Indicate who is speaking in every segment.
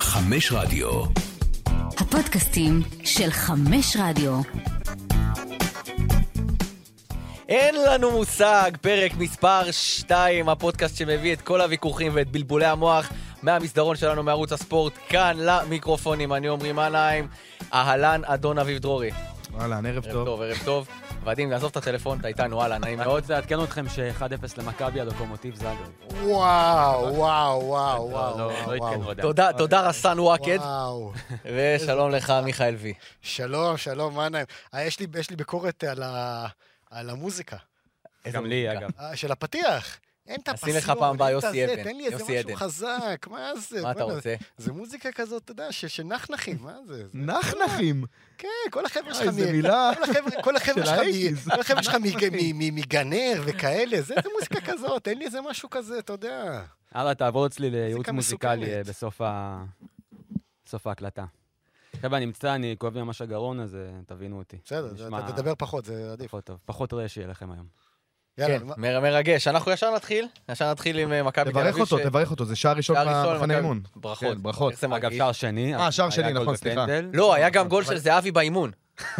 Speaker 1: חמש רדיו.
Speaker 2: הפודקאסטים של חמש רדיו.
Speaker 3: אין לנו מושג, פרק מספר 2, הפודקאסט שמביא את כל הוויכוחים ואת בלבולי המוח מהמסדרון שלנו מערוץ הספורט, כאן למיקרופונים, אני עמרי מנהיים, אהלן אדון אביב דרורי.
Speaker 4: אהלן, ערב
Speaker 3: ערב
Speaker 4: טוב.
Speaker 3: טוב, ערב טוב. ועדים, לעזוב את הטלפון, אתה איתנו, אהלן, נעים מאוד.
Speaker 5: מאוד לעדכן אתכם ש-1-0 למכבי הדוקומוטיב זאגרב.
Speaker 6: וואו, וואו, וואו, וואו,
Speaker 5: לא, לא עדכן
Speaker 6: וואו.
Speaker 5: עוד.
Speaker 3: תודה, תודה רסן וואקד,
Speaker 6: וואו.
Speaker 3: ושלום לך, מיכאל וי.
Speaker 6: שלום, שלום, מה נעים? אה, יש לי, יש לי ביקורת על, ה, על המוזיקה,
Speaker 5: גם לי, אגב.
Speaker 6: אה, של הפתיח. אין את הפסון,
Speaker 3: נשים לך פעם הבאה
Speaker 6: אין את
Speaker 3: יוסי
Speaker 6: הזה,
Speaker 3: אבן,
Speaker 6: תן לי איזה
Speaker 3: יוסי
Speaker 6: משהו
Speaker 3: אבן.
Speaker 6: חזק, מה זה?
Speaker 3: מה אתה
Speaker 6: בוא'נה,
Speaker 3: רוצה?
Speaker 6: זה מוזיקה כזאת, אתה יודע, ש- של נחנחים, מה זה? זה-
Speaker 4: נחנחים.
Speaker 6: כן, כל החבר'ה שלך...
Speaker 3: אה,
Speaker 4: אוי, זו
Speaker 6: מ-
Speaker 4: מילה.
Speaker 6: כל החבר'ה- כל החבר'ה
Speaker 4: של
Speaker 6: שלך
Speaker 4: האייטיז.
Speaker 6: מ- כל החבר'ה שלך מג- מ- מ- מגנר וכאלה, זה זה מוזיקה כזאת, אין לי איזה משהו כזה, אתה יודע.
Speaker 5: הלאה, תעבור אצלי לייעוץ
Speaker 6: מוזיקה
Speaker 5: מוזיקלי אה,
Speaker 6: מסוכנת.
Speaker 5: בסוף ה- בסוף ההקלטה. חבר'ה, אני מצטער, אני כואב לי ממש הגרון, אז אה, תבינו אותי.
Speaker 6: בסדר,
Speaker 5: נשמע
Speaker 6: אתה תדבר פחות, זה עדיף.
Speaker 5: פחות טוב. פחות רעש יהיה לכם היום.
Speaker 6: יאללה,
Speaker 3: כן,
Speaker 6: מה-
Speaker 3: מר- מרגש. אנחנו ישר נתחיל, ישר נתחיל עם אה, מכבי תל
Speaker 4: תברך
Speaker 3: אביב.
Speaker 4: אותו,
Speaker 3: ש-
Speaker 4: תברך אותו, זה שער ראשון
Speaker 3: שער ראשון
Speaker 4: במחנה
Speaker 3: למכבי.
Speaker 4: אימון.
Speaker 3: ברכות.
Speaker 4: כן, ברכות.
Speaker 3: איך זה
Speaker 5: אגב,
Speaker 3: מרגיש?
Speaker 5: שער שני.
Speaker 4: אה, שער שני,
Speaker 5: היה גול
Speaker 4: נכון, סליחה.
Speaker 5: בפנדל.
Speaker 3: לא, היה גם גול של זהבי באימון.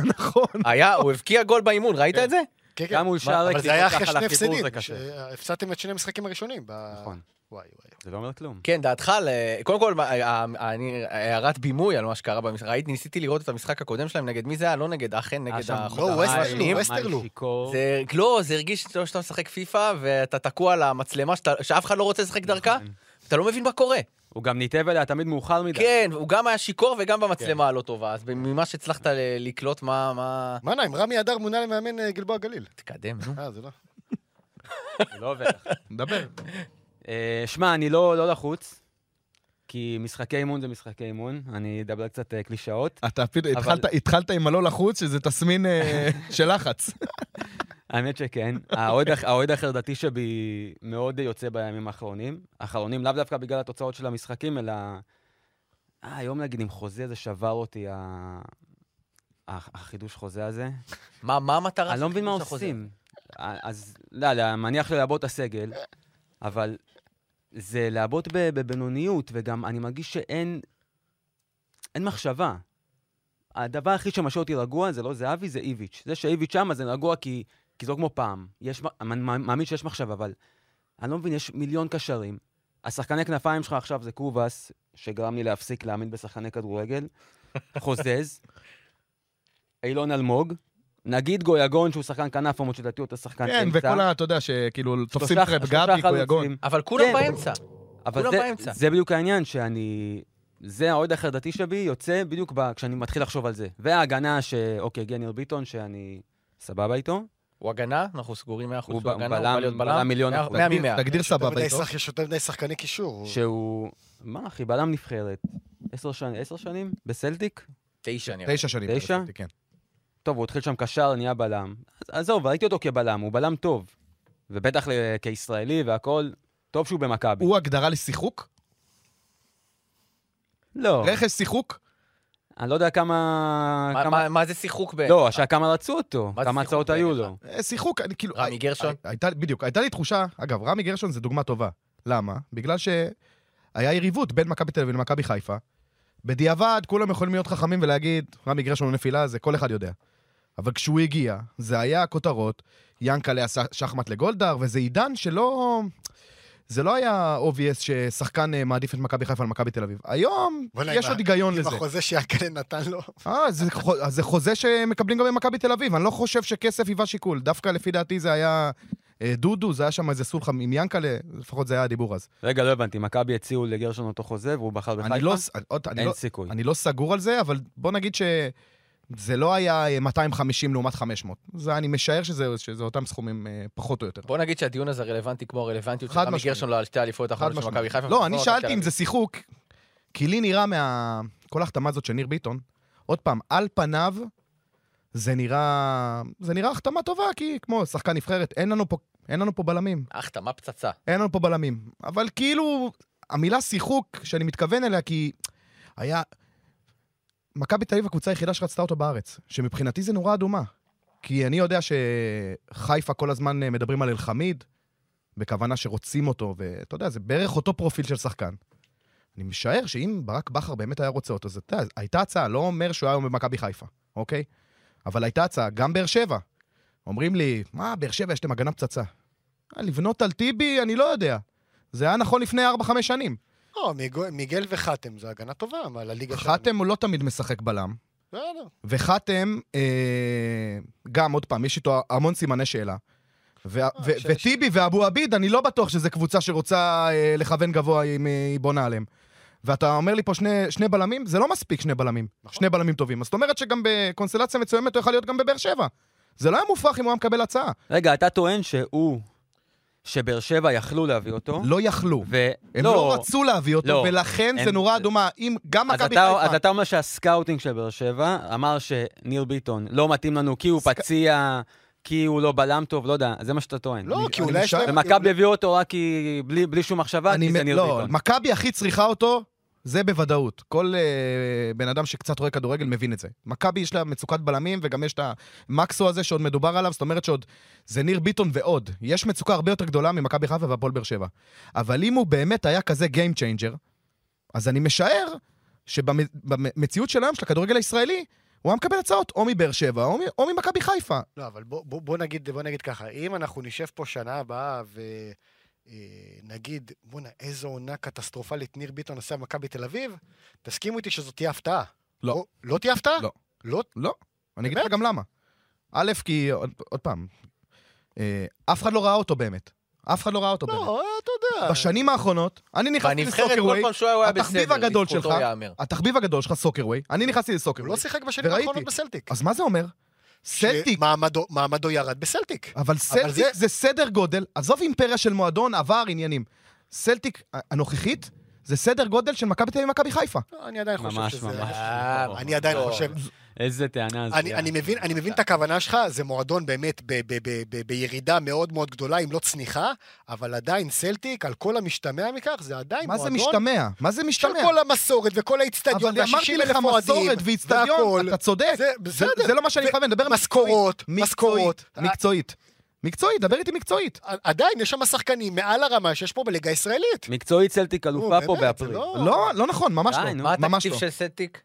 Speaker 4: נכון.
Speaker 3: היה, הוא הבקיע גול באימון, ראית את זה?
Speaker 6: כן, כן.
Speaker 5: גם הוא שער
Speaker 6: אבל זה היה אחרי שני הפסדים,
Speaker 5: זה
Speaker 6: ש-
Speaker 5: קשה.
Speaker 6: הפסדתם את שני המשחקים הראשונים. ב-
Speaker 5: נכון,
Speaker 6: וואי וואי.
Speaker 5: זה לא אומר כלום.
Speaker 3: כן, דעתך, על, אה, קודם כל, מה, אה, אה, אני- הערת בימוי על מה שקרה במשחק, ראיתי, ניסיתי לראות את המשחק הקודם שלהם, נגד מי זה היה? לא נגד אכן,
Speaker 5: היה
Speaker 3: נגד
Speaker 5: אה, שם
Speaker 3: החוטה.
Speaker 6: לא, ווסטרלו,
Speaker 5: מים,
Speaker 6: ווסטרלו.
Speaker 5: מים שיכור.
Speaker 3: זה, לא, זה הרגיש שאתה שאתה משחק פיפא, ואתה תקוע על המצלמה שאתה- שאף אחד לא רוצה לשחק דרכה, אתה לא מבין מה קורה.
Speaker 5: הוא גם ניתב אליה תמיד מאוחר מדי.
Speaker 3: כן, הוא גם היה שיכור וגם
Speaker 5: כן.
Speaker 3: במצלמה הלא טובה, אז ממה שהצלחת ל- לקלוט, מה... מה...
Speaker 6: מה נעים, רמי אדר מונה למאמן אה, גלבוע גליל.
Speaker 3: תקדם, נו.
Speaker 6: אה, זה לא.
Speaker 5: זה לא עובד.
Speaker 4: דבר.
Speaker 5: אה, שמע, אני לא, לא לחוץ, כי משחקי אימון זה משחקי אימון, אני אדבר קצת אה, קלישאות.
Speaker 4: אתה אפילו
Speaker 5: אבל-
Speaker 4: התחלת- התחלת עם הלא לחוץ, שזה תסמין אה, של לחץ.
Speaker 5: האמת שכן, האוהד הח- האוהד החרדתי שבי מאוד יוצא בימים האחרונים. האחרונים לאו דווקא בגלל התוצאות של המשחקים, אלא... אה, היום נגיד עם חוזה זה שבר אותי, ה... הח- החידוש חוזה הזה.
Speaker 3: מה מה המטרה
Speaker 5: אני לא מבין מה
Speaker 3: החידוש החוזה?
Speaker 5: עושים. אה, אז, לא יודע, מניח ללעבות את הסגל, אבל זה לעבות ב- בבינוניות, וגם אני מרגיש שאין אין מחשבה. הדבר הכי שמשאיר אותי רגוע זה לא זהבי, זה איביץ'. זה שאיביץ' שם זה רגוע כי, כי זה לא כמו פעם. יש, מ- אני מאמין שיש מחשבה, אבל אני לא מבין, יש מיליון קשרים. השחקני כנפיים שלך עכשיו זה קובאס, שגרם לי להפסיק להאמין בשחקני כדורגל, חוזז, אילון אלמוג, נגיד גויגון שהוא שחקן כנף, למרות שלדעתי הוא אותו שחקן
Speaker 4: כן,
Speaker 5: אמצע.
Speaker 4: וכל ה... אתה יודע, שכאילו תופסים
Speaker 5: שלושה-
Speaker 4: טראפ,
Speaker 5: שלושה
Speaker 4: גבי,
Speaker 5: חלוצים.
Speaker 4: קויגון.
Speaker 3: אבל כולם
Speaker 5: כן.
Speaker 3: באמצע.
Speaker 5: אבל
Speaker 3: כולם
Speaker 5: זה,
Speaker 3: באמצע.
Speaker 5: זה בדיוק העניין, שאני... זה האוהד החרדתי שבי יוצא בדיוק ב... כשאני מתחיל לחשוב על זה. וההגנה ש... אוקיי, הגיע ניר ביטון, שאני סבבה איתו.
Speaker 3: הוא הגנה, אנחנו סגורים 100%
Speaker 5: הוא
Speaker 3: שהוא
Speaker 5: ב-
Speaker 3: הגנה, הוא
Speaker 5: בלם-
Speaker 3: בא להיות
Speaker 5: בלם מיליון
Speaker 3: מאה-
Speaker 5: אחוז.
Speaker 3: מאה ממאה.
Speaker 4: תגדיר סבבה איתו.
Speaker 6: יש יותר מדי שחקני קישור. הוא-
Speaker 5: שהוא... מה, אחי, בלם נבחרת. עשר, שנ... עשר שנים? בסלטיק?
Speaker 3: תשע נראה. לי.
Speaker 4: תשע שנים.
Speaker 5: תשע?
Speaker 4: עשיתי, כן.
Speaker 5: טוב, הוא התחיל שם קשר, נהיה בלם. אז עזוב, ראיתי אותו כבלם, הוא בלם טוב. ובטח ל- כישראלי והכול, טוב שהוא במכבי.
Speaker 4: הוא הגדרה לשיחוק?
Speaker 5: לא,
Speaker 4: רכש שיחוק?
Speaker 5: אני לא יודע כמה...
Speaker 3: מה-
Speaker 5: כמה...
Speaker 3: מה- מה זה שיחוק ב...
Speaker 5: לא, השעה כמה רצו אותו,
Speaker 3: מה זה
Speaker 5: כמה
Speaker 3: שיחוק
Speaker 5: הצעות היו
Speaker 3: בעיניך?
Speaker 5: לו.
Speaker 4: אה, שיחוק, אני כאילו...
Speaker 3: רמי גרשון?
Speaker 4: הי- הייתה- בדיוק, הייתה לי תחושה, אגב, רמי גרשון זה דוגמה טובה. למה? בגלל שהיה יריבות בין מכבי תל אביב למכבי חיפה. בדיעבד, כולם יכולים להיות חכמים ולהגיד, רמי גרשון הוא נפילה, זה כל אחד יודע. אבל כשהוא הגיע, זה היה הכותרות, ינקלה עשה שחמט לגולדהר, וזה עידן שלא... זה לא היה obvious ששחקן אה, מעדיף את מכבי חיפה על מכבי תל אביב. היום
Speaker 6: בוא'נה,
Speaker 4: יש
Speaker 6: עם
Speaker 4: עוד
Speaker 6: ה-
Speaker 4: היגיון לזה.
Speaker 6: עם החוזה שיעקלן נתן לו.
Speaker 4: אה, זה, חו- אז זה חוזה שמקבלים גם במכבי תל אביב, אני לא חושב שכסף היווה שיקול. דווקא לפי דעתי זה היה אה, דודו, זה היה שם איזה סולחה עם ינקלה, לפחות זה היה הדיבור אז.
Speaker 5: רגע, לא הבנתי, מכבי הציעו לגרשון אותו חוזה והוא בחר בחיפה?
Speaker 4: אני לא, ס- אני- עוד- אני,
Speaker 5: אין
Speaker 4: לא,
Speaker 5: סיכוי.
Speaker 4: אני לא סגור על זה, אבל בוא נגיד שזה לא היה אה, 250 לעומת 500. זה, אני משער שזה, שזה אותם סכומים אה, פחות או יותר.
Speaker 3: בוא נגיד שהדיון הזה רלוונטי כמו הרלוונטיות של
Speaker 4: חד
Speaker 3: רמי
Speaker 4: משמעית.
Speaker 3: גרשון על שתי האליפויות
Speaker 4: חד
Speaker 3: האחרונות של מכבי
Speaker 4: משמעית.
Speaker 3: חיפה.
Speaker 4: לא,
Speaker 3: ובכלל
Speaker 4: אני
Speaker 3: מכבי תל
Speaker 4: שאלתי אם
Speaker 3: אביב.
Speaker 4: זה שיחוק, כי לי נראה מה... כל ההחתמה הזאת של ניר ביטון, עוד פעם, על פניו, זה נראה... זה נראה החתמה טובה, כי כמו שחקן נבחרת, אין לנו פה, אין לנו פה בלמים.
Speaker 3: החתמה פצצה.
Speaker 4: אין לנו פה בלמים. אבל כאילו, המילה שיחוק, שאני מתכוון אליה, כי היה... מכבי תל אביב הקבוצה היחידה שרצתה אותו בארץ, שמבחינתי זה נורא אדומה. כי אני יודע שחיפה כל הזמן אה, מדברים על אלחמיד, בכוונה שרוצים אותו, ואתה יודע, זה בערך אותו פרופיל של שחקן. אני משער שאם ברק בכר באמת היה רוצה אותו, אז אתה יודע, הייתה הצעה, לא אומר שהוא היה היום במכבי חיפה, אוקיי? אבל הייתה הצעה, גם באר שבע. אומרים לי, מה, באר שבע יש להם הגנה פצצה. אה, לבנות על טיבי, אני לא יודע. זה היה נכון לפני 4-5 שנים.
Speaker 6: לא, מיגו- מיגל וחתם זו הגנה טובה, אבל הליגה
Speaker 4: חתם הוא לא תמיד משחק בלם,
Speaker 6: בסדר.
Speaker 4: וחתם, אה, גם, עוד פעם, יש איתו המון סימני שאלה. ו-
Speaker 5: אה,
Speaker 4: ו-
Speaker 6: ש-
Speaker 4: וטיבי ואבו עביד, אני לא בטוח שזו קבוצה שרוצה אה, לכוון גבוה אם אה, היא בונה עליהם. ואתה אומר לי פה שני, שני בלמים, זה לא מספיק שני בלמים.
Speaker 6: נכון.
Speaker 4: שני בלמים טובים. אז זאת אומרת שגם בקונסטלציה מסוימת הוא יכול להיות גם בבאר שבע. זה לא היה מופרך אם הוא היה מקבל הצעה.
Speaker 5: רגע, אתה טוען שהוא, שבאר שבע יכלו להביא אותו,
Speaker 4: לא יכלו.
Speaker 5: ו...
Speaker 4: הם לא, רצו להביא אותו,
Speaker 5: לא.
Speaker 4: ולכן זה
Speaker 5: הם-
Speaker 4: נורה אדומה. אם גם
Speaker 5: אז
Speaker 4: מכבי
Speaker 5: אתה,
Speaker 4: חיפה...
Speaker 5: אז אתה אומר שהסקאוטינג של באר שבע אמר שניר ביטון לא מתאים לנו כי הוא
Speaker 4: סק-
Speaker 5: פציע, כי הוא לא בלם טוב, לא יודע, זה מה שאתה טוען.
Speaker 6: לא,
Speaker 4: אני-
Speaker 6: כי
Speaker 4: אני
Speaker 6: אולי יש
Speaker 4: משער-
Speaker 6: להם...
Speaker 5: ומכבי הביאו אותו רק כי... בלי, בלי שום מחשבה,
Speaker 4: אני
Speaker 5: כי זה
Speaker 4: מ-
Speaker 5: ניר
Speaker 4: לא,
Speaker 5: ביטון.
Speaker 4: מכבי הכי צריכה אותו, זה בוודאות. כל אה, בן אדם שקצת רואה כדורגל מבין את זה. מכבי יש לה מצוקת בלמים, וגם יש את המקסו הזה שעוד מדובר עליו, זאת אומרת שעוד... זה ניר ביטון ועוד. יש מצוקה הרבה יותר גדולה ממכבי חיפה והפועל באר שבע. אבל אם הוא באמת היה כזה Game Changer, אז אני משער שבמציאות של היום, של הכדורגל הישראלי, הוא היה מקבל הצעות או מבאר שבע או מ- או ממכבי חיפה.
Speaker 6: לא, אבל בוא, בוא, בוא, נגיד, בוא נגיד ככה, אם אנחנו נשב פה שנה הבאה ונגיד, בואנה, איזו עונה קטסטרופלית ניר ביטון עשה במכבי תל אביב, תסכימו איתי שזאת תהיה הפתעה.
Speaker 4: לא.
Speaker 6: או- לא תהיה הפתעה?
Speaker 4: לא.
Speaker 6: לא?
Speaker 4: אני אגיד לך גם למה. א', כי, עוד, עוד פעם, אה, אף אחד לא ראה אותו באמת. אף אחד לא ראה אותו באמת.
Speaker 6: לא, אתה יודע.
Speaker 4: בשנים האחרונות, אני נכנסתי
Speaker 3: בנבחרת אה, כל
Speaker 4: לסוקרווי,
Speaker 3: פעם שהוא היה, הוא היה בסדר.
Speaker 4: התחביב הגדול
Speaker 3: לזכותו
Speaker 4: שלך.
Speaker 3: ייאמר.
Speaker 4: התחביב הגדול שלך סוקרווי, אני נכנסתי
Speaker 6: הוא
Speaker 4: לסוקרווי.
Speaker 6: לא שיחק בשנים
Speaker 4: וראיתי.
Speaker 6: האחרונות בסלטיק.
Speaker 4: אז מה זה אומר? סלטיק,
Speaker 6: שמעמדו- מעמדו ירד בסלטיק.
Speaker 4: אבל סלטיק
Speaker 6: זה-
Speaker 4: זה סדר גודל, עזוב אימפריה של מועדון, עבר, עניינים. סלטיק ה- הנוכחית זה סדר גודל של מכבי תל אביב ומכבי חיפה.
Speaker 6: לא, אני עדיין חושב
Speaker 5: ממש,
Speaker 6: שזה...
Speaker 5: ממש.
Speaker 3: אה,
Speaker 5: לא.
Speaker 6: אני עדיין
Speaker 3: לא.
Speaker 6: חושב...
Speaker 5: איזה טענה
Speaker 6: אני, אני, מבין, אני מבין את הכוונה שלך, זה מועדון באמת ב, ב, ב, ב, בירידה מאוד מאוד גדולה, אם לא צניחה, אבל עדיין סלטיק, על כל המשתמע מכך, זה עדיין
Speaker 4: מה זה
Speaker 6: מועדון
Speaker 4: משתמע? מה זה
Speaker 6: של
Speaker 4: משתמע?
Speaker 6: כל המסורת וכל האיצטדיון,
Speaker 4: אבל אמרתי
Speaker 6: וה-60 אלף
Speaker 4: לך
Speaker 6: אוהדים,
Speaker 4: מסורת ואיצטדיון, אתה צודק.
Speaker 6: זה
Speaker 4: זה
Speaker 6: בסדר.
Speaker 4: זה לא מה שאני
Speaker 6: ו-
Speaker 4: מכוון, אני מדבר על
Speaker 6: משכורות,
Speaker 4: מקצועית,
Speaker 6: משכורות.
Speaker 4: מקצועית. מקצועית, דבר איתי מקצועית.
Speaker 6: ע- עדיין יש שם שחקנים מעל הרמה שיש פה בליגה הישראלית.
Speaker 5: מקצועית סלטיק אלופה
Speaker 6: נו,
Speaker 5: פה
Speaker 6: באמת, זה
Speaker 5: באפריל.
Speaker 6: לא-
Speaker 4: לא, לא נכון, ממש
Speaker 5: די,
Speaker 4: לא.
Speaker 5: נו.
Speaker 3: מה
Speaker 4: ממש
Speaker 3: התקציב
Speaker 4: לא.
Speaker 3: של סטיק?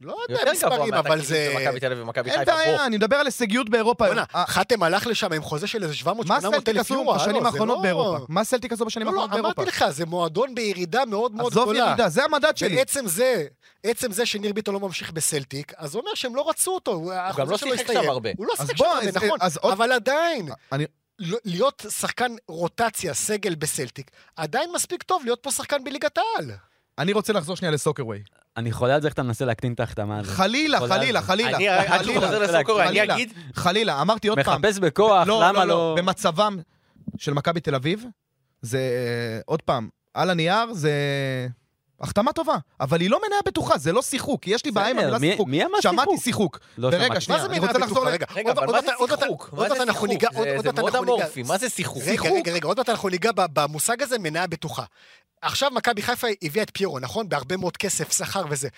Speaker 6: לא יודע,
Speaker 3: יותר גבוה
Speaker 6: מספרים, אבל
Speaker 3: מהתקציב
Speaker 6: זה...
Speaker 3: של מכבי תל אביב ומכבי
Speaker 4: אין
Speaker 3: חיפה. בוא.
Speaker 4: בעיה, אני מדבר על הישגיות באירופה.
Speaker 6: בוא'נה,
Speaker 4: אה,
Speaker 6: חתם הלך לשם עם חוזה של איזה 700-800 אלף
Speaker 4: מה
Speaker 6: יורו.
Speaker 4: סלטיק עשו
Speaker 6: הלו,
Speaker 4: בשנים
Speaker 6: זה
Speaker 4: האחרונות
Speaker 6: לא-
Speaker 4: באירופה? מה סלטיק עשו בשנים
Speaker 6: לא, לא,
Speaker 4: האחרונות באירופה?
Speaker 6: אמרתי לך, זה מועדון בירידה מאוד מאוד גדולה.
Speaker 4: עזוב ירידה, זה המדד שלי.
Speaker 6: בעצם זה, עצם זה שניר ביטון לא ממשיך בסלטיק, אז זה אומר שהם לא רצו אותו. הוא החוזה
Speaker 3: לא
Speaker 6: שלו
Speaker 3: שיחק
Speaker 6: הסתיים.
Speaker 3: שם הרבה.
Speaker 6: הוא לא
Speaker 4: אז
Speaker 6: שיחק שם
Speaker 4: בוא,
Speaker 6: הרבה,
Speaker 4: אז-
Speaker 6: נכון.
Speaker 4: אז עוד-
Speaker 6: אבל עדיין,
Speaker 4: אני-
Speaker 6: לא- להיות שחקן רוטציה, סגל בסלטיק, עדיין מספיק טוב להיות פה שחקן בליגת העל.
Speaker 4: אני רוצה לחזור שנייה לסוקרווי.
Speaker 5: אני חולה על זה איך אתה מנסה להקטין את ההחתמה הזאת.
Speaker 4: חלילה,
Speaker 5: חולה
Speaker 4: חלילה,
Speaker 5: על זה.
Speaker 4: חלילה.
Speaker 3: אני, עד שהוא
Speaker 4: חלילה,
Speaker 3: חוזר לסוקר, אני
Speaker 4: חלילה.
Speaker 3: אגיד,
Speaker 4: חלילה, אמרתי עוד פעם.
Speaker 5: מחפש בכוח,
Speaker 4: לא,
Speaker 5: למה
Speaker 4: לא, לא,
Speaker 5: לא?
Speaker 4: במצבם של מכבי תל אביב, זה, אה, עוד פעם, על הנייר זה החתמה טובה, אבל היא לא מניה בטוחה, זה לא שיחוק, יש לי בעיה עם
Speaker 5: בסדר,
Speaker 4: המילה
Speaker 5: מי-
Speaker 4: שיחוק.
Speaker 5: מי אמר
Speaker 4: שמעתי
Speaker 5: שיחוק?
Speaker 4: שיחוק.
Speaker 5: לא
Speaker 4: ורגע,
Speaker 5: שמעתי.
Speaker 4: שנייה,
Speaker 6: מה זה
Speaker 4: אני
Speaker 6: מניה
Speaker 4: רוצה לחזור
Speaker 6: בטוחה?
Speaker 4: ל-
Speaker 6: רגע,
Speaker 3: רגע,
Speaker 6: עוד-
Speaker 3: אבל
Speaker 6: עוד
Speaker 3: מה
Speaker 6: מעט-
Speaker 3: זה
Speaker 6: עוד מעט-
Speaker 3: שיחוק?
Speaker 6: עוד
Speaker 3: מה
Speaker 6: מעט
Speaker 3: זה
Speaker 6: אנחנו
Speaker 3: שיחוק?
Speaker 6: ניגע- עוד-
Speaker 3: זה-
Speaker 6: עוד
Speaker 3: זה
Speaker 6: מעט
Speaker 3: מאוד
Speaker 6: אנחנו ניגע-
Speaker 3: אמורפי, מה זה שיחוק?
Speaker 6: רגע, רגע, רגע, עוד מעט אנחנו ניגע ב- במושג הזה, מניה בטוחה. עכשיו מכבי חיפה הביאה את פיירו, נכון? בהרבה מאוד כסף, שכר וזה.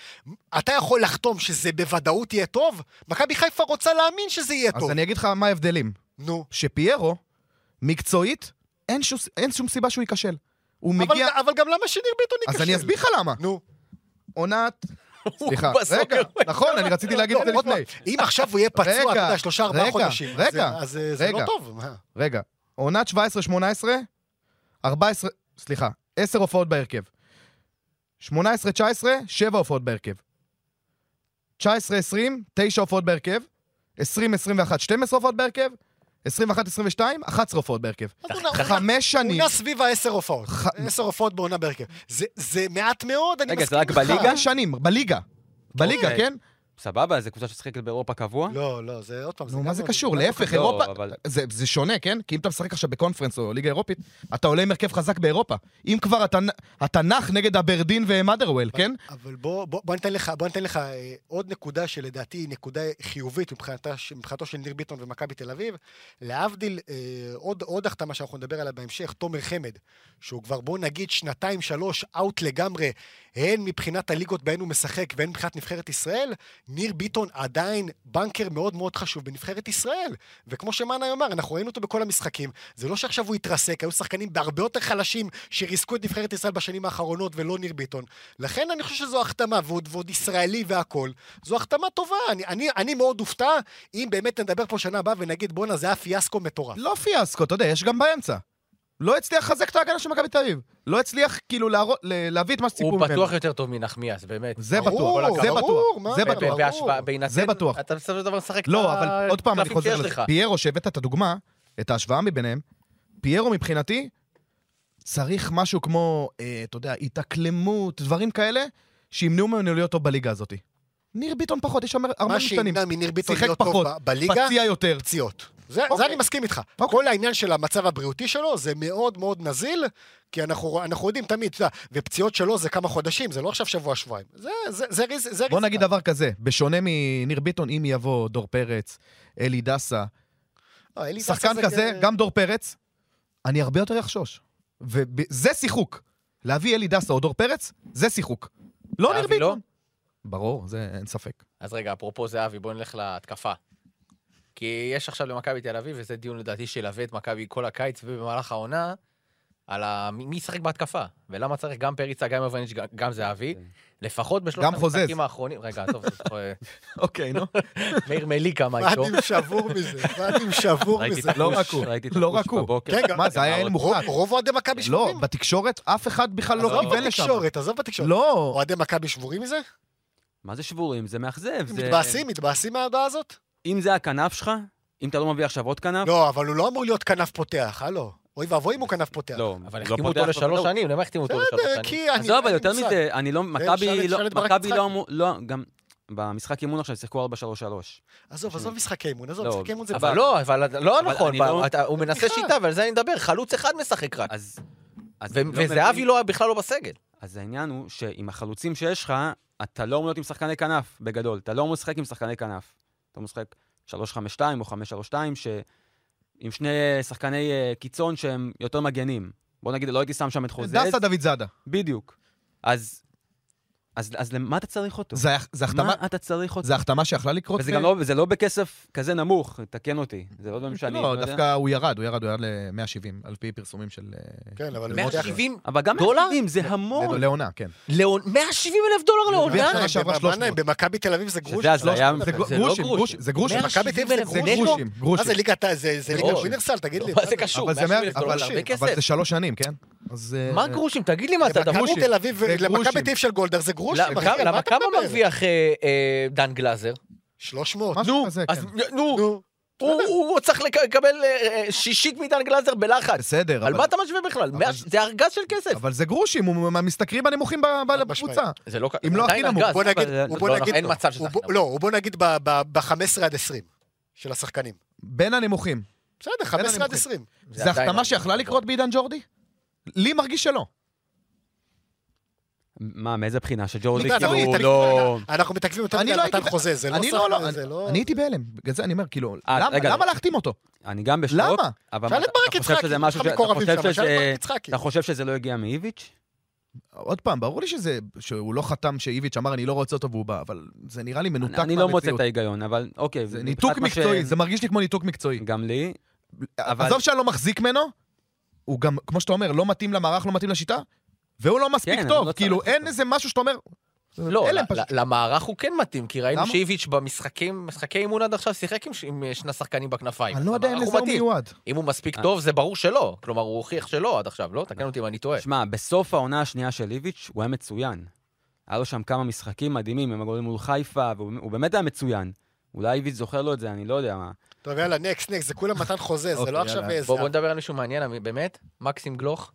Speaker 6: אתה יכול לחתום שזה בוודאות יהיה טוב? מכבי חיפה רוצה להאמין שזה יהיה
Speaker 4: אז
Speaker 6: טוב.
Speaker 4: אני אגיד לך מה ההבדלים.
Speaker 6: נו.
Speaker 4: שפיירו, מקצועית, אין שום- אין שום סיבה שהוא ייכשל. הוא
Speaker 6: אבל,
Speaker 4: מגיע...
Speaker 6: אבל גם למה שניר ביטון ייכשל?
Speaker 4: אז אני אסביר לך למה.
Speaker 6: נו,
Speaker 4: עונת... סליחה,
Speaker 3: בסוקר
Speaker 4: רגע, נכון, אני רציתי להגיד את זה
Speaker 6: עוד
Speaker 4: לפני.
Speaker 6: פעם, אם עכשיו הוא יהיה פצוע, אתה
Speaker 4: רגע,
Speaker 6: יודע, שלושה ארבעה
Speaker 4: רגע,
Speaker 6: חודשים,
Speaker 4: רגע,
Speaker 6: זה- אז אה, זה לא
Speaker 4: רגע.
Speaker 6: טוב. מה?
Speaker 4: רגע, עונת 17-18, 14, סליחה, 10 הופעות בהרכב. 18-19, 7 הופעות בהרכב. 19-20, 9 הופעות בהרכב. 20-21, 12 הופעות בהרכב. 21-22, 11 הופעות בהרכב.
Speaker 6: אז הוא נע- הוא נע-
Speaker 4: חמש
Speaker 6: הוא
Speaker 4: שנים,
Speaker 6: נע סביב העשר הופעות.
Speaker 4: ח-
Speaker 6: עשר הופעות בעונה בהרכב. זה- זה מעט מאוד, אני
Speaker 5: רגע, זה
Speaker 6: מסכים
Speaker 5: רק
Speaker 6: איתך.
Speaker 5: בליגה?
Speaker 4: חמש שנים, בליגה. בליגה,
Speaker 5: אוקיי.
Speaker 4: כן?
Speaker 5: סבבה, זו קבוצה ששחקת באירופה קבוע?
Speaker 6: לא, לא, זה עוד פעם.
Speaker 4: נו,
Speaker 6: גם
Speaker 4: מה זה
Speaker 6: מאוד-
Speaker 4: קשור?
Speaker 6: גם
Speaker 4: להפך,
Speaker 5: לא,
Speaker 4: אירופה...
Speaker 5: אבל-
Speaker 4: זה, זה שונה, כן? כי אם אתה משחק עכשיו בקונפרנס או ליגה אירופית, אתה עולה עם הרכב חזק באירופה. אם כבר, אתה, נ- אתה נח נגד אברדין ומאדרוול, כן?
Speaker 6: אבל בוא, בוא, בוא ניתן לך, בוא ניתן לך אה, עוד נקודה שלדעתי היא נקודה חיובית מבחינתה, ש- מבחינתו של ניר ביטון ומכבי תל אביב. להבדיל, אה, עוד, עוד החתמה שאנחנו נדבר עליה בהמשך, תומר חמד, שהוא כבר בוא נגיד שנתיים, שלוש, אאוט לגמרי, הן מבחינת הליגות בהן הוא משחק והן מבחינת נבחרת ישראל, ניר ביטון עדיין בנקר מאוד מאוד חשוב בנבחרת ישראל. וכמו שמאנה אמר, אנחנו ראינו אותו בכל המשחקים. זה לא שעכשיו הוא התרסק, היו שחקנים בהרבה יותר חלשים שריסקו את נבחרת ישראל בשנים האחרונות ולא ניר ביטון. לכן אני חושב שזו החתמה, ועוד, ועוד ישראלי והכול. זו החתמה טובה. אני, אני, אני מאוד אופתע אם באמת נדבר פה שנה הבאה ונגיד, בואנה, זה היה פיאסקו מטורף.
Speaker 4: לא פיאסקו, אתה יודע, יש גם באמצע. לא הצליח לחזק את ההגנה של מכבי תל אביב. לא הצליח כאילו להראות- ל- להביא את מה שציפו
Speaker 3: הוא
Speaker 4: ממנו.
Speaker 3: פתוח יותר טוב מנחמיאס, באמת.
Speaker 4: זה
Speaker 6: ברור,
Speaker 4: בטוח,
Speaker 3: ברור,
Speaker 4: זה
Speaker 6: ברור,
Speaker 4: בטוח,
Speaker 6: מה
Speaker 4: זה
Speaker 6: אתה-
Speaker 3: ב-
Speaker 4: בטוח.
Speaker 6: ברור.
Speaker 3: בהשוואה- בהינתן-
Speaker 4: זה בטוח.
Speaker 3: אתה בסופו של דבר משחק את
Speaker 4: לא, אבל עוד פעם, אני
Speaker 3: הקלפים
Speaker 4: חוזר
Speaker 3: אה, שיש
Speaker 4: לזה.
Speaker 3: לך.
Speaker 4: פיירו, שהבאת את הדוגמה, את ההשוואה מביניהם, פיירו מבחינתי, צריך משהו כמו, אה, אתה יודע, התאקלמות, דברים כאלה, שימנעו ממנו להיות טוב בליגה הזאת. ניר ביטון פחות, יש שם הרבה
Speaker 6: מה
Speaker 4: משתנים.
Speaker 6: שימנע מניר ביטון
Speaker 4: שיחק
Speaker 6: להיות
Speaker 4: פחות,
Speaker 6: טוב ב- בליגה,
Speaker 4: פציע יותר.
Speaker 6: פציעות. זה,
Speaker 4: אוקיי.
Speaker 6: זה אני מסכים איתך.
Speaker 4: אוקיי.
Speaker 6: כל העניין של המצב הבריאותי שלו זה מאוד מאוד נזיל, כי אנחנו, אנחנו יודעים תמיד, אתה יודע, ופציעות שלו זה כמה חודשים, זה לא עכשיו שבוע-שבועיים. זה, זה, זה, ריז- זה,
Speaker 4: בוא
Speaker 6: ריזיקה.
Speaker 4: נגיד דבר כזה, בשונה מניר ביטון, אם יבוא דור פרץ, אלי דסה,
Speaker 6: אה, אלי דסה
Speaker 4: שחקן
Speaker 6: זה
Speaker 4: כזה,
Speaker 6: כ-
Speaker 4: גם דור פרץ, אני הרבה יותר אחשוש. וזה שיחוק. להביא אלי דסה או דור פרץ, זה שיחוק. לא ניר
Speaker 3: אבי, לא?
Speaker 4: ביטון. ברור, זה אין ספק.
Speaker 3: אז רגע, אפרופו זהבי, בואו נלך להתקפה. כי יש עכשיו למכבי תל אביב, וזה דיון לדעתי שילווה את מכבי כל הקיץ ובמהלך העונה, על ה... מי מי ישחק בהתקפה, ולמה צריך גם פריצה, גם יובניץ', גם- גם זהבי,
Speaker 5: אוקיי.
Speaker 3: לפחות בשלושת
Speaker 4: גם חוזז.
Speaker 3: המשחקים האחרונים... רגע, עזוב, עזוב, אה,
Speaker 4: אוקיי, נו.
Speaker 3: מאיר מליקה, מה איתו?
Speaker 6: ואדים שבור מזה, ואדים שבור
Speaker 5: ראיתי
Speaker 6: מזה.
Speaker 5: את
Speaker 4: לא
Speaker 5: הפוש,
Speaker 4: רק הוא,
Speaker 5: ראיתי את
Speaker 4: לא
Speaker 5: הפוש
Speaker 4: רק הוא.
Speaker 5: בבוקר.
Speaker 6: רגע,
Speaker 4: מה, זה היה
Speaker 5: אבל
Speaker 4: אוהד
Speaker 6: רוב-
Speaker 4: מוחלט.
Speaker 6: רוב אוהדי מכבי
Speaker 4: לא,
Speaker 6: שבורים.
Speaker 4: בתקשורת אף אחד בכלל לא
Speaker 6: עזוב
Speaker 4: כיוון לשם.
Speaker 6: בתקשורת, עזוב בתקשורת.
Speaker 4: לא,
Speaker 6: אוהדי מכבי שבורים מזה?
Speaker 5: מה זה שבורים? זה מאכזב. זה-
Speaker 6: מתבאסים, מתבאסים מההודעה הזאת?
Speaker 5: אם זה הכנף שלך, אם אתה לא מביא עכשיו עוד כנף,
Speaker 6: לא, אבל הוא לא אמור להיות כנף פותח, הלו. אוי ואבוי אם הוא כנף פותח.
Speaker 5: לא.
Speaker 3: אבל
Speaker 5: לא
Speaker 3: החתימו אותו
Speaker 5: פותח לו
Speaker 3: לשלוש
Speaker 5: בוודאות.
Speaker 3: שנים, למה החתימו אותו לשלוש
Speaker 6: בסדר,
Speaker 3: שנים?
Speaker 6: כי אני...
Speaker 5: עזוב, אבל
Speaker 6: אין לי
Speaker 5: יותר
Speaker 6: מושג. כן,
Speaker 5: מזה, אני לא,
Speaker 6: אפשר-
Speaker 5: מכבי
Speaker 6: אפשר
Speaker 5: לא,
Speaker 6: לדבר רק
Speaker 5: מכבי
Speaker 6: משחק.
Speaker 5: לא אמור, לא, גם במשחק אימון עכשיו שיחקו 4-3-3.
Speaker 6: עזוב, עזוב משחקי אימון, עזוב,
Speaker 5: לא,
Speaker 6: משחקי אימון זה...
Speaker 3: אבל לא, אבל לא
Speaker 5: אבל
Speaker 3: נכון,
Speaker 5: אני
Speaker 3: ב-
Speaker 5: לא-
Speaker 3: אתה- הוא מנסה
Speaker 6: סליחה.
Speaker 3: שיטה, ועל זה אני מדבר, חלוץ אחד משחק רק.
Speaker 5: אז... אז
Speaker 3: ו-
Speaker 5: אני לא
Speaker 3: וזהבי
Speaker 5: מבין-
Speaker 3: לא, בכלל לא בסגל.
Speaker 5: אז העניין הוא שעם החלוצים שיש לך, אתה לא אמור להיות עם שחקני כנף, בגדול. אתה לא אמור לשחק עם שחקני כנף. אתה אמור לשחק 3-5-2 או 5-3-2, ש... עם שני אה, שחקני אה, קיצון שהם יותר מגנים. בוא נגיד, לא הייתי שם שם את חוזז.
Speaker 4: דסה דוד זאדה.
Speaker 5: בדיוק. אז... אז, אז למה אתה צריך אותו?
Speaker 4: זה היה- זה החתמה-
Speaker 5: מה אתה צריך אותו?
Speaker 4: זה החתמה שיכלה לקרות?
Speaker 5: וזה גם לא, וזה לא בכסף כזה נמוך, תקן אותי. זה לא דברים שאני...
Speaker 4: לא,
Speaker 5: יודע.
Speaker 4: דווקא הוא ירד, הוא ירד, הוא ירד ל-170, על פי פרסומים של... אה,
Speaker 6: כן, אבל... הוא יודע-
Speaker 3: 170
Speaker 5: אבל גם
Speaker 3: דולר?
Speaker 5: מחירים, זה המון.
Speaker 4: לעונה, כן.
Speaker 3: לעונה, 170 אלף דולר
Speaker 6: מה
Speaker 3: לעונה?
Speaker 4: שנה
Speaker 6: להם,
Speaker 4: שעברה
Speaker 6: מה
Speaker 4: 300.
Speaker 6: להם, במכבי תל אביב זה גרוש.
Speaker 5: שזה הזיה.
Speaker 4: זה
Speaker 5: זה
Speaker 3: לא
Speaker 4: גרושים,
Speaker 3: גרושים.
Speaker 4: גרושים, זה גרושים.
Speaker 3: מאה
Speaker 6: מכבי תל אביב זה
Speaker 3: 170,000
Speaker 6: גרושים.
Speaker 3: נטו?
Speaker 4: גרושים,
Speaker 6: מה זה
Speaker 4: גרושים.
Speaker 6: ליגת ה... זה זה ליגת
Speaker 3: גרושים.
Speaker 6: יוניברסל, תגיד לי.
Speaker 3: לא, מה זה קשור?
Speaker 4: אבל זה
Speaker 3: 170
Speaker 4: מאה-
Speaker 3: אלף דולר
Speaker 4: אבל-
Speaker 3: זה הרבה
Speaker 4: אבל זה
Speaker 3: כסף.
Speaker 4: שלוש שנים, כן? אז... אה,
Speaker 3: מה גרושים? תגיד לי מה זה הדבר.
Speaker 6: למכבי
Speaker 4: גרושים.
Speaker 6: תל אביב,
Speaker 4: זה
Speaker 6: למכבי
Speaker 4: גרושים.
Speaker 6: תל אביב של גולדהר זה גרושים,
Speaker 3: למה-
Speaker 6: אחי,
Speaker 3: לא, כמה-
Speaker 6: על מה
Speaker 3: למה
Speaker 6: אתה
Speaker 3: כמה
Speaker 6: מדבר?
Speaker 3: מרוויח אה, אה, דן גלאזר?
Speaker 6: 300.
Speaker 4: משהו כזה,
Speaker 3: אז
Speaker 4: כן.
Speaker 3: נו,
Speaker 6: נו.
Speaker 3: הוא- הוא הוא צריך לק- לקבל אה, אה, שישית מדן גלאזר בלחץ.
Speaker 4: בסדר,
Speaker 3: על
Speaker 4: אבל-
Speaker 3: מה אתה משווה בכלל? מאה-
Speaker 4: זה-
Speaker 3: זה ארגז של כסף.
Speaker 4: אבל זה גרושים, הוא מהמשתכרים הנמוכים ב- ב-
Speaker 6: משמעית.
Speaker 4: בקבוצה.
Speaker 3: זה לא כ-
Speaker 4: אם לא
Speaker 3: עדיין
Speaker 4: הכי נמוך.
Speaker 3: ארגז.
Speaker 6: בוא נגיד,
Speaker 5: אבל-
Speaker 6: הוא בוא
Speaker 3: לא,
Speaker 6: נגיד,
Speaker 3: אין מצב שזה
Speaker 6: הוא
Speaker 3: הכי
Speaker 6: בוא-
Speaker 3: נמוך.
Speaker 6: לא, הוא בוא נגיד ב-15 עד 20 של השחקנים.
Speaker 4: בין הנמוכים.
Speaker 6: בסדר, 15 עד
Speaker 4: הנמוכים.
Speaker 6: 20.
Speaker 3: זה
Speaker 4: זה
Speaker 3: עדיין
Speaker 4: החתמה
Speaker 3: לא-
Speaker 4: שיכלה לקרות בעידן ג'ורדי? לי מרגיש שלא.
Speaker 5: מה, מאיזה בחינה? שג'ורדי
Speaker 6: אתה יודע,
Speaker 5: כאילו
Speaker 6: אנחנו-
Speaker 5: לא...
Speaker 6: אנחנו מתעכבים יותר
Speaker 4: אני
Speaker 6: מדי
Speaker 4: לא
Speaker 6: על מתן
Speaker 4: הייתי-
Speaker 6: חוזה, זה לא
Speaker 4: אני
Speaker 6: שחקן,
Speaker 4: לא, לא,
Speaker 6: זה
Speaker 4: אני-
Speaker 6: לא...
Speaker 4: אני הייתי בהלם. בגלל זה אני אומר, כאילו,
Speaker 5: אה,
Speaker 4: למה-
Speaker 5: רגע. לא.
Speaker 4: למה להחתים אותו?
Speaker 5: אני גם בשוק.
Speaker 4: למה?
Speaker 5: אבל
Speaker 6: שאל
Speaker 5: מה,
Speaker 6: את ברק
Speaker 5: אתה חושב
Speaker 6: יצחקי,
Speaker 5: שזה
Speaker 6: יש
Speaker 5: משהו
Speaker 6: לך
Speaker 5: ש- אתה
Speaker 6: מקורבים
Speaker 5: חושב
Speaker 6: שם, שאל את
Speaker 5: שזה-
Speaker 6: ברק יצחקי.
Speaker 5: אתה חושב שזה לא הגיע מאיביץ'?
Speaker 4: עוד פעם, ברור לי שזה, שהוא לא חתם שאיביץ' אמר, אני לא רוצה אותו והוא בא, אבל זה נראה לי מנותק
Speaker 5: אני לא מוצא
Speaker 4: מהמציאות.
Speaker 5: את ההיגיון, אבל אוקיי.
Speaker 4: זה
Speaker 5: מבחינת
Speaker 4: ניתוק
Speaker 5: מה ש-
Speaker 4: מקצועי, זה מרגיש לי כמו ניתוק מקצועי.
Speaker 5: גם לי. אבל-
Speaker 4: עזוב שאני לא מחזיק ממנו, הוא גם, כמו שאתה אומר, לא מתאים למערך, לא מתאים לשיטה, והוא לא מספיק
Speaker 5: כן, אבל
Speaker 4: טוב.
Speaker 5: לא
Speaker 4: כאילו,
Speaker 5: צריך
Speaker 4: אין
Speaker 5: אותו.
Speaker 4: איזה משהו שאתה אומר...
Speaker 3: לא,
Speaker 4: אלה הם
Speaker 3: ל-
Speaker 4: פשוט-
Speaker 3: ל- למערך הוא כן מתאים, כי ראינו
Speaker 4: למה?
Speaker 3: שאיביץ' במשחקים, משחקי אימון עד עכשיו שיחק עם ש- עם אה, שני שחקנים בכנפיים.
Speaker 4: אני לא יודע אם
Speaker 3: למערך
Speaker 4: לזה הוא
Speaker 3: מתאים.
Speaker 4: מיועד.
Speaker 3: אם הוא מספיק
Speaker 5: אה.
Speaker 3: טוב, זה ברור שלא. כלומר, הוא הוכיח שלא עד עכשיו, לא? תקן אותי אם אני טועה.
Speaker 5: שמע, בסוף העונה השנייה של איביץ' הוא היה מצוין. היה לו שם כמה משחקים מדהימים, הם הגולים מול חיפה, והוא הוא באמת היה מצוין. אולי איביץ' זוכר לו את זה, אני לא יודע מה.
Speaker 6: טוב, יאללה, נקסט, נקסט, זה כולם מתן חוזה, זה
Speaker 4: אוקיי,
Speaker 6: לא עכשיו
Speaker 4: יאללה.
Speaker 6: איזה...
Speaker 3: בואו נדבר על מישהו מעניין, אמי- באמת? מקסים גלוך?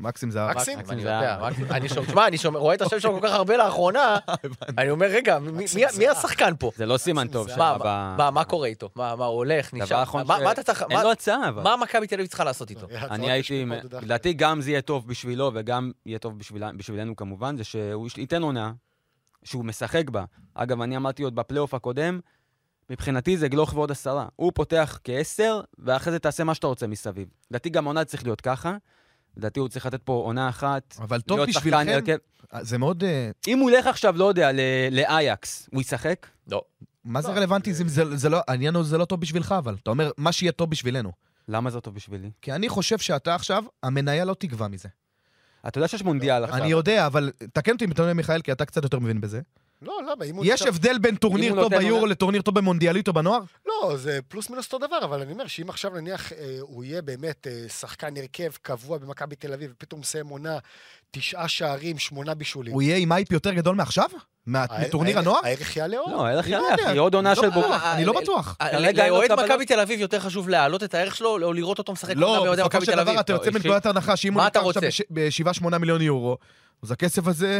Speaker 4: מקסים זהב.
Speaker 6: מקסים?
Speaker 3: מקסים, אני
Speaker 5: זה
Speaker 3: יודע,
Speaker 5: היה.
Speaker 3: מקסים. אני שומע, תשמע, אני שומע- רואה את השם שלו כל כך הרבה לאחרונה, אני אומר, רגע, מי- מי-
Speaker 6: מקסים
Speaker 3: מי
Speaker 6: זה
Speaker 3: השחקן פה?
Speaker 5: זה לא סימן טוב.
Speaker 6: זה-
Speaker 5: שם,
Speaker 3: מה-
Speaker 5: אבל-
Speaker 3: מה, מה קורה איתו? מה, מה, הוא הולך,
Speaker 5: דבר
Speaker 3: נשאר?
Speaker 5: אחרון
Speaker 3: מה
Speaker 5: ש-
Speaker 3: מה אתה צריך,
Speaker 5: אין
Speaker 3: מה-
Speaker 5: לו הצעה, אבל.
Speaker 3: מה מכבי תל אביב צריכה לעשות
Speaker 6: אה.
Speaker 3: איתו?
Speaker 5: אני הייתי, עם- לדעתי גם זה יהיה טוב בשבילו וגם יהיה טוב בשבילה- בשבילנו כמובן, זה שהוא יש- ייתן עונה שהוא משחק בה. אגב, אני אמרתי עוד בפלייאוף הקודם, מבחינתי זה גלוך ועוד עשרה. הוא פותח כעשר, ואחרי זה תעשה מה שאתה רוצה מסביב. לדעתי גם העונה צריך להיות ככה, לדעתי הוא צריך לתת פה עונה אחת.
Speaker 4: אבל טוב
Speaker 5: להיות שחקן
Speaker 4: בשבילכם,
Speaker 5: הרכב.
Speaker 4: זה מאוד... אה,
Speaker 5: אם הוא ילך עכשיו, לא יודע, ל- לאייקס, הוא ישחק?
Speaker 3: לא.
Speaker 4: מה זה
Speaker 5: לא,
Speaker 4: רלוונטי? זה- זה- זה לא- העניין הוא זה לא טוב בשבילך, אבל. אתה אומר, מה שיהיה טוב בשבילנו.
Speaker 5: למה זה טוב בשבילי?
Speaker 4: כי אני חושב שאתה עכשיו, המניה לא תגווע מזה.
Speaker 5: אתה יודע שיש מונדיאל עכשיו.
Speaker 4: לא, אני יודע, אבל תקן אותי אם אתה אומר, מיכאל, כי אתה קצת יותר מבין בזה.
Speaker 6: לא, למה? אם הוא
Speaker 4: יש
Speaker 6: נשאר-
Speaker 4: הבדל בין
Speaker 5: אם
Speaker 4: טורניר
Speaker 5: הוא
Speaker 4: טוב
Speaker 5: נותן
Speaker 4: ביורו
Speaker 5: עונה-
Speaker 4: לטורניר טוב במונדיאלית או בנוער?
Speaker 6: לא, זה פלוס מינוס אותו דבר, אבל אני אומר שאם עכשיו נניח אה, הוא יהיה באמת אה, שחקן הרכב קבוע במכבי תל אביב, ופתאום מסיים עונה תשעה שערים, שמונה בישולים.
Speaker 4: הוא יהיה עם אייפ יותר גדול מעכשיו? מה-
Speaker 5: אה,
Speaker 6: הערך-
Speaker 4: מטורניר
Speaker 6: הערך-
Speaker 4: הנוער?
Speaker 6: הערך יעלה עוד.
Speaker 5: לא, הלך
Speaker 4: אני לא
Speaker 5: יאללה,
Speaker 4: יודע.
Speaker 5: אחי, עוד עונה
Speaker 4: לא
Speaker 5: של
Speaker 4: בטוח,
Speaker 5: בוגר.
Speaker 4: אני לא בטוח.
Speaker 5: כרגע אין לו
Speaker 3: לאוהד
Speaker 5: קבלות.
Speaker 3: מכבי תל אביב יותר חשוב להעלות את הערך שלו, או לראות אותו משחק עונה
Speaker 4: לא,
Speaker 3: באוהדי
Speaker 4: בסופו
Speaker 3: מכבי
Speaker 4: של
Speaker 3: תל אביב.
Speaker 4: דבר אתה
Speaker 5: לא,
Speaker 4: יוצא
Speaker 5: אישית.
Speaker 4: מנקודת הנחה שאם הוא
Speaker 3: מה אתה
Speaker 4: נמכר עכשיו
Speaker 3: רוצה?
Speaker 4: ב-7-8 מיליון יורו, אז הכסף הזה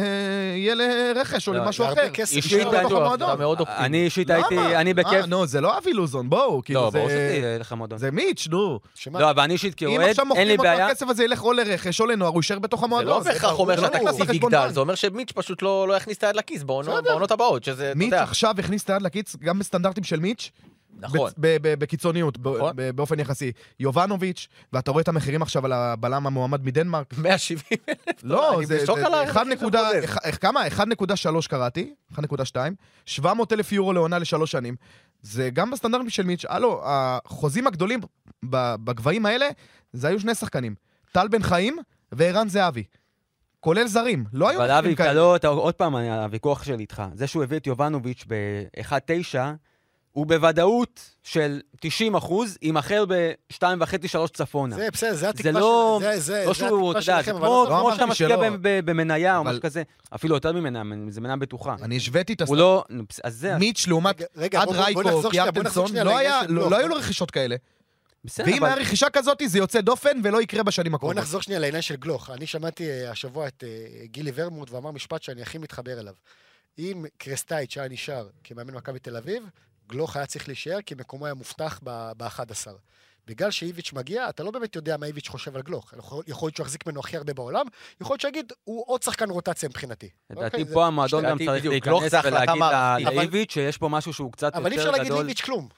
Speaker 4: יהיה לרכש או
Speaker 5: לא,
Speaker 4: למשהו
Speaker 6: זה
Speaker 4: אחר.
Speaker 6: הרבה כסף.
Speaker 5: אישית
Speaker 6: נשאר
Speaker 5: אני
Speaker 6: בתוך
Speaker 5: בטוח,
Speaker 6: המועדון.
Speaker 3: אתה מאוד אופטימי.
Speaker 5: אני אישית
Speaker 4: לא- למה?
Speaker 5: הייתי, אני
Speaker 4: אה,
Speaker 5: בכיף.
Speaker 4: נו, זה לא אבי לוזון, בואו. כאילו,
Speaker 5: לא,
Speaker 4: זה-
Speaker 5: ברור שזה יהיה לך מועדון.
Speaker 4: זה מיץ', נו.
Speaker 6: שמה?
Speaker 5: לא, אבל אני אישית
Speaker 4: אם
Speaker 5: כאוהד,
Speaker 4: עכשיו
Speaker 5: אין
Speaker 4: מוכרים
Speaker 5: לי
Speaker 4: אותו,
Speaker 5: בעיה.
Speaker 4: הכסף הזה ילך או לרכש או לנוער, הוא יישאר בתוך
Speaker 3: זה לא
Speaker 4: המועדון.
Speaker 3: בהכרח
Speaker 6: ברור,
Speaker 3: אומר
Speaker 6: זה ברור.
Speaker 3: שהתקציב
Speaker 4: זה לא
Speaker 3: יגדל,
Speaker 4: בחשבון
Speaker 3: זה אומר שמיץ' פשוט לא לא יכניס את היד לכיס בעונות
Speaker 6: בסדר.
Speaker 3: בעונות הבאות, שזה, אתה
Speaker 4: מיץ'
Speaker 3: יודע,
Speaker 4: עכשיו הכניס את היד לכיס, גם בסטנדרטים של מיץ',
Speaker 3: נכון.
Speaker 4: בצ- ב- ב- בקיצוניות, ב-
Speaker 3: נכון.
Speaker 4: ב- באופן יחסי. יובנוביץ', ואתה רואה את המחירים עכשיו על הבלם המועמד מדנמרק.
Speaker 3: 170.
Speaker 4: לא,
Speaker 3: אני
Speaker 4: זה
Speaker 3: בשוק
Speaker 4: זה-
Speaker 3: על הערך
Speaker 4: אחד
Speaker 3: שזה
Speaker 4: נקודה-
Speaker 3: חוזר.
Speaker 4: אחד- איך- כמה? 1.3 קראתי, 1.2, 700 אלף יורו לעונה לשלוש שנים. זה גם בסטנדרטים של מיץ', הלו, החוזים הגדולים ב- בגבהים האלה, זה היו שני שחקנים, טל בן חיים וערן זהבי. כולל זרים, לא היו
Speaker 5: אבל
Speaker 4: מחירים
Speaker 5: אבי, אתה לא, אתה- עוד פעם, אני- הוויכוח שלי איתך. זה שהוא הביא את יובנוביץ' ב-1.9, הוא בוודאות של 90 אחוז, יימכר ב-2.5-3 צפונה.
Speaker 6: זה בסדר, זה
Speaker 5: זה
Speaker 6: התקווה
Speaker 5: לא-
Speaker 6: שלכם. זה, זה,
Speaker 5: לא
Speaker 6: זה
Speaker 5: שהוא, אתה
Speaker 6: התקווה
Speaker 5: יודע,
Speaker 6: שלכם,
Speaker 5: זה
Speaker 6: אבל
Speaker 5: כמו
Speaker 6: לא-
Speaker 4: לא
Speaker 5: כמו שאתה
Speaker 4: אמרתי
Speaker 5: משקיע
Speaker 4: שלא.
Speaker 5: ב- ב- במניה או
Speaker 4: אבל-
Speaker 5: משהו כזה, אפילו יותר ממניה, זה מניה בטוחה.
Speaker 4: אני השוויתי את
Speaker 5: הוא
Speaker 4: הסטנדרט.
Speaker 5: לא, נו, אז זה,
Speaker 4: מיץ' לעומת
Speaker 6: רגע, רגע,
Speaker 4: עד
Speaker 6: בוא- בוא- בוא
Speaker 4: רייקו,
Speaker 6: נחזור שנייה, בוא נחזור
Speaker 4: קיארטנסון,
Speaker 6: שנייה
Speaker 4: לא
Speaker 6: לעניין
Speaker 4: היה-
Speaker 6: של
Speaker 4: לא
Speaker 6: בלוך.
Speaker 4: לא היו לו רכישות כאלה.
Speaker 5: בסדר,
Speaker 4: ואם
Speaker 5: כן, אבל...
Speaker 4: היה רכישה כזאת, זה יוצא דופן ולא יקרה בשנים
Speaker 6: בוא
Speaker 4: הקרובות.
Speaker 6: נחזור שנייה לעניין של גלוך. אני שמעתי אה, השבוע את אה, גילי ורמוט ואמר משפט שאני הכי מתחבר אליו. אם קרסטייץ' היה נשאר כמאמן מכבי תל אביב, גלוך היה צריך להישאר כי מקומו היה מובטח ב-11. בגלל שאיביץ' מגיע, אתה לא באמת יודע מה איביץ' חושב על גלוך. יכול יכול להיות שהוא יחזיק ממנו הכי הרבה בעולם, יכול להיות שיגיד, הוא עוד שחקן רוטציה מבחינתי. אוקיי,
Speaker 5: לדעתי
Speaker 6: זה-
Speaker 5: פה המועדון גם
Speaker 3: לדעתי
Speaker 5: צריך
Speaker 3: בדיוק, גלוך
Speaker 5: להיכנס
Speaker 3: זה החלטה
Speaker 5: ולהגיד ל-
Speaker 3: מערכתית.
Speaker 5: לאיביץ' שיש פה משהו שהוא קצת
Speaker 6: אבל אי אפשר
Speaker 5: יותר
Speaker 6: להגיד
Speaker 5: גדול.
Speaker 6: לאיביץ' כלום.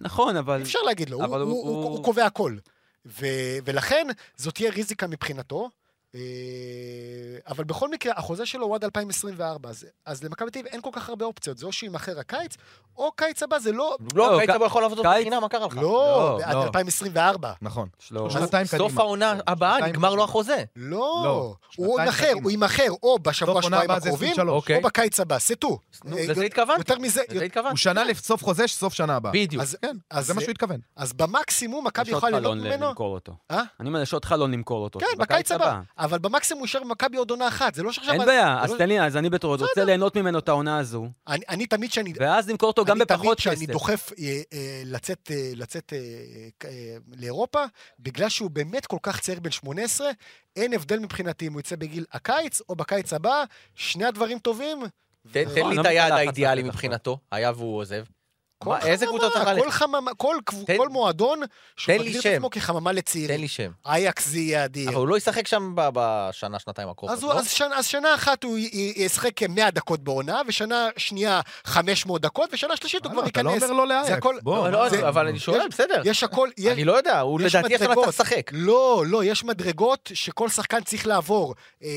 Speaker 5: נכון, אבל...
Speaker 6: אי אפשר להגיד לו, הוא,
Speaker 5: אבל
Speaker 6: הוא,
Speaker 5: הוא-
Speaker 6: הוא, הוא,
Speaker 5: הוא-
Speaker 6: הוא קובע הכל. ו, ולכן זאת תהיה ריזיקה מבחינתו. אה, אבל בכל מקרה, החוזה שלו הוא עד 2024, אז, אז למכבי תל אביב אין כל כך הרבה אופציות, זה או שיימכר הקיץ, או קיץ הבא, זה לא...
Speaker 3: לא,
Speaker 5: לא,
Speaker 3: קיץ
Speaker 5: ק-
Speaker 3: הבא יכול לעבוד אותו
Speaker 5: קיץ-
Speaker 3: בחינם, מה קרה לך?
Speaker 6: לא,
Speaker 5: לא,
Speaker 6: עד
Speaker 4: לא.
Speaker 6: 2024.
Speaker 4: נכון.
Speaker 5: שלא-
Speaker 4: הוא- שנתיים
Speaker 3: סוף
Speaker 4: קדימה.
Speaker 3: העונה הבאה
Speaker 4: שנתיים
Speaker 3: נגמר לו
Speaker 4: קדימה.
Speaker 3: החוזה.
Speaker 6: לא,
Speaker 4: לא,
Speaker 6: הוא עוד
Speaker 4: שנתיים
Speaker 6: אחר,
Speaker 4: קדימה.
Speaker 6: הוא יימכר או
Speaker 4: סוף
Speaker 6: בשבוע,
Speaker 4: עונה
Speaker 6: שבועיים
Speaker 4: הבאה זה
Speaker 6: הקרובים,
Speaker 4: 23.
Speaker 3: אוקיי.
Speaker 6: או בקיץ הבא, סטו.
Speaker 3: נו, לזה התכוונתי.
Speaker 6: יותר מזה,
Speaker 3: לזה
Speaker 4: הוא
Speaker 3: התכוונתי.
Speaker 4: שנה לסוף חוזה, סוף שנה הבאה.
Speaker 3: בדיוק.
Speaker 6: אז-
Speaker 4: כן,
Speaker 6: אז
Speaker 4: זה מה שהוא התכוון.
Speaker 6: אז במקסימום מכבי
Speaker 5: יש עוד
Speaker 6: יכולה ליהנות
Speaker 5: חלון ל-
Speaker 6: ממנו.
Speaker 5: למכור אותו.
Speaker 6: אה?
Speaker 5: אני אומר, יש עוד חלון למכור אותו.
Speaker 6: כן,
Speaker 5: זה
Speaker 6: בקיץ הבא. אבל במקסימום הוא יישאר במכבי עוד עונה אחת, זה לא שעכשיו...
Speaker 5: אין
Speaker 6: אני-
Speaker 5: בעיה, אז
Speaker 6: לא-
Speaker 5: תן לי, אז אני בתור עוד רוצה ליהנות ממנו את העונה הזו,
Speaker 6: אני, אני תמיד שאני...
Speaker 5: ואז למכור אותו גם
Speaker 6: אני
Speaker 5: בפחות
Speaker 6: תמיד שאני
Speaker 5: כסף.
Speaker 6: דוחף אה, אה, לצאת, אה, לצאת אה, ק- אה, לאירופה, בגלל שהוא באמת כל כך צעיר בן 18, אין הבדל מבחינתי אם הוא יצא בגיל הקיץ או בקיץ הבא, שני הדברים טובים.
Speaker 3: תן
Speaker 6: ו-
Speaker 3: תן לי
Speaker 5: לא
Speaker 3: את היעד
Speaker 5: מתקלחת,
Speaker 3: האידיאלי
Speaker 5: מתקלחת.
Speaker 3: מבחינתו, היה והוא עוזב.
Speaker 6: כל
Speaker 3: מה, איזה
Speaker 6: חממה,
Speaker 3: קבוצה צריך
Speaker 6: כל
Speaker 3: ללכת?
Speaker 6: חממה, כל, קב-
Speaker 3: תן-
Speaker 6: כל מועדון שהוא
Speaker 3: תן לי
Speaker 6: מגדיר את
Speaker 3: שם.
Speaker 6: עצמו כחממה
Speaker 3: תן לי
Speaker 6: לצעירים.
Speaker 3: שם.
Speaker 6: אייקס זה יהיה אדיר.
Speaker 3: אבל הוא לא ישחק שם ב- בשנה, שנתיים הקרובות,
Speaker 6: אז, הוא,
Speaker 3: לא?
Speaker 6: אז, שנה, אז שנה אחת הוא י- י- ישחק כ-100 דקות בעונה, ושנה שנייה 500 דקות, ושנה שלישית הוא כבר
Speaker 4: אתה לא
Speaker 6: ייכנס.
Speaker 4: אומר לא
Speaker 6: זה
Speaker 4: לאייק.
Speaker 6: הכל-
Speaker 4: בוא,
Speaker 3: אבל לא,
Speaker 4: זה-
Speaker 3: אבל אני שואל, בסדר.
Speaker 6: יש הכל, יש,
Speaker 3: אני לא יודע, הוא
Speaker 6: יש
Speaker 3: לדעתי עכשיו צריך
Speaker 6: מדרגות.
Speaker 3: לשחק.
Speaker 6: לא, לא, יש מדרגות שכל שחקן צריך לעבור. אה,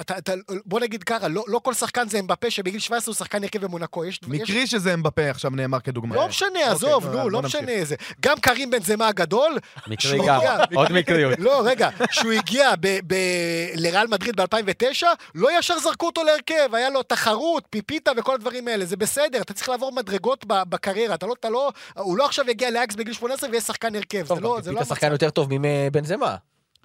Speaker 6: אתה, אתה, בוא נגיד ככה, לא, לא כל שחקן זה אמבפה שבגיל 17 הוא שחקן הרכב במונקו. יש, יש...
Speaker 4: מקרי שזה אמבפה עכשיו נאמר כדוגמה.
Speaker 6: לא משנה,
Speaker 4: אוקיי,
Speaker 6: עזוב,
Speaker 4: נו,
Speaker 6: נו,
Speaker 4: בוא
Speaker 6: לא
Speaker 4: נמשיך.
Speaker 6: משנה איזה. גם קרים בן זמה הגדול,
Speaker 5: מקרי
Speaker 6: שהוא
Speaker 5: גם, אוקיי.
Speaker 6: הגיע-
Speaker 5: עוד מקריות.
Speaker 6: לא, רגע, שהוא הגיע ב- ב- לריאל מדריד ב-2009, לא ישר זרקו אותו להרכב, היה לו תחרות, פיפיתה וכל הדברים האלה, זה בסדר, אתה צריך לעבור מדרגות ב- בקריירה, אתה לא, אתה לא, הוא לא עכשיו יגיע לאקס בגיל 18 ויהיה שחקן הרכב, זה
Speaker 3: טוב,
Speaker 6: לא,
Speaker 3: גם
Speaker 6: זה לא
Speaker 3: פיפית
Speaker 6: המצב.
Speaker 3: שחקן יותר טוב מבן זמה.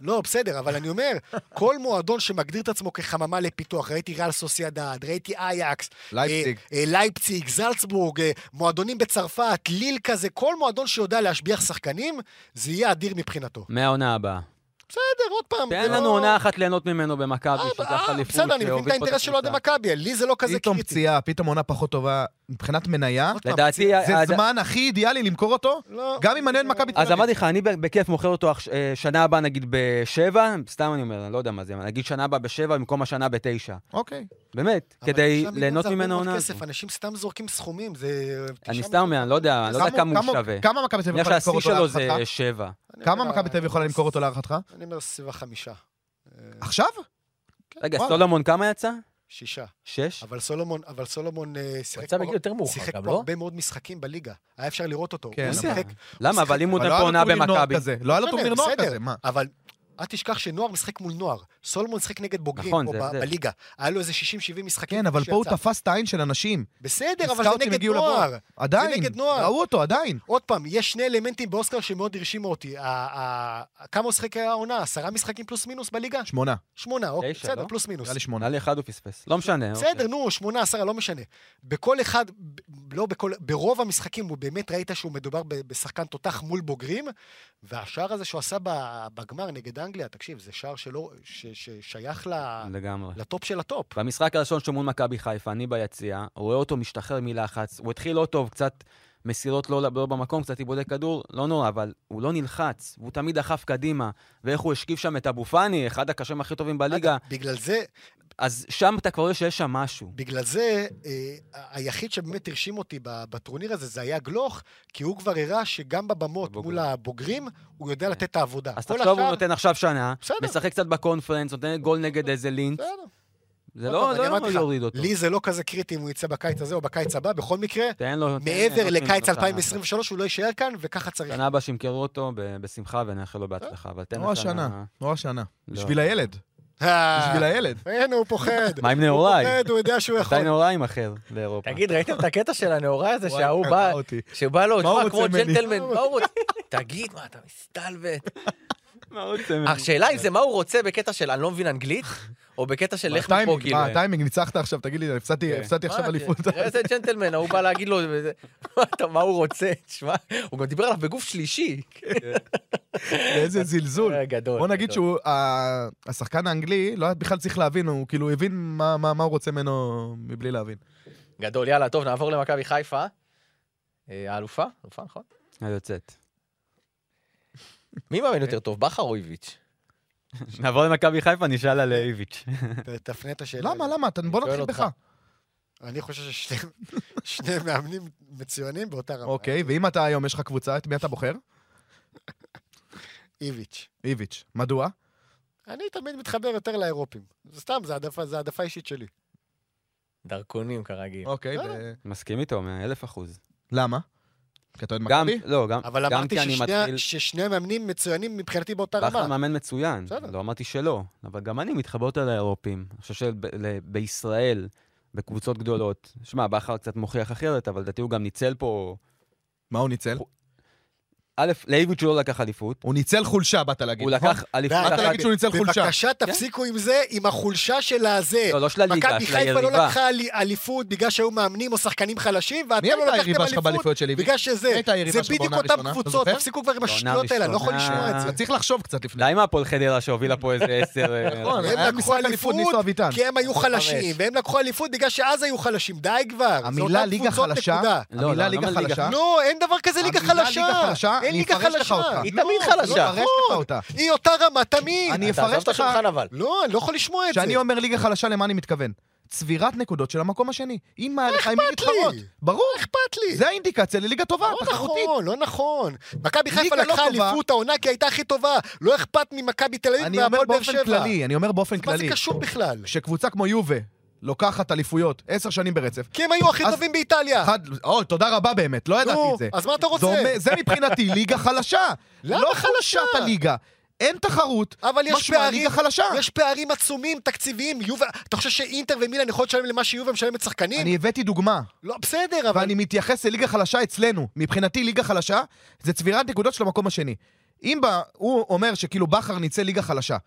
Speaker 6: לא, בסדר, אבל אני אומר, כל מועדון שמגדיר את עצמו כחממה לפיתוח, ראיתי ריאל סוסיאדד, ראיתי אייקס,
Speaker 4: לייפציג.
Speaker 6: אה, אה, לייפציג, זלצבורג, אה, מועדונים בצרפת, ליל כזה, כל מועדון שיודע להשביח שחקנים, זה יהיה אדיר מבחינתו.
Speaker 5: מהעונה הבאה.
Speaker 6: בסדר, עוד פעם, זה
Speaker 5: תן
Speaker 6: לא-
Speaker 5: לנו עונה אחת ליהנות ממנו במכבי,
Speaker 6: אה,
Speaker 5: שזה
Speaker 6: אה,
Speaker 5: החליפות.
Speaker 6: בסדר, אני מבין
Speaker 5: להוביל
Speaker 6: את
Speaker 5: פה
Speaker 6: האינטרס של אוהדי
Speaker 5: הקבוצה.
Speaker 6: מכבי, לי זה לא כזה
Speaker 4: פתאום
Speaker 6: קריטי.
Speaker 4: פציעה, פתאום עונה פחות טובה. מבחינת מניה,
Speaker 6: עוד פעם,
Speaker 5: לדעתי...
Speaker 4: זה
Speaker 5: ה-
Speaker 4: זמן הכי אידיאלי למכור אותו,
Speaker 6: לא.
Speaker 4: גם אם מעניין מכבי תל
Speaker 5: אז
Speaker 4: אביב.
Speaker 5: אמרתי לך, אני בכיף מוכר אותו עכש- אה, שנה הבאה נגיד בשבע, סתם אני אומר, אני לא יודע מה זה, נגיד שנה הבאה בשבע במקום השנה בתשע.
Speaker 4: אוקיי.
Speaker 5: באמת,
Speaker 6: אבל
Speaker 5: כדי
Speaker 6: תשעה מיליון
Speaker 5: ליהנות
Speaker 6: זה הרבה
Speaker 5: ממנו
Speaker 6: מאוד
Speaker 5: עונה
Speaker 6: כסף,
Speaker 5: הזו.
Speaker 6: אנשים סתם זורקים סכומים, זה...
Speaker 5: אני
Speaker 6: תשעה
Speaker 5: סתם אומר, אני לא יודע, אני לא יודע כמה הוא שווה.
Speaker 4: כמה מכבי תל
Speaker 5: אני
Speaker 4: אביב
Speaker 5: חושב
Speaker 4: יכולה למכור
Speaker 5: שהשיא
Speaker 4: אותו
Speaker 5: שלו זה
Speaker 4: להערכתך?
Speaker 5: שבע.
Speaker 6: מיליון. אה.
Speaker 4: כמה מכבי תל אביב יכולה למכור אותו להערכתך?
Speaker 6: אני אומר סביבה חמישה. אה,
Speaker 4: עכשיו?
Speaker 5: רגע,
Speaker 4: וואו.
Speaker 5: סולומון כמה יצא?
Speaker 6: שישה.
Speaker 5: שש?
Speaker 6: אבל סולומון, אבל סולומון אה,
Speaker 3: הוא
Speaker 6: שיחק
Speaker 3: יצא
Speaker 6: פה-
Speaker 3: בגיל יותר מאוחר
Speaker 6: שיחק
Speaker 3: גם,
Speaker 6: פה
Speaker 3: לא?
Speaker 6: הרבה מאוד משחקים בליגה. היה אפשר לראות אותו.
Speaker 4: כן,
Speaker 6: הוא
Speaker 4: אבל-
Speaker 6: שיחק...
Speaker 5: למה? אבל אם הוא
Speaker 4: אבל לא
Speaker 5: נותן פה
Speaker 4: היה לו
Speaker 5: עונה
Speaker 4: טורניר נוער
Speaker 5: במכבי...
Speaker 4: כזה, לא היה לו
Speaker 6: בסדר,
Speaker 4: טורניר נוער
Speaker 6: בסדר.
Speaker 4: כזה, מה?
Speaker 6: אבל אל תשכח שנוער משחק מול נוער. סולומון שיחק נגד בוגרים
Speaker 5: נכון,
Speaker 6: פה
Speaker 5: זה
Speaker 6: ב-
Speaker 5: הבדל.
Speaker 6: בליגה. היה לו איזה 60-70 משחקים.
Speaker 4: כן, אבל פה הוא
Speaker 6: שיצא.
Speaker 4: תפס את העין של אנשים.
Speaker 6: בסדר, אבל זה
Speaker 4: סקאוטים
Speaker 6: נגד
Speaker 4: הגיעו לבור.
Speaker 6: נוער.
Speaker 4: עדיין,
Speaker 6: נגד נוער.
Speaker 4: ראו אותו, עדיין.
Speaker 6: עוד פעם, יש שני אלמנטים באוסקר שמאוד הרשימו אותי. ה- ה- ה- כמה הוא שיחק העונה? עשרה משחקים פלוס מינוס בליגה?
Speaker 4: שמונה,
Speaker 6: שמונה, אוקיי,
Speaker 5: תשע,
Speaker 6: בסדר,
Speaker 5: לא?
Speaker 6: פלוס מינוס.
Speaker 4: נראה לי שמונה.
Speaker 5: נראה לי אחד הוא פספס. לא משנה.
Speaker 6: בסדר,
Speaker 5: אוקיי.
Speaker 6: נו, שמונה, עשרה, לא משנה. בכל אחד, ב- לא בכל, ברוב המשחקים הוא באמת ראית שהוא מדובר ב- בשחקן תותח מול בוגרים, והשער הזה שהוא עשה ב- בגמר נגד אנגליה, תקשיב, זה שער שלא, ש- ששייך ל-
Speaker 5: לגמרי.
Speaker 6: לטופ של הטופ.
Speaker 5: במשחק הראשון שהוא מול מכבי חיפה, אני ביציע, רואה אותו משתחרר מלחץ, הוא התחיל לא טוב, קצת מסירות לא, לא במקום, קצת איבודי כדור, לא נורא, אבל הוא לא נלחץ, והוא תמיד דחף קדימה, ואיך הוא השכיב שם את אבו פאני, אחד הקשרים הכי טובים בליגה,
Speaker 6: בגלל זה,
Speaker 5: אז שם אתה כבר רואה שיש שם משהו.
Speaker 6: בגלל זה, אה, היחיד שבאמת הרשים אותי ב- בטורניר הזה זה היה גלוך, כי הוא כבר הראה שגם בבמות
Speaker 5: בבוגרים. אה.
Speaker 6: מול הבוגרים, הוא יודע לתת את העבודה.
Speaker 5: אז
Speaker 6: כל
Speaker 5: תחשוב, הוא
Speaker 6: השאר-
Speaker 5: נותן עכשיו שנה,
Speaker 6: בסדר.
Speaker 5: משחק קצת בקונפרנס, נותן גול נגד איזה לינץ',
Speaker 6: בסדר.
Speaker 5: זה
Speaker 6: עוד
Speaker 5: לא
Speaker 6: פעם,
Speaker 5: לא
Speaker 6: אני אמרתי
Speaker 5: יכול
Speaker 6: לך,
Speaker 5: להוריד אותו.
Speaker 6: לי זה לא כזה קריטי אם הוא יצא בקיץ הזה או בקיץ הבא, בכל מקרה,
Speaker 5: תן לו... תן-
Speaker 6: מעבר
Speaker 5: נותנים לו
Speaker 6: לקיץ
Speaker 5: שנה.
Speaker 6: 2023 הוא לא יישאר כאן, וככה צריך.
Speaker 5: שנה הבאה שימכרו אותו, ב- בשמחה, ונאחל לו בהצלחה, אבל תן
Speaker 4: נורא
Speaker 5: לו
Speaker 4: שנה,
Speaker 5: שנה.
Speaker 4: נורא שנה.
Speaker 5: לא.
Speaker 4: בשביל הילד,
Speaker 6: אה,
Speaker 4: בשביל הילד.
Speaker 6: הנה, הוא פוחד.
Speaker 5: מה עם
Speaker 6: הוא
Speaker 5: נעוריי?
Speaker 6: פוחד, הוא יודע שהוא
Speaker 5: מתי
Speaker 6: לא יכול.
Speaker 5: נעוריים אחר לאירופה?
Speaker 3: תגיד, ראיתם את הקטע של הנאורה הזה שההוא
Speaker 4: וואי,
Speaker 3: בא,
Speaker 4: קרע אותי.
Speaker 3: שבא לו,
Speaker 4: מה הוא
Speaker 3: תשמע, כמו
Speaker 4: רוצה ממני?"
Speaker 3: ג'נטלמן, מה הוא רוצה? תגיד, מה, אתה מסתלבט?
Speaker 5: מה עוד צמד?
Speaker 3: השאלה אם זה מה הוא רוצה בקטע של אני לא מבין אנגלית, או בקטע של לך מפה,
Speaker 4: הטיימינג,
Speaker 3: כאילו. אה,
Speaker 4: מה, הטיימינג, ניצחת עכשיו, תגיד לי, הפסדתי
Speaker 5: כן.
Speaker 4: הפסדתי עכשיו
Speaker 3: מה,
Speaker 4: אליפות.
Speaker 3: תראה איזה ג'נטלמן, ההוא בא להגיד לו, וזה- מה אתה- מה הוא רוצה, תשמע, הוא גם דיבר עליו בגוף שלישי.
Speaker 4: איזה זלזול.
Speaker 3: אה, גדול.
Speaker 4: בוא נגיד
Speaker 3: גדול.
Speaker 4: שהוא, ה- השחקן האנגלי, לא היה בכלל צריך להבין, הוא כאילו הבין מה- מה מה הוא רוצה ממנו מבלי להבין.
Speaker 3: גדול, יאללה, טוב, נעבור למכבי חיפה. אה, האלופה, אלופה, נכון?
Speaker 5: היוצאת.
Speaker 3: מי מאמן יותר טוב, בכר או איביץ'?
Speaker 5: נעבור למכבי חיפה, נשאל על אה, איביץ'.
Speaker 6: ת- תפנה את השאלה.
Speaker 4: למה, למה? אתה- בוא
Speaker 3: שואל
Speaker 4: נתחיל
Speaker 3: אותך.
Speaker 4: בך.
Speaker 6: אני חושב ששני שני מאמנים מצוינים באותה רמה.
Speaker 4: אוקיי, ואם אתה היום, יש לך קבוצה, את מי אתה בוחר?
Speaker 6: איביץ'.
Speaker 4: איביץ'. מדוע?
Speaker 6: אני תמיד מתחבר יותר לאירופים. זה סתם, זה העדפה- זה העדפה אישית שלי.
Speaker 3: דרכונים, כרגיל.
Speaker 4: אוקיי,
Speaker 6: בסדר.
Speaker 4: ו-
Speaker 5: מסכים איתו, מאלף אחוז.
Speaker 4: למה? כי אתה אוהד
Speaker 5: גם,
Speaker 4: מכבי?
Speaker 5: לא, גם,
Speaker 6: אבל
Speaker 5: גם
Speaker 6: אמרתי
Speaker 5: כי אני
Speaker 6: ששני ה-
Speaker 5: מתחיל...
Speaker 6: ששני המאמנים מצוינים מבחינתי באותה
Speaker 5: בכר
Speaker 6: רמה.
Speaker 5: מאמן מצוין,
Speaker 6: בסדר.
Speaker 5: לא אמרתי שלא, אבל גם אני מתחבר יותר לאירופים. אני חושב שבישראל, בקבוצות גדולות, שמע, בכר קצת מוכיח אחרת, אבל לדעתי הוא גם ניצל פה...
Speaker 4: מה הוא ניצל?
Speaker 5: א', לאיביץ' הוא לא לקח אליפות,
Speaker 4: הוא ניצל חולשה, באת להגיד.
Speaker 5: הוא
Speaker 4: נכון?
Speaker 5: לקח אליפות
Speaker 6: באת
Speaker 5: אחת...
Speaker 4: להגיד שהוא ניצל חולשה.
Speaker 6: בבקשה, תפסיקו עם זה, עם החולשה של הזה.
Speaker 5: כן. לא, לא של הליגה,
Speaker 6: "אה, מכבי
Speaker 5: של
Speaker 6: חיפה לא
Speaker 5: היריבה.
Speaker 6: לקחה אלי- אליפות בגלל שהיו מאמנים או שחקנים חלשים, ואתם
Speaker 4: מי
Speaker 6: לא
Speaker 4: הייתה
Speaker 6: לקחתם
Speaker 4: היריבה שלך
Speaker 6: אליפות
Speaker 4: באליפויות של איביץ'?
Speaker 6: בגלל שזה,
Speaker 4: מי הייתה היריבה
Speaker 6: זה
Speaker 4: שלו
Speaker 6: בדיוק
Speaker 4: בעונה
Speaker 6: אותם
Speaker 4: הראשונה? אתה
Speaker 6: קבוצות,
Speaker 4: זוכר?
Speaker 6: תפסיקו כבר עם
Speaker 5: בעונה
Speaker 6: השטויות האלה, אני לא יכול לשמוע את
Speaker 5: הראשונה-
Speaker 6: זה.
Speaker 4: אתה צריך לחשוב קצת לפני.
Speaker 5: די עם הפועל חדרה שהובילה פה איזה עשר... אה,
Speaker 4: נכון,
Speaker 6: הם
Speaker 4: היה
Speaker 6: לקחו
Speaker 4: משחק אליפות,
Speaker 6: אליפות,
Speaker 4: ניסו אביטן.
Speaker 6: כי הם היו חלשים, והם לקחו אליפות בגלל שאז היו חלשים, די כבר. זה
Speaker 4: המילה
Speaker 6: אותן
Speaker 4: ליגה
Speaker 6: קבוצות,
Speaker 4: חלשה,
Speaker 6: נקודה.
Speaker 5: לא, לא,
Speaker 4: המילה
Speaker 5: אני
Speaker 4: ליגה
Speaker 5: אומר ליגה.
Speaker 4: חלשה,
Speaker 6: נו, אין דבר כזה ליגה
Speaker 4: המילה
Speaker 6: חלשה.
Speaker 4: ליגה חלשה,
Speaker 6: אין
Speaker 4: אני
Speaker 6: ליגה
Speaker 4: אפרש לך
Speaker 6: חלשה.
Speaker 4: אותה.
Speaker 3: היא
Speaker 6: לא,
Speaker 3: תמיד
Speaker 4: לא,
Speaker 3: חלשה.
Speaker 4: פרש לך אותה.
Speaker 6: היא אותה רמה, תמיד.
Speaker 4: אני
Speaker 3: אתה עזבת
Speaker 4: אפרש לך,
Speaker 3: שולחן אבל.
Speaker 6: לא, אני לא יכול לשמוע את זה.
Speaker 4: כשאני אומר ליגה חלשה, למה אני מתכוון? צבירת נקודות של המקום השני. אם מה לך, עם מי
Speaker 6: לא אכפת לי? לא
Speaker 4: להתחרות. ברור,
Speaker 6: אכפת לי.
Speaker 4: זה האינדיקציה לליגה טובה,
Speaker 6: לא
Speaker 4: תחרותית.
Speaker 6: נכון, לא נכון. מכבי חיפה
Speaker 4: ליגה לא
Speaker 6: לקחה
Speaker 4: טובה.
Speaker 6: אליפות העונה כי הייתה הכי טובה. לא אכפת ממכבי תל אביב
Speaker 4: אני אומר
Speaker 6: והפועל באר שבע.
Speaker 4: באופן כללי, אני אומר באופן
Speaker 6: מה זה
Speaker 4: כללי.
Speaker 6: קשור בכלל?
Speaker 4: כשקבוצה כמו יובה לוקחת אליפויות עשר שנים ברצף,
Speaker 6: כי הם היו הכי
Speaker 4: אז-
Speaker 6: טובים באיטליה.
Speaker 4: אחד, אוי, תודה רבה באמת, לא ידעתי
Speaker 6: נו,
Speaker 4: את זה.
Speaker 6: אז מה אתה
Speaker 4: זה
Speaker 6: רוצה?
Speaker 4: אומר- זה מבחינתי ליגה חלשה.
Speaker 6: למה
Speaker 4: לא
Speaker 6: חלשה?
Speaker 4: חלשת הליגה. אין תחרות,
Speaker 6: אבל יש
Speaker 4: משמע
Speaker 6: פערים,
Speaker 4: ליגה חלשה.
Speaker 6: יש פערים עצומים, תקציביים. יובה, אתה חושב שאינטר ומילן יכולות לשלם למה שיובה משלמת שחקנים?
Speaker 4: אני הבאתי דוגמה,
Speaker 6: לא, בסדר, אבל...
Speaker 4: ואני מתייחס לליגה חלשה אצלנו. מבחינתי ליגה חלשה זה צבירת נקודות של המקום השני. אם ב- הוא אומר שכאילו בכר ניצל ליגה חלשה,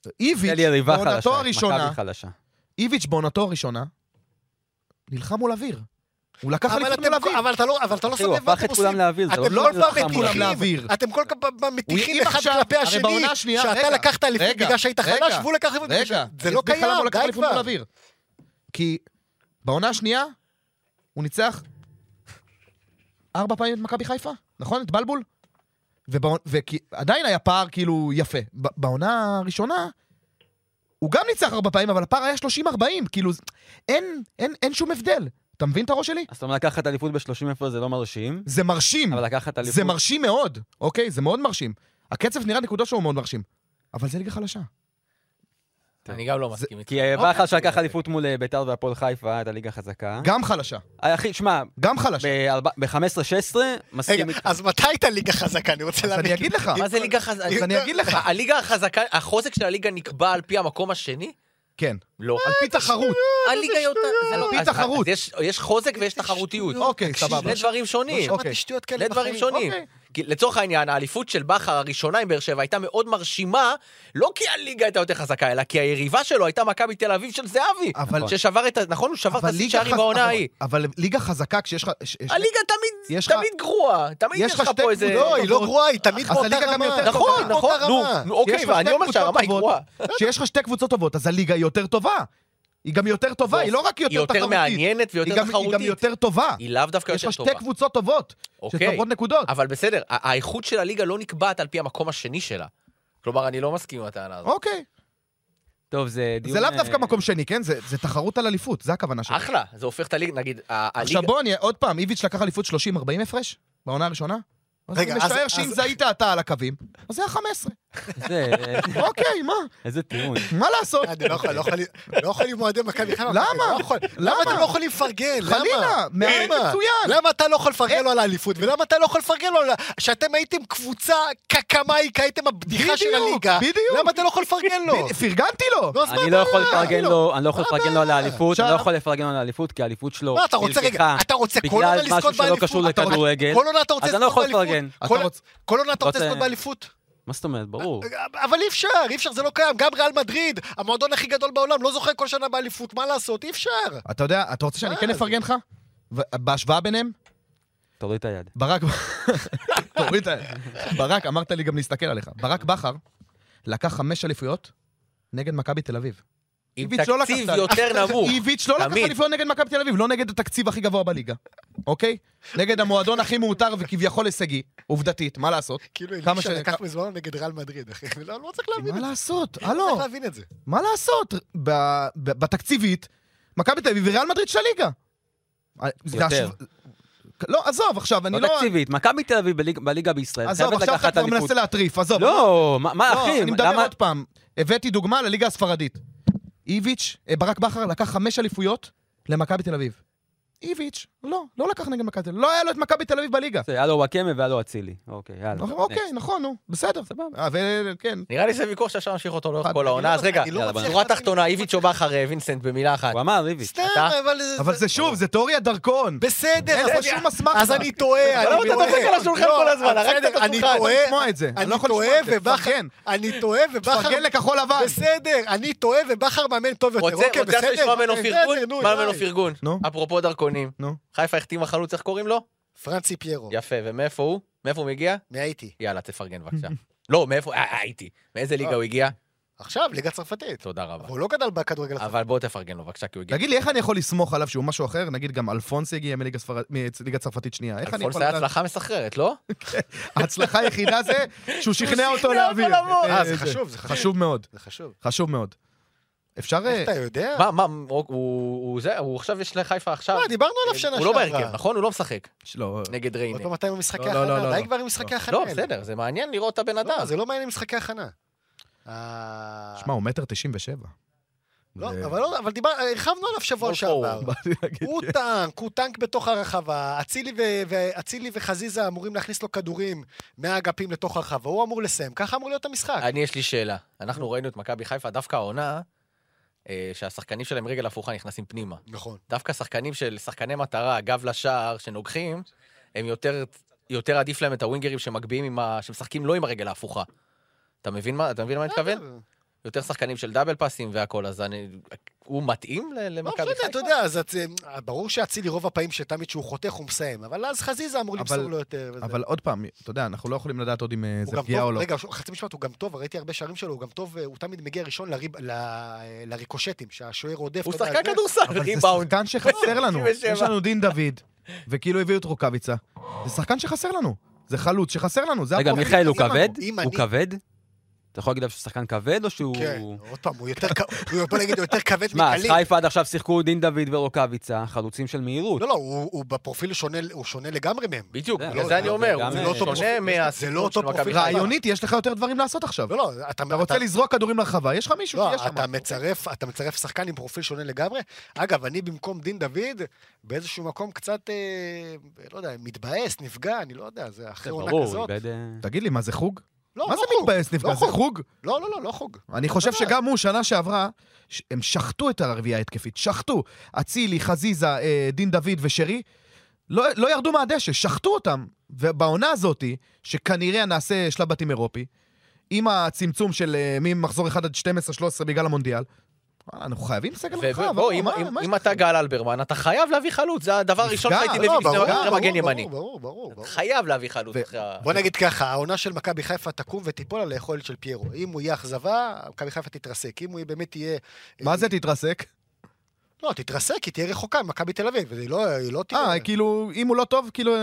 Speaker 5: תן
Speaker 4: איביץ'
Speaker 5: לי יריבה חלשה,
Speaker 4: בעונתו הראשונה,
Speaker 5: מכבי חלשה.
Speaker 4: איביץ' בעונתו הראשונה, נלחם מול אוויר. הוא לקח
Speaker 6: אבל
Speaker 4: אליפות
Speaker 6: אתם-
Speaker 4: מול אוויר.
Speaker 6: אבל אתה לא, אבל אתה לא שם
Speaker 5: אחי, הוא
Speaker 6: לב מה
Speaker 5: הפך
Speaker 6: אתם
Speaker 5: את כולם
Speaker 6: עושים.
Speaker 5: לאוויר, זה לא
Speaker 6: אתם
Speaker 5: שהוא
Speaker 6: כל
Speaker 5: נלחם
Speaker 6: פעם
Speaker 5: מולם.
Speaker 4: כולם
Speaker 6: מטיחים,
Speaker 4: לאוויר.
Speaker 6: אתם כל פעם
Speaker 4: אם
Speaker 6: מטיחים אחד
Speaker 4: עכשיו-
Speaker 6: כלפי
Speaker 4: הרי
Speaker 6: השני,
Speaker 4: בעונה השנייה-
Speaker 6: שאתה
Speaker 4: רגע,
Speaker 6: לקחת אליפות
Speaker 4: רגע,
Speaker 6: בגלל שהיית חלש,
Speaker 4: רגע,
Speaker 6: והוא לקח אליפות בגלל ש...
Speaker 4: רגע,
Speaker 6: זה
Speaker 4: אני
Speaker 6: לא
Speaker 4: אסביר לך למה
Speaker 6: קיים,
Speaker 4: הוא לקח
Speaker 6: די
Speaker 4: אליפות מול
Speaker 6: כבר.
Speaker 4: אוויר. כי בעונה השנייה הוא ניצח ארבע פעמים את מכבי חיפה, נכון? את בלבול? ועדיין היה פער כאילו יפה. ב- בעונה הראשונה הוא גם ניצח ארבע פעמים, אבל הפער היה 30-40, כאילו זה- אין, אין, אין שום הבדל. אתה מבין את הראש שלי?
Speaker 5: אז אתה אומר לקחת אליפות ב-30 איפה זה לא מרשים,
Speaker 4: זה מרשים,
Speaker 5: אבל לקחת אליפות...
Speaker 4: Hmm. זה מרשים מאוד, אוקיי? זה מאוד מרשים. הקצב נראה נקודות שלו הוא מאוד מרשים, אבל זה ליגה חלשה.
Speaker 3: אני גם לא מסכים איתך.
Speaker 5: כי אה, בכר שלקח אליפות מול אה, ביתר והפועל חיפה, את הליגה חזקה.
Speaker 4: גם חלשה,
Speaker 5: אה, אחי, שמע,
Speaker 4: גם חלשה.
Speaker 5: ב-15-16,
Speaker 6: רגע,
Speaker 5: מסכים איתך.
Speaker 6: אז מתי הייתה ליגה חזקה? אני רוצה
Speaker 4: אז
Speaker 6: להבין.
Speaker 4: אני אגיד לך,
Speaker 3: מה זה ליגה חזקה?
Speaker 4: אז אני אגיד לך.
Speaker 3: הליגה החזקה, החוזק של הליגה נקבע על פי המקום השני?
Speaker 4: כן.
Speaker 3: לא.
Speaker 4: על פי תחרות.
Speaker 3: הליגה יותר... זה לא-
Speaker 4: על פי
Speaker 3: אז- אז
Speaker 4: תחרות.
Speaker 3: יש- יש חוזק ויש תחרותיות.
Speaker 6: שטויות.
Speaker 4: אוקיי,
Speaker 6: תקשיב,
Speaker 4: סבבה.
Speaker 3: שני דברים שונים.
Speaker 6: לא
Speaker 4: אוקיי.
Speaker 6: שמעתי שטויות כאלה
Speaker 3: שני דברים
Speaker 6: בחיים. אוקיי.
Speaker 3: שונים. כי לצורך העניין, האליפות של בכר הראשונה עם באר שבע הייתה מאוד מרשימה, לא כי הליגה הייתה יותר חזקה, אלא כי היריבה שלו הייתה מכבי תל אביב של זהבי.
Speaker 4: אבל-
Speaker 3: ששבר את ה... נכון? הוא שבר את
Speaker 4: אבל
Speaker 3: השיא
Speaker 4: ליגה
Speaker 3: שערים
Speaker 4: חז-
Speaker 3: בעונה
Speaker 4: אבל-
Speaker 3: ההיא.
Speaker 4: אבל ליגה חזקה כשיש לך... ש- ש-
Speaker 3: הליגה תמיד,
Speaker 4: יש לך-
Speaker 3: תמיד גרועה. תמיד
Speaker 4: יש
Speaker 3: יש
Speaker 4: לך
Speaker 3: לך
Speaker 4: שתי
Speaker 3: פה איזה...
Speaker 4: קבוצות. נכון.
Speaker 6: לא, היא לא גרועה, היא תמיד
Speaker 4: אז
Speaker 6: באותה
Speaker 4: הליגה גם יותר
Speaker 6: רמה.
Speaker 4: טובה.
Speaker 3: נכון,
Speaker 6: באותה
Speaker 3: נכון, נו,
Speaker 6: רמה.
Speaker 3: נו,
Speaker 4: יש
Speaker 3: אוקיי,
Speaker 4: לך
Speaker 3: ואני
Speaker 4: שתי
Speaker 3: אומר
Speaker 4: קבוצות
Speaker 3: שהרמה היא
Speaker 4: טובות.
Speaker 3: גרועה.
Speaker 4: כשיש לך שתי קבוצות טובות, אז הליגה היא יותר טובה. היא גם יותר טובה, היא לא רק
Speaker 3: היא
Speaker 4: יותר
Speaker 3: יותר
Speaker 4: תחרותית.
Speaker 3: מעניינת ויותר
Speaker 4: היא גם- היא גם
Speaker 3: תחרותית.
Speaker 4: יותר טובה.
Speaker 3: היא לאו דווקא
Speaker 4: יש
Speaker 3: יותר
Speaker 4: לך
Speaker 3: טובה.
Speaker 4: שתי קבוצות טובות,
Speaker 3: אוקיי.
Speaker 4: שצוברות נקודות.
Speaker 3: אבל בסדר, ה- האיכות של הליגה לא נקבעת על פי המקום השני שלה. כלומר, אני לא מסכים עם הטענה הזאת.
Speaker 4: אוקיי.
Speaker 5: טוב, זה דיון...
Speaker 4: זה לאו
Speaker 5: אה,
Speaker 4: דווקא מקום שני, כן? זה זה תחרות על אליפות, זה הכוונה שלי.
Speaker 3: אחלה, זה הופך את הליגה, נגיד, ה- הליגה...
Speaker 4: עכשיו בוא, אני- עוד פעם, איביץ' לקח אליפות 30-40 הפרש? בעונה הראשונה? אז
Speaker 6: רגע,
Speaker 4: אני
Speaker 6: אז-
Speaker 4: משער
Speaker 6: אז-
Speaker 4: שאם זה היית אתה על הקווים, אז זה היה 15.
Speaker 5: זה, אה,
Speaker 4: אוקיי, מה?
Speaker 5: איזה טיעון.
Speaker 4: מה לעשות?
Speaker 6: אני לא יכול, לא יכול, לא יכול עם אוהדי מכבי חיפה.
Speaker 4: למה?
Speaker 6: אני לא יכול.
Speaker 4: למה?
Speaker 6: למה אתם לא יכולים לפרגן? למה? אה,
Speaker 4: חלילה, מאמן
Speaker 6: למה?
Speaker 4: מצוין.
Speaker 6: למה אתה לא יכול
Speaker 3: אה?
Speaker 6: לפרגן לו על האליפות? ולמה אתה לא יכול לפרגן לו על... ה- שאתם הייתם קבוצה קקמייק, הייתם הבדיחה של
Speaker 4: בדיוק,
Speaker 6: הליגה.
Speaker 4: בדיוק.
Speaker 6: למה אתה לא יכול לפרגן לו?
Speaker 4: ב- פרגנתי לו!
Speaker 6: נו, אז מה
Speaker 5: אני לא יכול
Speaker 6: הבעיה?
Speaker 5: לפרגן לו, אני לא יכול
Speaker 6: מה
Speaker 5: לפרגן לו על
Speaker 6: הבעיה?
Speaker 5: האליפות, אני
Speaker 4: עכשיו-
Speaker 5: לא יכול לפרגן לו על האליפות, כי האליפות שלו
Speaker 6: מה, אתה רוצה, רגע,
Speaker 5: נלקחה
Speaker 6: אתה רוצה כל
Speaker 5: בגלל
Speaker 6: עונה
Speaker 5: משהו
Speaker 6: לזכות
Speaker 5: שלא
Speaker 6: באליפות?
Speaker 5: קשור
Speaker 4: אתה רוצה-
Speaker 5: לכדורגל.
Speaker 6: כל עונה אתה רוצה
Speaker 5: אז אני לא
Speaker 6: לזכות
Speaker 5: יכול
Speaker 6: באליפות?
Speaker 5: לפרגן. לא
Speaker 4: אתה
Speaker 6: כל-
Speaker 4: רוצ- אה,
Speaker 6: כל עונה אתה רוצה
Speaker 5: רוצה-
Speaker 6: לזכות באליפות?
Speaker 5: מה זאת אומרת, ברור.
Speaker 6: אבל אי אפשר, אי אפשר, זה לא קיים. גם ריאל מדריד, המועדון הכי גדול בעולם, לא זוכה כל שנה באליפות, מה לעשות? אי אפשר.
Speaker 4: אתה יודע, אתה רוצה שאני כן
Speaker 6: אה,
Speaker 4: אפרגן לך? ו- בהשוואה ביניהם?
Speaker 5: תוריד את היד.
Speaker 4: ברק... תוריד את ה... ברק, אמרת לי גם להסתכל עליך. ברק בכר לקח חמש אליפויות נגד מכבי תל אביב.
Speaker 3: עם
Speaker 4: איביץ' לא לקח
Speaker 3: תקציב
Speaker 4: את ה-
Speaker 6: כן,
Speaker 3: יותר נמוך.
Speaker 4: איביץ' לא לקח
Speaker 3: תמיד.
Speaker 4: אליפויות נגד מכבי תל אביב, לא נגד התקציב הכי גבוה בליגה, אוקיי? נגד המועדון הכי מעוטר וכביכול הישגי, עובדתית, מה לעשות?
Speaker 6: כאילו,
Speaker 4: כמה
Speaker 6: אלישע
Speaker 4: ש-
Speaker 6: לקח מזמנו נגד ריאל מדריד, אחי. לא לא צריך להבין את
Speaker 4: מה
Speaker 6: זה.
Speaker 4: לעשות?
Speaker 3: אה,
Speaker 6: צריך
Speaker 3: לא.
Speaker 4: הלו,
Speaker 6: להבין את זה.
Speaker 4: מה לעשות? ב- ב- בתקציבית, מכבי תל אביב וריאל מדריד של הליגה. אה, זה
Speaker 5: יותר.
Speaker 4: השו- לא, עזוב, עכשיו, אני
Speaker 5: לא
Speaker 4: לא...
Speaker 5: תקציבית, מכבי תל אביב בליג- בליגה בישראל,
Speaker 4: עזוב,
Speaker 5: חייבת
Speaker 4: עכשיו אתה
Speaker 5: לקחת
Speaker 4: כבר
Speaker 5: אליפות.
Speaker 4: מנסה להטריף, עזוב.
Speaker 5: לא, מה- מה
Speaker 4: לא,
Speaker 5: אחי,
Speaker 4: אני מדבר
Speaker 5: למה...
Speaker 4: עוד פעם. הבאתי דוגמה לליגה הספרדית. איביץ', אה, ברק בכר לקח חמש אליפויות למכבי תל אביב. איביץ', לא, לא לקח נגד מכבי תל אביב. לא היה לו את מכבי תל אביב בליגה.
Speaker 5: זה, היה לו וואקמה והיה לו אצילי. אוקיי, יאללה.
Speaker 4: אוקיי, נכון, נו, בסדר.
Speaker 5: סבבה.
Speaker 4: אה, וכן,
Speaker 3: נראה לי שזה ויכוח שאפשר להמשיך אותו לאורך
Speaker 4: אני
Speaker 3: כל
Speaker 4: לא
Speaker 3: העונה, אז רגע,
Speaker 6: אני לא
Speaker 5: יאללה,
Speaker 6: מצליח
Speaker 3: שורה
Speaker 6: להבין. אה,
Speaker 3: תחתונה, איביץ' או בכר, אה, וינסנט, במילה אחת.
Speaker 5: הוא אמר, ריבי.
Speaker 6: סתם,
Speaker 3: אתה?
Speaker 6: אבל...
Speaker 4: אבל זה שוב, זה תיאוריית דרכון.
Speaker 6: אה, בסדר,
Speaker 4: אין
Speaker 6: אבל-
Speaker 4: לזה שום אסמכתה.
Speaker 6: אז אני טועה, אני
Speaker 3: למה
Speaker 6: טועה.
Speaker 3: אתה דופק על השולחן
Speaker 6: לא,
Speaker 3: כל הזמן? הרגת את
Speaker 6: בסדר, אני
Speaker 3: השולחן.
Speaker 4: אני
Speaker 6: טועה,
Speaker 4: לא יכול לשמוע את זה, אני לא
Speaker 6: אני
Speaker 4: יכול
Speaker 6: טועה
Speaker 4: לשמוע את זה,
Speaker 6: ובכר...
Speaker 4: תפרגן.
Speaker 6: אני טועה ובכר...
Speaker 4: פרגן לכחול לבן.
Speaker 6: בסדר, אני טועה ובכר מאמן טוב יותר.
Speaker 3: רוצה
Speaker 6: אוקיי,
Speaker 3: רוצה
Speaker 6: בסדר,
Speaker 3: לשמוע ממנו
Speaker 6: בסדר,
Speaker 3: פרגון?
Speaker 6: נו,
Speaker 3: מה ממנו
Speaker 6: די.
Speaker 3: פרגון?
Speaker 4: נו.
Speaker 3: אפרופו דרכונים.
Speaker 4: נו.
Speaker 3: חיפה החתימה חלוץ, איך קוראים לו?
Speaker 6: פרנסי פיירו,
Speaker 3: יפה, ומאיפה הוא? מאיפה הוא מגיע?
Speaker 6: מהאיטי.
Speaker 3: יאללה, תפרגן בבקשה. לא, מאיפה? אה, אה, הייתי. מאיזה ליגה
Speaker 6: אה.
Speaker 3: הוא הגיע?
Speaker 6: עכשיו, ליגה צרפתית.
Speaker 3: תודה רבה.
Speaker 6: אבל הוא לא גדל בכדורגל הצרפתי.
Speaker 3: אבל בוא תפרגן לו בבקשה, כי הוא הגיע.
Speaker 4: תגיד לי, איך אני יכול לסמוך עליו שהוא משהו אחר? נגיד גם אלפונס הגיע מליגה ספרד- מליגה צרפתית שנייה. איך אני
Speaker 3: אלפונס
Speaker 4: יכול...
Speaker 3: היה
Speaker 4: לדעת?
Speaker 3: הצלחה מסחררת, לא?
Speaker 4: ההצלחה היחידה זה שהוא שכנע אותו
Speaker 3: שכנע
Speaker 4: להעביר.
Speaker 3: אותו לבוא.
Speaker 6: אה, זה
Speaker 4: אה,
Speaker 6: חשוב, זה חשוב.
Speaker 4: חשוב מאוד,
Speaker 6: זה חשוב.
Speaker 4: חשוב מאוד. אפשר... אה,
Speaker 6: איך אתה יודע?
Speaker 3: מה, מה, הוא- הוא זה, הוא עכשיו יש לחיפה עכשיו.
Speaker 6: לא, דיברנו עליו שנה
Speaker 3: הוא
Speaker 6: שעברה.
Speaker 3: לא בהרכב, נכון? הוא לא משחק
Speaker 4: לא,
Speaker 3: נגד ריינה.
Speaker 6: עוד פעם אתה עם המשחקי
Speaker 4: לא, לא, לא,
Speaker 6: הכנה,
Speaker 4: לא.
Speaker 6: די כבר עם משחקי הכנה.
Speaker 3: לא,
Speaker 6: האלה.
Speaker 3: בסדר, זה מעניין לראות את הבן
Speaker 6: לא,
Speaker 3: אדם.
Speaker 6: זה לא מעניין עם משחקי הכנה. אה,
Speaker 4: שמע, הוא מטר תשעים ושבע.
Speaker 6: לא,
Speaker 4: זה-
Speaker 6: אבל לא, אבל דיבר- הרחבנו עליו שבוע
Speaker 3: לא פור.
Speaker 6: שעבר.
Speaker 4: באתי להגיד,
Speaker 6: הוא טנק, הוא טנק בתוך הרחבה, אצילי ו- ו- אצילי וחזיזה אמורים להכניס לו כדורים מהאגפים לתוך הרחבה, הוא אמור לסיים, ככה אמור להיות המשחק.
Speaker 3: אני, יש לי שאלה. אנחנו ראינו את מכבי חיפה דווקא העונה, אה, שהשחקנים שלהם רגל הפוכה נכנסים פנימה.
Speaker 6: נכון.
Speaker 3: דווקא שחקנים של שחקני מטרה, גב לשער, שנוגחים, הם יותר, יותר עדיף להם את הווינגרים שמגביהים עם ה... שמשחקים לא עם הרגל ההפוכה. אתה מבין מה, אתה מבין
Speaker 6: לא
Speaker 3: מה אני מתכוון? יותר שחקנים של דאבל פאסים והכל, אז אני... הוא מתאים ל-
Speaker 6: לא
Speaker 3: למכבי
Speaker 6: משנה,
Speaker 3: חיפה?
Speaker 6: אתה יודע, אז את- אה, ברור שאצילי רוב הפעמים שתמיד שהוא חותך הוא מסיים, אבל אז חזיזה אמור
Speaker 4: אבל-
Speaker 6: למסור לו יותר. וזה.
Speaker 4: אבל עוד פעם, אתה יודע, אנחנו לא יכולים לדעת עוד אם אה,
Speaker 6: הוא
Speaker 4: זה
Speaker 6: גם
Speaker 4: פגיעה
Speaker 6: טוב-
Speaker 4: או לא.
Speaker 6: רגע, ש- חצי משפט, הוא גם טוב, ראיתי הרבה שערים שלו, הוא גם טוב, אה, הוא תמיד מגיע ראשון לריב- ל- לריקושטים, שהשוער רודף.
Speaker 3: הוא
Speaker 6: אתה יודע,
Speaker 3: שחקן
Speaker 6: זה-
Speaker 3: כדורסל,
Speaker 4: אבל זה
Speaker 3: ריבאונד.
Speaker 4: שחקן שחסר לנו.
Speaker 3: 97.
Speaker 4: יש לנו דין דוד, וכאילו הביאו את רוקאביצה. זה שחקן שחסר לנו. זה חלוץ שחסר לנו, זה
Speaker 5: רגע,
Speaker 4: הפרופיל
Speaker 5: מיכאל, הוא
Speaker 4: שלנו.
Speaker 5: כבד?
Speaker 6: אם
Speaker 5: הוא
Speaker 6: אני-
Speaker 5: כבד? אתה יכול להגיד עליו שהוא שחקן כבד או שהוא...
Speaker 6: כן, עוד פעם, הוא יותר כ- הוא בוא נגיד, הוא יותר כבד
Speaker 5: שמע, אז
Speaker 6: מקליט.
Speaker 5: חיפה עד עכשיו שיחקו דין דוד ורוקאביצה, חלוצים של מהירות.
Speaker 6: לא, לא, הוא הוא בפרופיל שונה- הוא שונה לגמרי מהם.
Speaker 3: בדיוק,
Speaker 5: זה-
Speaker 3: בגלל
Speaker 6: לא,
Speaker 3: זה
Speaker 6: זה
Speaker 3: אני
Speaker 6: לא-
Speaker 3: אומר,
Speaker 5: גם- זה לא
Speaker 3: הוא
Speaker 5: אותו
Speaker 3: שונה
Speaker 6: פרופיל. זה לא
Speaker 3: מהסיפור
Speaker 6: אותו
Speaker 3: של מכבי
Speaker 6: פרופיל.
Speaker 3: חיפה.
Speaker 4: רעיונית, יש לך יותר דברים לעשות עכשיו.
Speaker 6: לא, לא, אתה...
Speaker 4: אתה רוצה לזרוק כדורים לרחבה, יש לך מישהו
Speaker 6: לא,
Speaker 4: שיש שם. כן.
Speaker 6: אתה מצרף, אתה מצרף שחקן עם פרופיל שונה לגמרי. אגב, אני במקום דין דוד, באיזשהו מקום קצת, אה, לא יודע, מתבאס, נפגע, אני לא יודע, זה
Speaker 5: זה
Speaker 6: אחרי עונה
Speaker 5: ברור,
Speaker 6: כזאת.
Speaker 5: איבד... אה,
Speaker 4: תגיד לי, מה זה חוג?
Speaker 6: לא,
Speaker 4: מה
Speaker 6: לא
Speaker 4: זה
Speaker 6: חוג.
Speaker 4: מתבאס נפגע?
Speaker 6: לא
Speaker 4: זה
Speaker 6: חוג.
Speaker 4: חוג?
Speaker 6: לא, לא, לא, לא חוג.
Speaker 4: אני חושב
Speaker 6: בוודאי.
Speaker 4: שגם הוא, שנה שעברה, ש- הם שחטו את הרביעייה ההתקפית, שחטו. אצילי, חזיזה, אה, דין דוד ושרי, לא, לא ירדו מהדשא, שחטו אותם. ובעונה הזאת, שכנראה נעשה שלב בתים אירופי, עם הצמצום של אה, ממחזור 1 עד 12-13 בגלל המונדיאל, וואלה, אנחנו חייבים סגל רחב. אה,
Speaker 3: ובוא, אם- אם- אם אתה גל אלברמן, אתה חייב להביא חלוץ, זה הדבר הראשון
Speaker 4: נפגע,
Speaker 3: שהייתי
Speaker 4: לא,
Speaker 3: מביא לפני
Speaker 4: ברור,
Speaker 3: אחרי מגן ימני.
Speaker 6: ברור, ברור, ברור.
Speaker 3: חייב להביא חלוץ
Speaker 4: ו-
Speaker 3: אחרי ה...
Speaker 6: בוא נגיד ככה, העונה של מכבי חיפה תקום ותיפול על היכולת של פיירו. אם הוא יהיה אכזבה, מכבי חיפה תתרסק. אם הוא יהיה- באמת יהיה... אה,
Speaker 4: מה זה תתרסק?
Speaker 6: לא, תתרסק, היא תהיה רחוקה ממכבי תל אביב, והיא לא- היא לא תהיה...
Speaker 4: אה, כאילו, אם הוא לא טוב, כאילו... אה,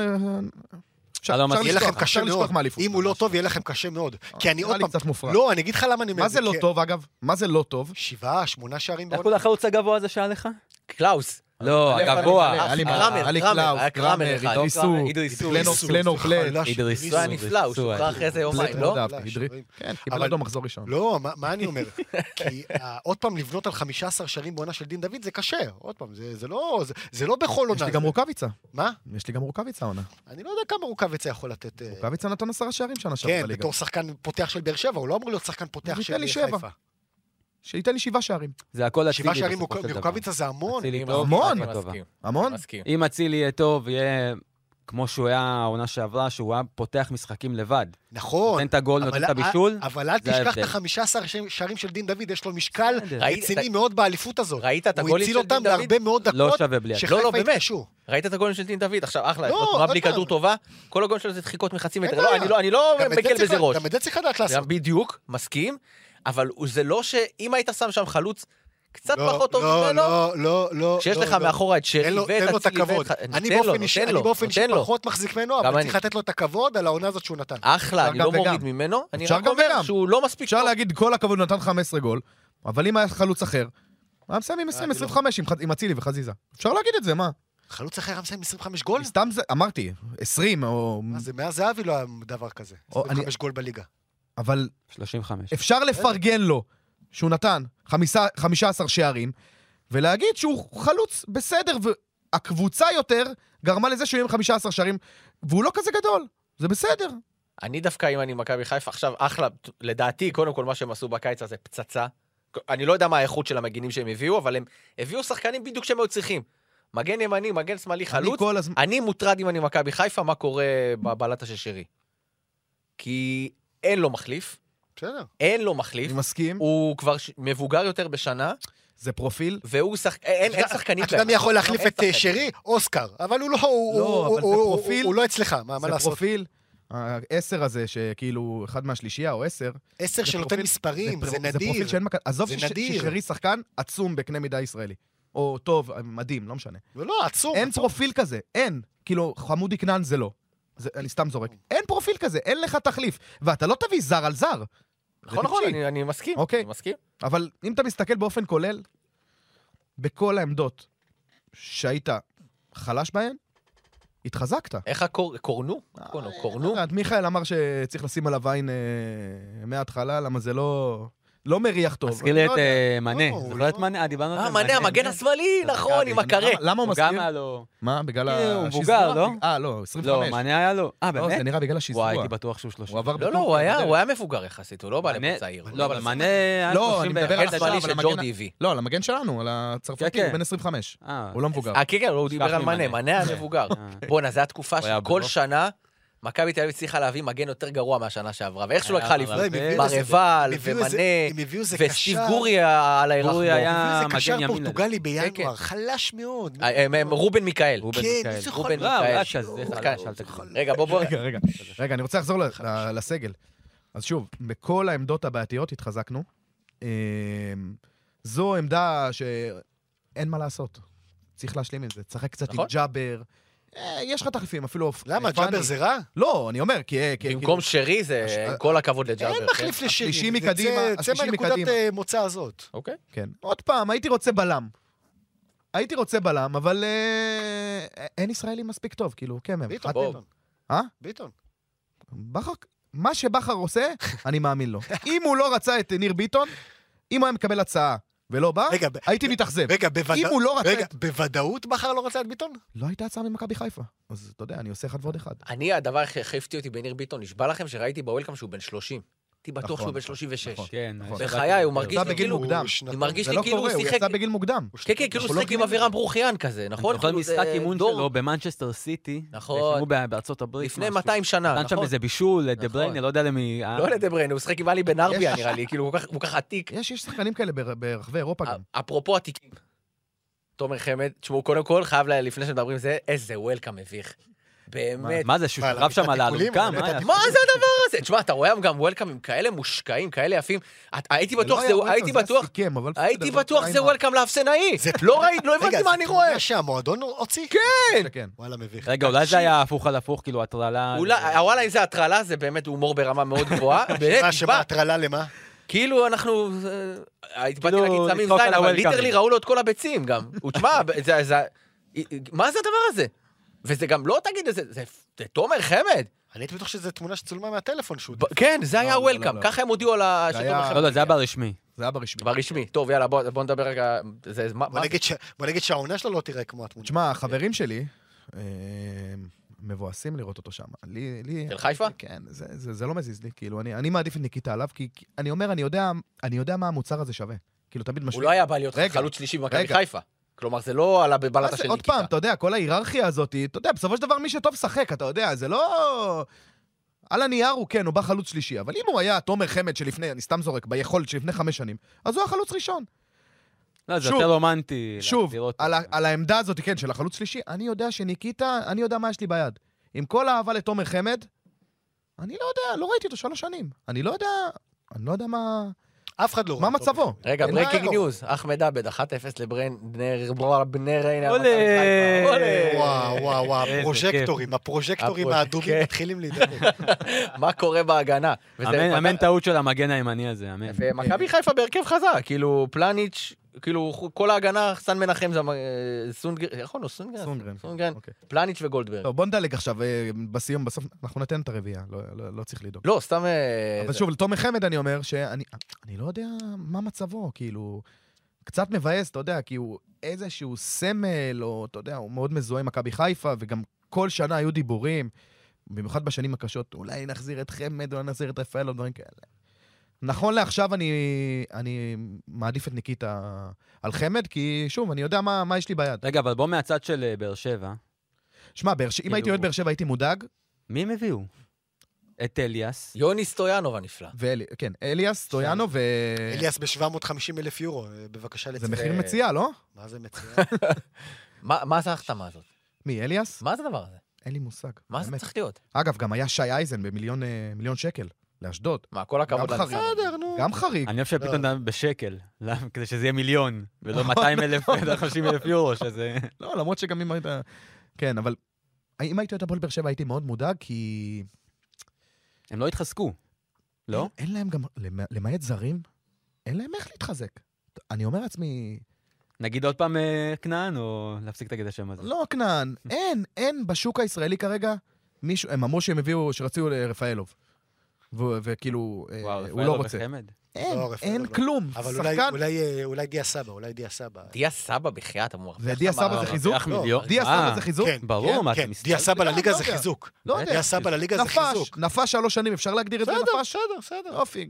Speaker 4: אפשר
Speaker 5: שלום,
Speaker 4: אפשר
Speaker 5: אז
Speaker 6: יהיה לכם
Speaker 4: לשכוח, אפשר
Speaker 6: קשה מאוד.
Speaker 4: לשכוח מאליפות.
Speaker 6: אם הוא לא טוב, יהיה לכם קשה מאוד. כי אני
Speaker 4: נראה
Speaker 6: עוד
Speaker 4: לי קצת
Speaker 6: פעם...
Speaker 4: מופרע.
Speaker 6: לא, אני אגיד לך למה אני אומר...
Speaker 4: מה
Speaker 6: את
Speaker 4: זה לא
Speaker 6: כי-
Speaker 4: טוב, אגב? מה זה לא טוב?
Speaker 6: שבעה, שמונה שערים
Speaker 5: איך
Speaker 6: בעונה.
Speaker 5: קוראים לחלוץ הגבוה הזה שהיה לך?
Speaker 4: אה,
Speaker 3: קלאוס.
Speaker 5: לא,
Speaker 3: הלב,
Speaker 5: הגבוה.
Speaker 3: הלב, הלב.
Speaker 4: היה
Speaker 3: קראמר,
Speaker 4: לי קראמר, היה לי
Speaker 3: קראמר,
Speaker 4: קלאוס,
Speaker 3: היה קראמר
Speaker 4: קראמר,
Speaker 3: אחד.
Speaker 4: אידריסו,
Speaker 5: לא, קראמר, אידריסו.
Speaker 4: פלנו-
Speaker 6: אידריסו,
Speaker 4: פלנו
Speaker 6: סליחה,
Speaker 4: פלט,
Speaker 6: לא,
Speaker 5: אידריס.
Speaker 3: זה היה נפלא, הוא שוחרר אחרי זה
Speaker 4: פלט
Speaker 3: יומיים,
Speaker 4: מאוד
Speaker 3: לא?
Speaker 4: אהבתי,
Speaker 6: לא,
Speaker 4: אידריס.
Speaker 6: שומעים.
Speaker 4: כן, קיבל
Speaker 6: אבל-
Speaker 4: אדום מחזור ראשון.
Speaker 6: לא, מה- מה אני אומר? כי אה, עוד פעם, לבנות על 15 שערים בעונה של דין דוד זה קשה. עוד פעם, זה זה לא זה- זה לא בכל
Speaker 4: יש
Speaker 6: עונה.
Speaker 4: לי גם רוקאביצה,
Speaker 6: מה?
Speaker 4: יש לי גם רוקאביצה עונה.
Speaker 6: אני לא יודע כמה רוקאביצה יכול לתת... אה,
Speaker 4: רוקאביצה נתן עשרה שערים שנה שעברה
Speaker 6: כן,
Speaker 4: בליגה.
Speaker 6: בתור שחקן פותח של באר שבע, הוא לא אמור להיות שחקן פותח
Speaker 4: הוא ייתן
Speaker 6: של
Speaker 4: לי שבע.
Speaker 6: חיפה.
Speaker 4: שייתן לי שבעה שערים.
Speaker 5: זה הכל אצילי
Speaker 6: שבעה שערים
Speaker 5: בסופו של דבר.
Speaker 6: מרוקאביצה זה המון.
Speaker 5: אצילי
Speaker 3: עם
Speaker 5: טוב,
Speaker 4: המון.
Speaker 5: טובה.
Speaker 3: מסכים,
Speaker 4: המון?
Speaker 3: מסכים.
Speaker 5: אם אצילי יהיה טוב, יהיה כמו שהוא היה העונה שעברה, שהוא היה פותח משחקים לבד.
Speaker 6: נכון.
Speaker 5: נותן את הגול,
Speaker 6: אבל
Speaker 5: נותן את
Speaker 6: אל-
Speaker 5: הבישול.
Speaker 6: אבל אל
Speaker 5: זה
Speaker 6: תשכח
Speaker 5: ההבדל.
Speaker 6: את ה-15 שערים של דין דוד, יש לו משקל
Speaker 5: בסדר.
Speaker 3: ראית-
Speaker 6: רציני מאוד באליפות הזאת.
Speaker 3: ראית את
Speaker 6: הוא
Speaker 3: הגולים של
Speaker 6: הציל
Speaker 3: דין
Speaker 6: אותם
Speaker 3: דוד?
Speaker 6: להרבה מאוד
Speaker 5: לא
Speaker 6: דקות,
Speaker 5: שווה בלי אצילי.
Speaker 3: לא,
Speaker 6: שחיפה
Speaker 3: באמת.
Speaker 6: התקשו.
Speaker 3: ראית את הגולים של דין דוד? עכשיו, אחלה,
Speaker 6: לא,
Speaker 3: לא תנועה
Speaker 6: עוד
Speaker 3: בלי
Speaker 6: פעם.
Speaker 3: כדור טובה, כל הגולים שלו זה דחיקות מחצי מטר.
Speaker 6: אין
Speaker 3: לא,
Speaker 6: בעיה.
Speaker 3: אני לא- אני לא
Speaker 6: גם את זה
Speaker 3: מקל
Speaker 6: צריך-
Speaker 3: בזה ראש.
Speaker 6: גם את זה צריך לדעת לעשות.
Speaker 3: גם בדיוק, מסכים, אבל הוא- זה לא שאם היית שם שם חלוץ קצת
Speaker 6: לא,
Speaker 3: פחות טוב
Speaker 6: לא,
Speaker 3: ממנו,
Speaker 6: לא, לא, לא.
Speaker 3: שיש
Speaker 6: לא,
Speaker 3: לך
Speaker 6: לא.
Speaker 3: מאחורה את שרי
Speaker 6: תן לו-
Speaker 3: ואת
Speaker 6: תן לו את
Speaker 3: אצילי
Speaker 6: הכבוד.
Speaker 3: ואת-
Speaker 6: אני
Speaker 3: תן לו,
Speaker 6: באופן אישי-
Speaker 3: נותן
Speaker 6: אני
Speaker 3: לו,
Speaker 6: באופן אישי לא-
Speaker 3: נותן לו.
Speaker 6: פחות מחזיק ממנו,
Speaker 3: גם
Speaker 6: אבל
Speaker 3: אני.
Speaker 6: צריך לתת לו את הכבוד על העונה הזאת שהוא נתן.
Speaker 3: אחלה,
Speaker 4: אפשר
Speaker 3: אני
Speaker 4: גם
Speaker 3: לא מוריד
Speaker 4: וגם.
Speaker 3: ממנו, אני
Speaker 4: אפשר
Speaker 3: רק
Speaker 4: גם
Speaker 3: אומר
Speaker 4: וגם.
Speaker 3: שהוא לא מספיק
Speaker 4: אפשר
Speaker 3: טוב.
Speaker 4: להגיד, כל הכבוד, הוא נתן 15 גול, אבל אם היה חלוץ אחר, הוא היה מסיים עם
Speaker 6: אה,
Speaker 4: 20, 25 עם ח- עם אצילי וחזיזה. אפשר להגיד את זה, מה?
Speaker 6: חלוץ אחר היה מסיים 25 גול?
Speaker 4: סתם זה, אמרתי, 20 או...
Speaker 6: אז זה מאז זהבי לא היה דבר כזה.
Speaker 4: או, אני-
Speaker 6: 25 גול בליגה.
Speaker 4: אבל
Speaker 5: 35.
Speaker 4: אפשר לפרגן לו שהוא נתן חמישה- 15 שערים, ולהגיד שהוא חלוץ בסדר, והקבוצה יותר גרמה לזה שהוא יהיה עם 15 שערים, והוא לא כזה גדול, זה בסדר.
Speaker 3: אני דווקא, אם אני מכבי חיפה, עכשיו אחלה, לדעתי, קודם כל מה שהם עשו בקיץ הזה פצצה. אני לא יודע מה האיכות של המגינים שהם הביאו, אבל הם הביאו שחקנים בדיוק שהם היו צריכים. מגן ימני, מגן שמאלי,
Speaker 4: אני
Speaker 3: חלוץ.
Speaker 4: כל הזמן...
Speaker 3: אני מוטרד אם אני מכבי חיפה, מה קורה בבלטה של שרי. כי אין לו מחליף,
Speaker 6: בסדר.
Speaker 3: אין לו מחליף,
Speaker 4: אני מסכים,
Speaker 3: הוא כבר ש- מבוגר יותר בשנה,
Speaker 4: זה פרופיל.
Speaker 3: והוא שחק... אין אין שחקנים
Speaker 6: אתה יודע מי יכול להחליף
Speaker 3: נכון, לא, אין
Speaker 6: את אה,
Speaker 3: שחקנים.
Speaker 6: שרי? אוסקר. אבל הוא לא, הוא-
Speaker 4: לא,
Speaker 6: הוא-
Speaker 4: אבל זה
Speaker 6: הוא-
Speaker 4: פרופיל.
Speaker 6: הוא לא אצלך, מה מה
Speaker 4: זה
Speaker 6: לעשות?
Speaker 4: פרופיל, העשר הזה, שכאילו, אחד מהשלישייה או עשר,
Speaker 6: עשר
Speaker 4: זה
Speaker 6: שנותן
Speaker 4: פרופיל-
Speaker 6: מספרים,
Speaker 4: פר-
Speaker 6: זה
Speaker 4: זה פרופיל
Speaker 6: נדיר.
Speaker 4: שאין מכ... עזוב
Speaker 6: זה
Speaker 4: שש-
Speaker 6: נדיר.
Speaker 4: ששרי שחקן עצום בקנה מידה ישראלי. או טוב, מדהים, לא משנה.
Speaker 6: לא, עצום.
Speaker 4: אין פרופיל כזה, אין. כאילו, חמודי כנען זה לא. זה, אני סתם זורק. אין פרופיל כזה, אין לך תחליף. ואתה לא תביא זר על זר.
Speaker 3: נכון,
Speaker 4: זה
Speaker 3: נכון,
Speaker 4: טיפשי.
Speaker 3: אני- אני מסכים.
Speaker 4: אוקיי.
Speaker 3: אני מסכים.
Speaker 4: אבל אם אתה מסתכל באופן כולל, בכל העמדות שהיית חלש בהן, התחזקת.
Speaker 3: איך הקור... קורנו?
Speaker 6: אה,
Speaker 3: קורנו, קורנו?
Speaker 4: את מיכאל אמר שצריך לשים עליו עין אה, מההתחלה, למה זה לא... לא מריח טוב.
Speaker 5: מזכיר
Speaker 4: אני
Speaker 5: לי
Speaker 4: לא
Speaker 5: את
Speaker 4: יודע.
Speaker 5: אה, מנה.
Speaker 6: לא,
Speaker 5: זוכר את
Speaker 6: לא.
Speaker 5: מנה? אה, דיברנו על
Speaker 3: אה,
Speaker 5: זה.
Speaker 3: מנה, המגן
Speaker 6: אה,
Speaker 3: השמאלי, נכון, עם הקרה.
Speaker 4: למה- למה הוא
Speaker 5: הוא
Speaker 4: מזכיר?
Speaker 5: גם היה לו...
Speaker 4: מה, בגלל
Speaker 5: אה, הוא
Speaker 4: השיזרוע?
Speaker 5: מבוגר, לא?
Speaker 4: אה, לא, 25.
Speaker 5: לא, מנה היה לו...
Speaker 4: לא,
Speaker 5: אה, באמת?
Speaker 4: זה נראה בגלל השיזרוע.
Speaker 5: וואי, הייתי בטוח שהוא 30.
Speaker 4: הוא עבר
Speaker 3: לא,
Speaker 4: בטוח
Speaker 3: לא, הוא היה-
Speaker 4: בדרך.
Speaker 3: הוא היה מבוגר יחסית, הוא לא בא לפה
Speaker 5: מנה-
Speaker 3: צעיר. הוא
Speaker 5: לא, אבל מנה היה
Speaker 4: לא, אני מדבר על
Speaker 5: 31.
Speaker 3: המגן השמאלי
Speaker 4: עכשיו, אבל
Speaker 3: שג'ורדי
Speaker 4: המגן-
Speaker 3: הביא.
Speaker 4: לא, על המגן שלנו, על
Speaker 5: כן,
Speaker 4: הצרפתי,
Speaker 5: כן.
Speaker 4: הוא בן 25.
Speaker 5: אה,
Speaker 4: הוא לא מבוגר.
Speaker 3: אה, כן, כן, הוא דיבר על מנה,
Speaker 5: ממנה.
Speaker 3: מנה היה מבוגר.
Speaker 5: אה.
Speaker 3: בואנה, זו התקופה
Speaker 5: הוא היה
Speaker 3: שכל
Speaker 5: בלוף.
Speaker 3: שנה מכבי תל אביב הצליחה להביא מגן יותר גרוע מהשנה שעברה, ואיכשהו
Speaker 5: היה
Speaker 3: לקחה
Speaker 5: אבל-
Speaker 3: לפני.
Speaker 6: לא, הם הביאו איזה-
Speaker 3: ברבל,
Speaker 6: הם הביאו איזה- הם
Speaker 3: ומנה,
Speaker 6: הביאו איזה
Speaker 3: וסטיב
Speaker 6: קשר-
Speaker 3: גורי על הירחבור.
Speaker 5: גורי היה-
Speaker 6: הביאו איזה
Speaker 5: מגן
Speaker 6: קשר
Speaker 5: ימין
Speaker 6: פורטוגלי
Speaker 3: כן. אה,
Speaker 6: בינואר, חלש מאוד.
Speaker 3: רובן מיכאל.
Speaker 5: רובן
Speaker 6: כן,
Speaker 5: מיכאל.
Speaker 6: איזה
Speaker 3: רובן
Speaker 5: לא, הוא היה
Speaker 3: מיכאל.
Speaker 5: כזה
Speaker 3: שחקן.
Speaker 5: חלש, אל תגזים.
Speaker 3: רגע, בוא, בוא.
Speaker 6: כן,
Speaker 4: רגע, רגע, רגע, אני רוצה לחזור ל- ל- לסגל. אז שוב, בכל העמדות הבעייתיות התחזקנו. אמ, זו עמדה שאין מה לעשות. צריך להשלים עם זה. תשחק קצת עם
Speaker 3: נכון.
Speaker 4: ג'אבר, אה, יש לך תחליפים, אפילו... אופ-
Speaker 6: למה,
Speaker 4: אה, פאני.
Speaker 6: ג'אבר זה רע?
Speaker 4: לא, אני אומר, כי... אה, כי-
Speaker 3: במקום
Speaker 4: כי-
Speaker 3: שרי זה,
Speaker 4: הש-
Speaker 3: עם כל הכבוד לג'אבר.
Speaker 6: כן. אה, אין
Speaker 3: כן?
Speaker 6: מחליף לשירי.
Speaker 4: השלישי
Speaker 6: זה-
Speaker 4: מקדימה,
Speaker 6: צא- צא
Speaker 4: השלישי
Speaker 6: מהנקודת
Speaker 4: מקדימה.
Speaker 6: אה, מוצא הזאת.
Speaker 3: אוקיי.
Speaker 4: כן. עוד פעם, הייתי רוצה בלם. הייתי רוצה בלם, אבל אה, אין ישראלי מספיק טוב, כאילו, כן, הם.
Speaker 6: ביטון,
Speaker 4: חתם-
Speaker 6: ביטון.
Speaker 4: אה?
Speaker 6: ביטון.
Speaker 4: בכר, מה שבכר עושה, אני מאמין לו. אם הוא לא רצה את ניר ביטון, אם הוא היה מקבל הצעה ולא בא,
Speaker 6: רגע, ב-
Speaker 4: הייתי מתאכזב.
Speaker 6: רגע,
Speaker 4: אם
Speaker 6: בוודאות...
Speaker 4: הוא לא רצה
Speaker 6: רגע,
Speaker 4: את...
Speaker 6: בוודאות בכר לא רצה את ביטון?
Speaker 4: לא הייתה הצעה ממכבי חיפה. אז אתה יודע, אני עושה אחד ועוד אחד.
Speaker 3: אני, הדבר הכי הכי הפתיע אותי בניר ביטון, נשבע לכם שראיתי בוולקאם שהוא בן 30. הייתי בטוח
Speaker 4: נכון,
Speaker 3: שהוא בן 36.
Speaker 4: נכון.
Speaker 5: כן.
Speaker 4: נכון.
Speaker 3: לא- בחיי, הוא מרגיש
Speaker 4: הוא
Speaker 3: לי
Speaker 4: בגיל
Speaker 3: כאילו...
Speaker 4: מוקדם.
Speaker 6: הוא שנתון.
Speaker 3: אני מרגיש
Speaker 4: זה
Speaker 3: לי
Speaker 4: לא
Speaker 3: כאילו הוא
Speaker 4: קורה, הוא
Speaker 3: שיחק...
Speaker 4: יצא בגיל מוקדם.
Speaker 3: כן, כן, כאילו
Speaker 4: אנחנו
Speaker 3: הוא
Speaker 4: לא
Speaker 3: שיחק עם
Speaker 4: מבינים את
Speaker 3: אבירם
Speaker 4: זה.
Speaker 3: ברוכיאן כזה, נכון?
Speaker 5: אני זוכר
Speaker 3: כאילו, זה
Speaker 5: משחק אימון
Speaker 3: דור
Speaker 5: שלו במנצ'סטר סיטי.
Speaker 3: נכון.
Speaker 5: שילמו בארצות הברית.
Speaker 3: לפני
Speaker 5: משהו.
Speaker 3: 200 שנה,
Speaker 5: נתן שם
Speaker 3: נכון?
Speaker 5: איזה בישול, דה
Speaker 3: נכון.
Speaker 5: בריינה, לא יודע למי... אה?
Speaker 3: לא לדבריינה, הוא שיחק עם עלי בן ארביה,
Speaker 4: יש-
Speaker 3: נראה לי, כאילו, הוא כל כך- הוא כל כך עתיק.
Speaker 4: יש, יש שחקנים כאלה בר- ברחבי אירופה גם.
Speaker 3: אפרופו עתיקים. תומר חמד, תשמעו, קודם כל, חייב, ל- לפני שמדברים זה, איזה וולקאם מביך.
Speaker 5: מה-
Speaker 3: באמת.
Speaker 5: מה זה, שהוא
Speaker 6: מה,
Speaker 5: רב שם על
Speaker 6: התיקולים?
Speaker 5: האלונקה?
Speaker 6: באמת,
Speaker 5: מה היה?
Speaker 3: מה זה הדבר הזה? תשמע, אתה רואה גם וולקאמים כאלה מושקעים, כאלה יפים. את- הייתי
Speaker 4: זה לא
Speaker 3: בטוח,
Speaker 4: היה
Speaker 3: זה-
Speaker 4: וולקאם,
Speaker 3: הייתי
Speaker 4: זה היה
Speaker 3: בטוח,
Speaker 4: סיכם, אבל בסדר,
Speaker 3: הייתי
Speaker 4: לא
Speaker 3: בטוח
Speaker 4: קרה
Speaker 3: זה
Speaker 4: עם
Speaker 3: וולקאם לאפסנאי. לא ראיתי, לא הבנתי מה אני רואה. אה,
Speaker 6: רגע, זה שהמועדון הוציא? אה,
Speaker 4: ה- כן.
Speaker 6: וואלה, מביך.
Speaker 5: רגע, אולי זה היה הפוך על הפוך, כאילו, הטרלה...
Speaker 3: אולי,
Speaker 4: אה,
Speaker 3: הוואלה, אם זה הטרלה, זה באמת הומור ברמה מאוד גבוהה. באמת,
Speaker 6: מה,
Speaker 3: נשבע.
Speaker 6: שמה, הטרלה למה?
Speaker 3: כאילו אנחנו, אה, הייתי באתי
Speaker 5: כאילו,
Speaker 3: להגיד סמים
Speaker 5: לצחוק
Speaker 3: זין,
Speaker 5: על
Speaker 3: אבל
Speaker 5: ה-welcoming.
Speaker 3: ליטרלי ראו לו את כל הביצים גם. הוא, תשמע, זה, זה, אה, מה זה הדבר הזה? וזה גם לא, תגיד, זה, זה, זה תומר חמד.
Speaker 6: אני הייתי בטוח שזו תמונה שצולמה מהטלפון שהוא...
Speaker 3: ב- כן, זה היה
Speaker 4: לא, לא,
Speaker 3: הוולקאם,
Speaker 4: לא.
Speaker 3: ככה הם הודיעו על ה...
Speaker 4: זה
Speaker 3: שתומר
Speaker 4: היה-
Speaker 3: חמד
Speaker 5: לא, לא, זה היה
Speaker 3: הגיע.
Speaker 5: ברשמי.
Speaker 4: זה היה ברשמי.
Speaker 3: ברשמי. טוב, יאללה, בוא בוא נדבר רגע... זה, מה-
Speaker 6: בוא
Speaker 3: מה-
Speaker 6: נגיד ש- בוא נגיד שהעונה שלו לא תיראה כמו התמונה.
Speaker 4: תשמע, החברים שלי אה, מבואסים לראות אותו שם. לי... לי-
Speaker 3: של חיפה?
Speaker 4: כן, זה- זה זה לא מזיז לי. כאילו, אני אני מעדיף את ניקיטה עליו, כי כי אני אומר, אני יודע- אני יודע מה המוצר הזה שווה. כאילו, תמיד
Speaker 3: הוא
Speaker 4: משווים.
Speaker 3: לא היה בא להיות
Speaker 4: רגע,
Speaker 3: חלוץ שלישי במכבי
Speaker 4: רגע.
Speaker 3: חיפה. כלומר, זה לא עלה
Speaker 4: מה
Speaker 3: בבלטה
Speaker 4: זה,
Speaker 3: של
Speaker 4: עוד
Speaker 3: ניקיטה.
Speaker 4: פעם, אתה יודע, כל ההיררכיה הזאת, אתה יודע, בסופו של דבר מי שטוב שחק, אתה יודע, זה לא... על הנייר הוא כן, הוא בא חלוץ שלישי, אבל אם הוא היה תומר חמד שלפני, אני סתם זורק, ביכולת שלפני חמש שנים, אז הוא היה חלוץ ראשון.
Speaker 5: לא, זה
Speaker 4: שוב,
Speaker 5: יותר רומנטי.
Speaker 4: שוב,
Speaker 5: להגדיר אותו.
Speaker 4: על, ה- על העמדה הזאת, כן, של החלוץ שלישי, אני יודע שניקיטה, אני יודע מה יש לי ביד. עם כל האהבה לתומר חמד, אני לא יודע, לא ראיתי אותו שלוש שנים. אני לא יודע, אני לא יודע מה...
Speaker 6: אף אחד לא רואה
Speaker 4: מה
Speaker 6: אותו.
Speaker 4: מצבו?
Speaker 3: רגע,
Speaker 4: אין
Speaker 3: ברייקינג
Speaker 4: בעיה.
Speaker 3: ניוז, אחמד עבד, 1-0 לברן, בנר, בוא, בנר, הנה,
Speaker 5: עולה.
Speaker 3: מכבי חיפה. עולה.
Speaker 6: אה, וואו, וואו, וואו,
Speaker 5: איזה
Speaker 6: הפרוז'קטורים, הפרוז'קטורים
Speaker 3: הפרוז-
Speaker 6: האדומים
Speaker 3: כן.
Speaker 6: מתחילים להידבק.
Speaker 3: מה קורה בהגנה. וזה-
Speaker 5: אמן- אמן טעות של המגן הימני הזה, אמן.
Speaker 3: ומכבי חיפה בהרכב חזק, כאילו פלניץ', כאילו כל ההגנה, חסן מנחם, זה, אה, סונגרן, איך קוראים לו? סונגרן?
Speaker 4: סונגרן.
Speaker 3: סונגרן,
Speaker 4: אוקיי.
Speaker 3: פלניץ' וגולדברג.
Speaker 4: טוב, בוא נדלג עכשיו, אה, בסיום, בסוף, אנחנו ניתן את הרביעייה, לא- לא לא צריך לדאוג.
Speaker 3: לא, סתם... אה,
Speaker 4: אבל
Speaker 3: זה-
Speaker 4: שוב, לתומר חמד אני אומר שאני אני לא יודע מה מצבו, כאילו... קצת מבאס, אתה יודע, כי הוא איזשהו סמל, או אתה יודע, הוא מאוד מזוהה עם מכבי חיפה, וגם כל שנה היו דיבורים, במיוחד בשנים הקשות, אולי נחזיר את חמד, אולי נחזיר את רפאל, או דברים כאלה. נכון לעכשיו אני, אני מעדיף את ניקיטה על חמד, כי שוב, אני יודע מה, מה יש לי ביד.
Speaker 5: רגע, אבל בוא מהצד של אה, באר שבע.
Speaker 4: שמע, באר ש- אם הייתי
Speaker 5: כאילו-
Speaker 4: אוהד באר שבע הייתי מודאג,
Speaker 5: מי הם הביאו? את אליאס.
Speaker 3: יוני סטויאנוב הנפלא.
Speaker 4: ואלי, כן, אליאס, טויאנו, ו...
Speaker 6: אליאס ב-750 אלף יורו, אה, בבקשה
Speaker 4: זה
Speaker 6: לציין.
Speaker 4: מחיר
Speaker 3: אה,
Speaker 4: מציאה, לא?
Speaker 6: מה זה מציע?
Speaker 3: מה מה זה ההחתמה הזאת?
Speaker 4: מי, אליאס?
Speaker 3: מה זה הדבר הזה?
Speaker 4: אין לי מושג.
Speaker 3: מה זה
Speaker 4: באמת.
Speaker 3: צריך להיות?
Speaker 4: אגב, גם היה שי אייזן במיליון אה, מיליון שקל, לאשדוד.
Speaker 3: מה, כל הכבוד.
Speaker 4: גם
Speaker 3: לניסיון.
Speaker 4: חריג.
Speaker 6: בסדר, נו.
Speaker 4: גם חריג.
Speaker 5: אני אוהב שפתאום
Speaker 6: לא.
Speaker 5: דן בשקל, למה? כדי שזה יהיה מיליון,
Speaker 4: נכון.
Speaker 5: ולא 200 אלף, 50 אלף יורו, שזה...
Speaker 4: לא, למרות שגם אם היית... כן, אבל אם הייתי את הפועל באר שבע הייתי מאוד מודאג, כי...
Speaker 5: הם לא התחזקו, לא?
Speaker 4: אין- אין להם גם... למע- למעט זרים, אין להם איך להתחזק. אני אומר לעצמי,
Speaker 5: נגיד עוד פעם אה, כנען, או להפסיק להגיד את השם הזה?
Speaker 4: לא, כנען, אין, אין בשוק הישראלי כרגע מישהו... הם אמרו שהם הביאו, שרצו לרפאלוב. ו- וכאילו, אה, הוא לא
Speaker 5: רפאלוב
Speaker 4: רוצה.
Speaker 5: וחמד.
Speaker 4: אין,
Speaker 6: לא, רפאלוב
Speaker 4: אין
Speaker 6: לא.
Speaker 4: כלום.
Speaker 6: אבל אולי-
Speaker 4: שחקן...
Speaker 6: אולי, אה, אולי דיה סבא, אולי דיה סבא.
Speaker 3: דיה סבא בחייאת אמור.
Speaker 4: ודיה סבא
Speaker 5: לא,
Speaker 4: זה חיזוק?
Speaker 5: לוקח
Speaker 6: לא,
Speaker 5: מיליון.
Speaker 4: דיה סבא
Speaker 5: אה,
Speaker 4: זה חיזוק?
Speaker 6: כן,
Speaker 5: ברור,
Speaker 6: כן,
Speaker 5: מה, אתה
Speaker 6: כן,
Speaker 5: מסתכל?
Speaker 6: דיה סבא
Speaker 4: לא,
Speaker 6: לליגה
Speaker 4: לא
Speaker 6: זה
Speaker 4: יודע.
Speaker 6: חיזוק.
Speaker 4: לא יודע.
Speaker 6: דיה סבא לליגה זה
Speaker 4: נפש,
Speaker 6: חיזוק.
Speaker 4: נפש שלוש שנים, אפשר להגדיר את זה
Speaker 6: בסדר,
Speaker 4: נפש?
Speaker 6: בסדר, בסדר.
Speaker 4: יופי.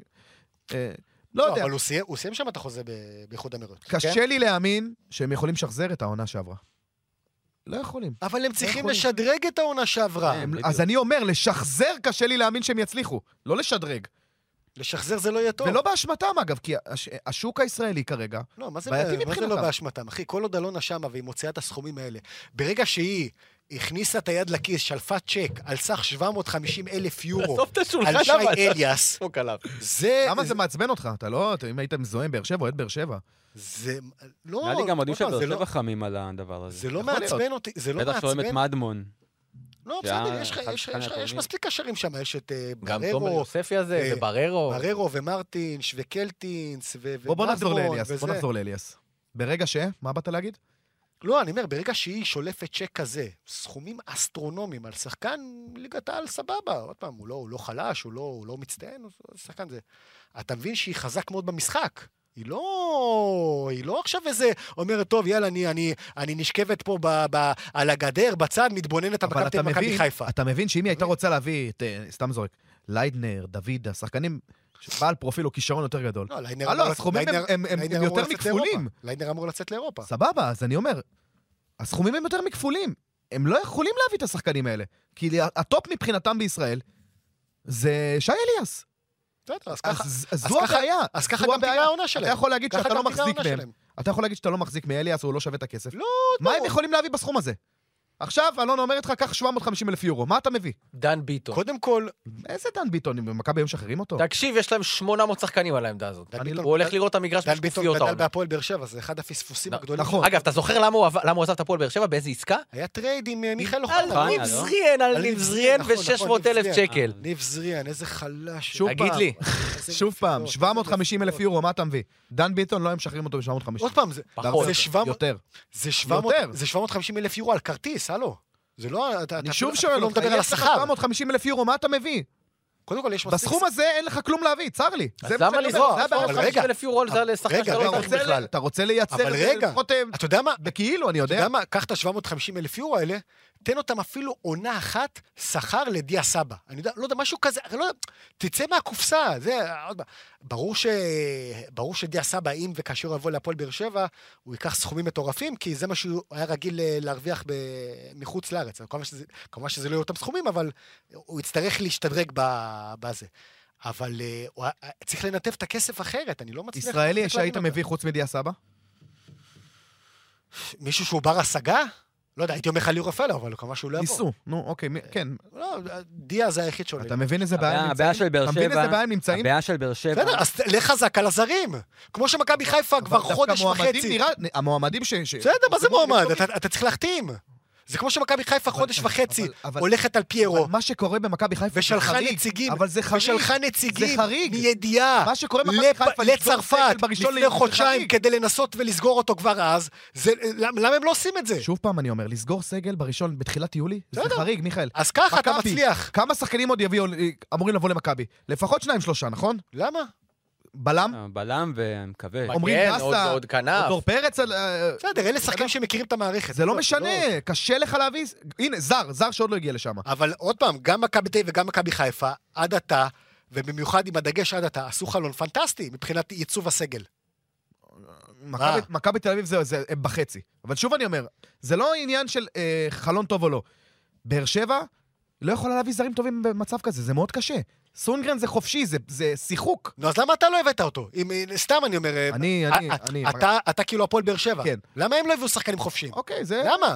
Speaker 4: אה, לא יודע,
Speaker 6: אבל הוא סיים- הוא סיים שם את החוזה ב- באיחוד האמירויות. כן?
Speaker 4: קשה לי להאמין שהם יכולים לשחזר את העונה שעברה. לא יכולים.
Speaker 6: אבל הם צריכים
Speaker 4: יכולים.
Speaker 6: לשדרג את העונה שעברה.
Speaker 5: הם-
Speaker 4: אז אני אומר, לשחזר קשה לי להאמין שהם יצליחו, לא לשדרג.
Speaker 6: לשחזר זה לא יהיה טוב.
Speaker 4: ולא באשמתם, אגב, כי הש- השוק הישראלי כרגע,
Speaker 6: לא, מה זה,
Speaker 4: בעייתי
Speaker 6: בעיה, מה זה לא
Speaker 4: מבחינתם.
Speaker 6: באשמתם, אחי? כל עוד אלונה שמה והיא מוציאה את הסכומים האלה, ברגע שהיא הכניסה את היד לכיס, שלפה צ'ק על סך 750 אלף יורו
Speaker 3: עזוב את השולחן,
Speaker 6: על שי
Speaker 3: למה?
Speaker 6: אליאס,
Speaker 3: צחוק עליו.
Speaker 6: זה...
Speaker 4: למה זה מעצבן אותך? אתה לא, אתה- אם היית מזוהה עם באר שבע, אוהד באר שבע.
Speaker 6: זה... לא...
Speaker 5: נראה לי גם אוהדים
Speaker 6: עוד פעם,
Speaker 5: של באר
Speaker 6: זה לא-
Speaker 5: שבע חמים על הדבר הזה.
Speaker 6: זה לא
Speaker 4: יכול להיות.
Speaker 6: מעצבן אותי, זה לא
Speaker 5: בטח שרואים את
Speaker 6: מעצבן.
Speaker 5: מדמון.
Speaker 6: לא,
Speaker 5: שהיה
Speaker 6: בסדר, יש לך-
Speaker 5: אחד
Speaker 6: יש לך-
Speaker 5: השחקנים
Speaker 6: יש לך- יש
Speaker 5: הטובים.
Speaker 6: מספיק קשרים שם, יש את אה,
Speaker 3: גם תומר
Speaker 6: בררו,
Speaker 3: יוספי הזה,
Speaker 6: אה,
Speaker 3: ובררו.
Speaker 6: בררו ומרטינש וקלטינס ו-
Speaker 4: בוא בוא נחזור
Speaker 6: ומזרון
Speaker 4: לאליאס, בוא
Speaker 6: וזה.
Speaker 4: נחזור לאליאס. ברגע ש... מה באת להגיד?
Speaker 6: לא, אני אומר, ברגע שהיא שולפת צ'ק כזה, סכומים אסטרונומיים על שחקן ליגת העל, סבבה. עוד פעם, הוא לא, הוא לא חלש, הוא לא, הוא לא מצטיין, הוא שחקן זה. אתה מבין שהיא חזק מאוד במשחק. היא לא, היא לא עכשיו איזה, אומרת, טוב, יאללה, אני, אני, אני נשכבת פה ב, ב, על הגדר, בצד, מתבוננת על
Speaker 4: אבל
Speaker 6: מכבי
Speaker 4: אתה
Speaker 6: תל אביב, מכבי
Speaker 4: מבין,
Speaker 6: חיפה.
Speaker 4: אתה מבין שאם היא הייתה רוצה להביא את, אה, סתם זורק, ליידנר, דוידה, שחקנים בעל פרופיל או כישרון יותר גדול.
Speaker 6: לא, ליינר
Speaker 4: אה, לא,
Speaker 6: אמור לצאת-
Speaker 4: הסכומים הם-
Speaker 6: ליינר-
Speaker 4: הם- הם
Speaker 6: ליינר
Speaker 4: הם
Speaker 6: אמור
Speaker 4: יותר
Speaker 6: לצאת
Speaker 4: מכפולים.
Speaker 6: לאירופה. ליינר אמור לצאת לאירופה.
Speaker 4: סבבה, אז אני אומר, הסכומים הם יותר מכפולים. הם לא יכולים להביא את השחקנים האלה. כי הטופ מבחינתם בישראל זה שי אליאס.
Speaker 6: בסדר, אז ככה-
Speaker 4: אז אז
Speaker 6: אז
Speaker 4: זו
Speaker 6: ככה-
Speaker 4: הבעיה.
Speaker 6: אז ככה
Speaker 4: זו
Speaker 6: גם תראה
Speaker 4: הבעיה.
Speaker 6: העונה
Speaker 4: אתה
Speaker 6: שלהם.
Speaker 4: יכול להגיד
Speaker 6: ככה
Speaker 4: שאתה
Speaker 6: גם
Speaker 4: לא
Speaker 6: תראה
Speaker 4: מחזיק
Speaker 6: העונה
Speaker 4: מהם.
Speaker 6: שלהם.
Speaker 4: אתה יכול להגיד שאתה לא מחזיק מאליאס, הוא לא שווה את הכסף.
Speaker 6: לא,
Speaker 4: מה הם
Speaker 6: ברור.
Speaker 4: יכולים להביא בסכום הזה? עכשיו, אלונה אומרת לך, קח 750 אלף יורו, מה אתה מביא?
Speaker 3: דן ביטון.
Speaker 6: קודם כל,
Speaker 4: איזה דן ביטון, אם מכבי היו משחררים אותו?
Speaker 3: תקשיב, יש להם 800 שחקנים על העמדה הזאת.
Speaker 6: דן
Speaker 4: אני
Speaker 6: ביטון-
Speaker 3: הוא הולך לראות את המגרש
Speaker 6: דן ביטון
Speaker 3: בשקופיות
Speaker 6: גדל
Speaker 3: העונה.
Speaker 6: בהפועל באר שבע, זה אחד הפספוסים
Speaker 3: נ-
Speaker 6: הגדולים.
Speaker 4: נכון.
Speaker 6: שלו.
Speaker 3: אגב, אתה זוכר למה הוא עב- למה הוא עזב את הפועל באר שבע? באיזה עסקה?
Speaker 6: היה טרייד עם אה, מיכאל
Speaker 3: על
Speaker 6: אוחנה.
Speaker 5: אוחנה,
Speaker 3: ניב
Speaker 5: לא?
Speaker 3: זריאן, על
Speaker 6: על
Speaker 3: ניב
Speaker 6: ניב
Speaker 3: זריאן
Speaker 6: זריאן, נכון, נכון,
Speaker 3: ו-600 אלף
Speaker 6: ניב זריאן.
Speaker 3: שקל.
Speaker 6: ניב זריאן, איזה חלש.
Speaker 4: שוב
Speaker 3: תגיד
Speaker 4: פעם.
Speaker 3: לי,
Speaker 6: איזה לא,
Speaker 4: שוב פעם,
Speaker 6: נפילות,
Speaker 4: 750 אלף
Speaker 6: איזה
Speaker 4: יורו, מה אתה מביא? דן ביטון, לא היו משחררים אותו ב-750.
Speaker 6: עוד פעם, זה-
Speaker 3: פחות.
Speaker 6: זה 700
Speaker 4: יותר.
Speaker 6: זה 700
Speaker 4: יותר.
Speaker 6: זה 750 אלף יורו על כרטיס, הלו. זה לא... אתה- אתה
Speaker 4: אני
Speaker 6: אפילו-
Speaker 4: שוב
Speaker 6: אתה
Speaker 4: שואל
Speaker 6: אפילו לא
Speaker 4: אותך,
Speaker 6: מדבר על
Speaker 4: יש לך
Speaker 6: השכר.
Speaker 4: 750 אלף יורו, מה אתה מביא?
Speaker 6: קודם כל, יש מספיק...
Speaker 4: בסכום הזה אין לך כלום להביא, צר לי.
Speaker 3: אז
Speaker 4: זה מה
Speaker 3: למה
Speaker 4: שאני אומר,
Speaker 3: לזרוק?
Speaker 4: זה הבעיה
Speaker 6: אבל
Speaker 4: שלך.
Speaker 6: רגע,
Speaker 3: 50 אלף יורו על זה לשחקן
Speaker 6: רגע,
Speaker 3: שאתה
Speaker 4: אתה
Speaker 3: לא
Speaker 6: רגע,
Speaker 3: צריך
Speaker 4: רוצה-
Speaker 3: בכלל.
Speaker 4: אתה רוצה לייצר
Speaker 6: אבל
Speaker 4: את זה
Speaker 6: רגע,
Speaker 4: לפחות, אה,
Speaker 6: אתה יודע מה?
Speaker 4: בכאילו, אני
Speaker 6: אתה
Speaker 4: יודע.
Speaker 6: יודע מה? קח את ה-750 אלף יורו האלה, תן אותם אפילו עונה אחת שכר לדיה סבא. אני יודע, לא יודע, משהו כזה, אני לא יודע, תצא מהקופסה, זה... עוד פעם, ברור, ש... ברור שדיה סבא, אם וכאשר הוא יבוא להפועל באר שבע, הוא ייקח סכומים מטורפים, כי זה מה שהוא היה רגיל אה, להרוויח ב... מחוץ לארץ. כמובן שזה, כמובן שזה לא יהיו אותם סכומים, אבל הוא יצטרך להשתדרג ב... בזה. אבל אה, הוא היה- צריך לנתב את הכסף אחרת, אני לא מצליח...
Speaker 4: ישראלי
Speaker 6: מצליח
Speaker 4: שהיית
Speaker 6: להבין אותה.
Speaker 4: מביא חוץ מדיה סבא?
Speaker 6: מישהו שהוא בר השגה? לא יודע, הייתי אומר לך ליאור רפאלו, אבל כמובן שהוא לא יבוא.
Speaker 4: ניסו, נו, אוקיי, מי- כן.
Speaker 6: לא, דיה זה היחיד שעולה.
Speaker 4: אתה מבין איזה בעיה
Speaker 5: הבעיה-
Speaker 4: הם
Speaker 5: הבעיה
Speaker 4: נמצאים?
Speaker 5: של באר
Speaker 4: אתה מבין
Speaker 5: שבע-
Speaker 4: איזה בעיה הם נמצאים?
Speaker 5: הבעיה של באר שבע,
Speaker 6: בסדר, אז לך חזק על הזרים. כמו שמכבי חיפה כבר
Speaker 4: אבל דווקא
Speaker 6: חודש
Speaker 4: המועמדים
Speaker 6: וחצי.
Speaker 4: נראה- המועמדים ש... ש-
Speaker 6: בסדר, מה זה
Speaker 4: הוקמו-
Speaker 6: מועמד? אתה- אתה צריך להחתים. זה כמו שמכבי חיפה חודש
Speaker 4: אבל-
Speaker 6: וחצי
Speaker 4: אבל-
Speaker 6: הולכת על פיירו,
Speaker 4: אבל מה שקורה במכבי חיפה זה
Speaker 6: ושלחה
Speaker 4: חריג,
Speaker 6: נציגים,
Speaker 4: אבל זה חריג.
Speaker 6: ושלחה נציגים
Speaker 4: זה חריג.
Speaker 6: מידיעה
Speaker 4: מה שקורה במכבי
Speaker 6: לפ-
Speaker 4: חיפה, לסגור
Speaker 6: לצרפת
Speaker 4: סגל בראשון
Speaker 6: לפני
Speaker 4: ליולי, זה
Speaker 6: חודשיים
Speaker 4: חריג.
Speaker 6: כדי לנסות ולסגור אותו כבר אז, זה- למ- למה הם לא עושים את זה?
Speaker 4: שוב פעם אני אומר, לסגור סגל בראשון, בתחילת יולי, זה
Speaker 6: בסדר.
Speaker 4: חריג, מיכאל.
Speaker 6: אז ככה אתה
Speaker 4: מכבי,
Speaker 6: מצליח.
Speaker 4: כמה שחקנים עוד יביאו, אה, אמורים לבוא למכבי? לפחות שניים שלושה, נכון?
Speaker 6: למה?
Speaker 4: בלם?
Speaker 5: אה, בלם ומקווה.
Speaker 3: מגן,
Speaker 4: עומרי
Speaker 3: אה, עוד-
Speaker 4: דסה,
Speaker 3: כן, עוד
Speaker 6: לא
Speaker 3: כנף.
Speaker 4: דור פרץ? על- אה,
Speaker 6: בסדר, אלה שחקנים שמכירים את המערכת.
Speaker 4: זה לא
Speaker 6: לא.
Speaker 4: משנה, קשה לך להביא... הנה, זר, זר שעוד לא הגיע לשם.
Speaker 6: אבל עוד פעם, גם מכבי תל אביב וגם מכבי חיפה, עד עתה, ובמיוחד עם הדגש עד עתה, עשו חלון פנטסטי מבחינת ייצוב הסגל. אה.
Speaker 4: מכבי- מכבי תל אביב זה- זה הם בחצי. אבל שוב אני אומר, זה לא עניין של אה, חלון טוב או לא. באר שבע לא יכולה להביא זרים טובים במצב כזה, זה מאוד קשה. סונגרן זה חופשי, זה- זה שיחוק.
Speaker 6: נו, אז למה אתה לא הבאת אותו? אם, סתם אני אומר... אה,
Speaker 4: אני,
Speaker 6: אה,
Speaker 4: אני,
Speaker 6: אה,
Speaker 4: אני...
Speaker 6: אתה, אתה כאילו הפועל באר שבע.
Speaker 4: כן.
Speaker 6: למה הם לא הביאו שחקנים חופשיים?
Speaker 4: אוקיי, זה...
Speaker 6: למה?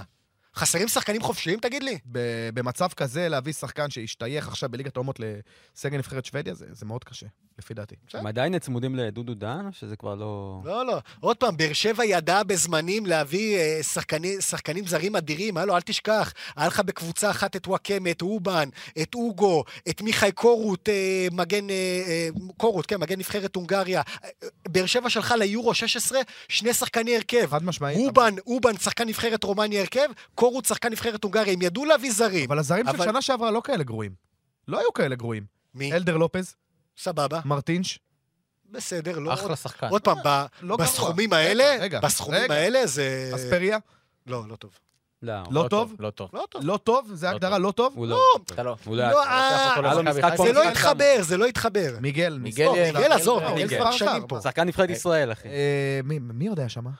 Speaker 6: חסרים שחקנים חופשיים, תגיד לי?
Speaker 4: ב- במצב כזה להביא שחקן שהשתייך עכשיו בליגת האומות לסגל נבחרת שוודיה, זה זה מאוד קשה, לפי דעתי.
Speaker 5: הם עדיין צמודים לדודו דן, או שזה כבר לא...
Speaker 6: לא, לא. עוד פעם, באר שבע ידעה בזמנים להביא אה, שחקני, שחקנים זרים אדירים. הלו, אל תשכח. היה לך בקבוצה אחת את וואקמה, את אובן, את אוגו, את מיכאי קורות, אה, מגן... אה, אה, קורות, כן, מגן נבחרת הונגריה. אה, אה, באר שבע שלחה ליורו 16 שני שחקני הרכב.
Speaker 4: חד משמעית.
Speaker 6: אובן, אובן, שחקן נבחרת רומניה הרכב, קורות, שחקן נבחרת הונגריה. הם ידעו להביא זרים.
Speaker 4: אבל הזרים של
Speaker 6: אבל-
Speaker 4: שנה שעברה לא כאלה גרועים. לא היו כאלה גרועים.
Speaker 6: מי?
Speaker 4: אלדר לופז,
Speaker 6: סבבה.
Speaker 4: מרטינש,
Speaker 6: בסדר, לא...
Speaker 3: אחלה שחקן.
Speaker 6: עוד פעם, ב-
Speaker 4: לא גרוע.
Speaker 6: בסכומים
Speaker 4: רגע,
Speaker 6: האלה,
Speaker 4: רגע,
Speaker 6: בסכומים
Speaker 4: רגע.
Speaker 6: האלה זה...
Speaker 4: אספריה,
Speaker 6: לא, לא טוב.
Speaker 5: לא,
Speaker 4: לא טוב.
Speaker 3: לא טוב.
Speaker 6: לא טוב.
Speaker 4: לא טוב, זה הגדרה לא טוב.
Speaker 5: הוא לא.
Speaker 3: אתה לא.
Speaker 5: הוא לא היה
Speaker 6: לא,
Speaker 5: טוב.
Speaker 6: אה,
Speaker 3: אתה לוקח אותו למכבי חיפה.
Speaker 6: זה
Speaker 5: היה לו משחק כל
Speaker 6: לא
Speaker 5: משחק.
Speaker 6: התחבר, זה לא התחבר.
Speaker 4: מיגל,
Speaker 3: מיגל,
Speaker 4: מספור,
Speaker 3: מיגל,
Speaker 4: סתם.
Speaker 6: עזוב,
Speaker 4: לא,
Speaker 6: מיגל
Speaker 4: מיגל
Speaker 6: כבר
Speaker 4: שר,
Speaker 6: שנים פה.
Speaker 4: שר.
Speaker 5: שחקן כן. נבחרת ישראל, אחי.
Speaker 4: אה, מי- מי עוד היה שם?
Speaker 6: לא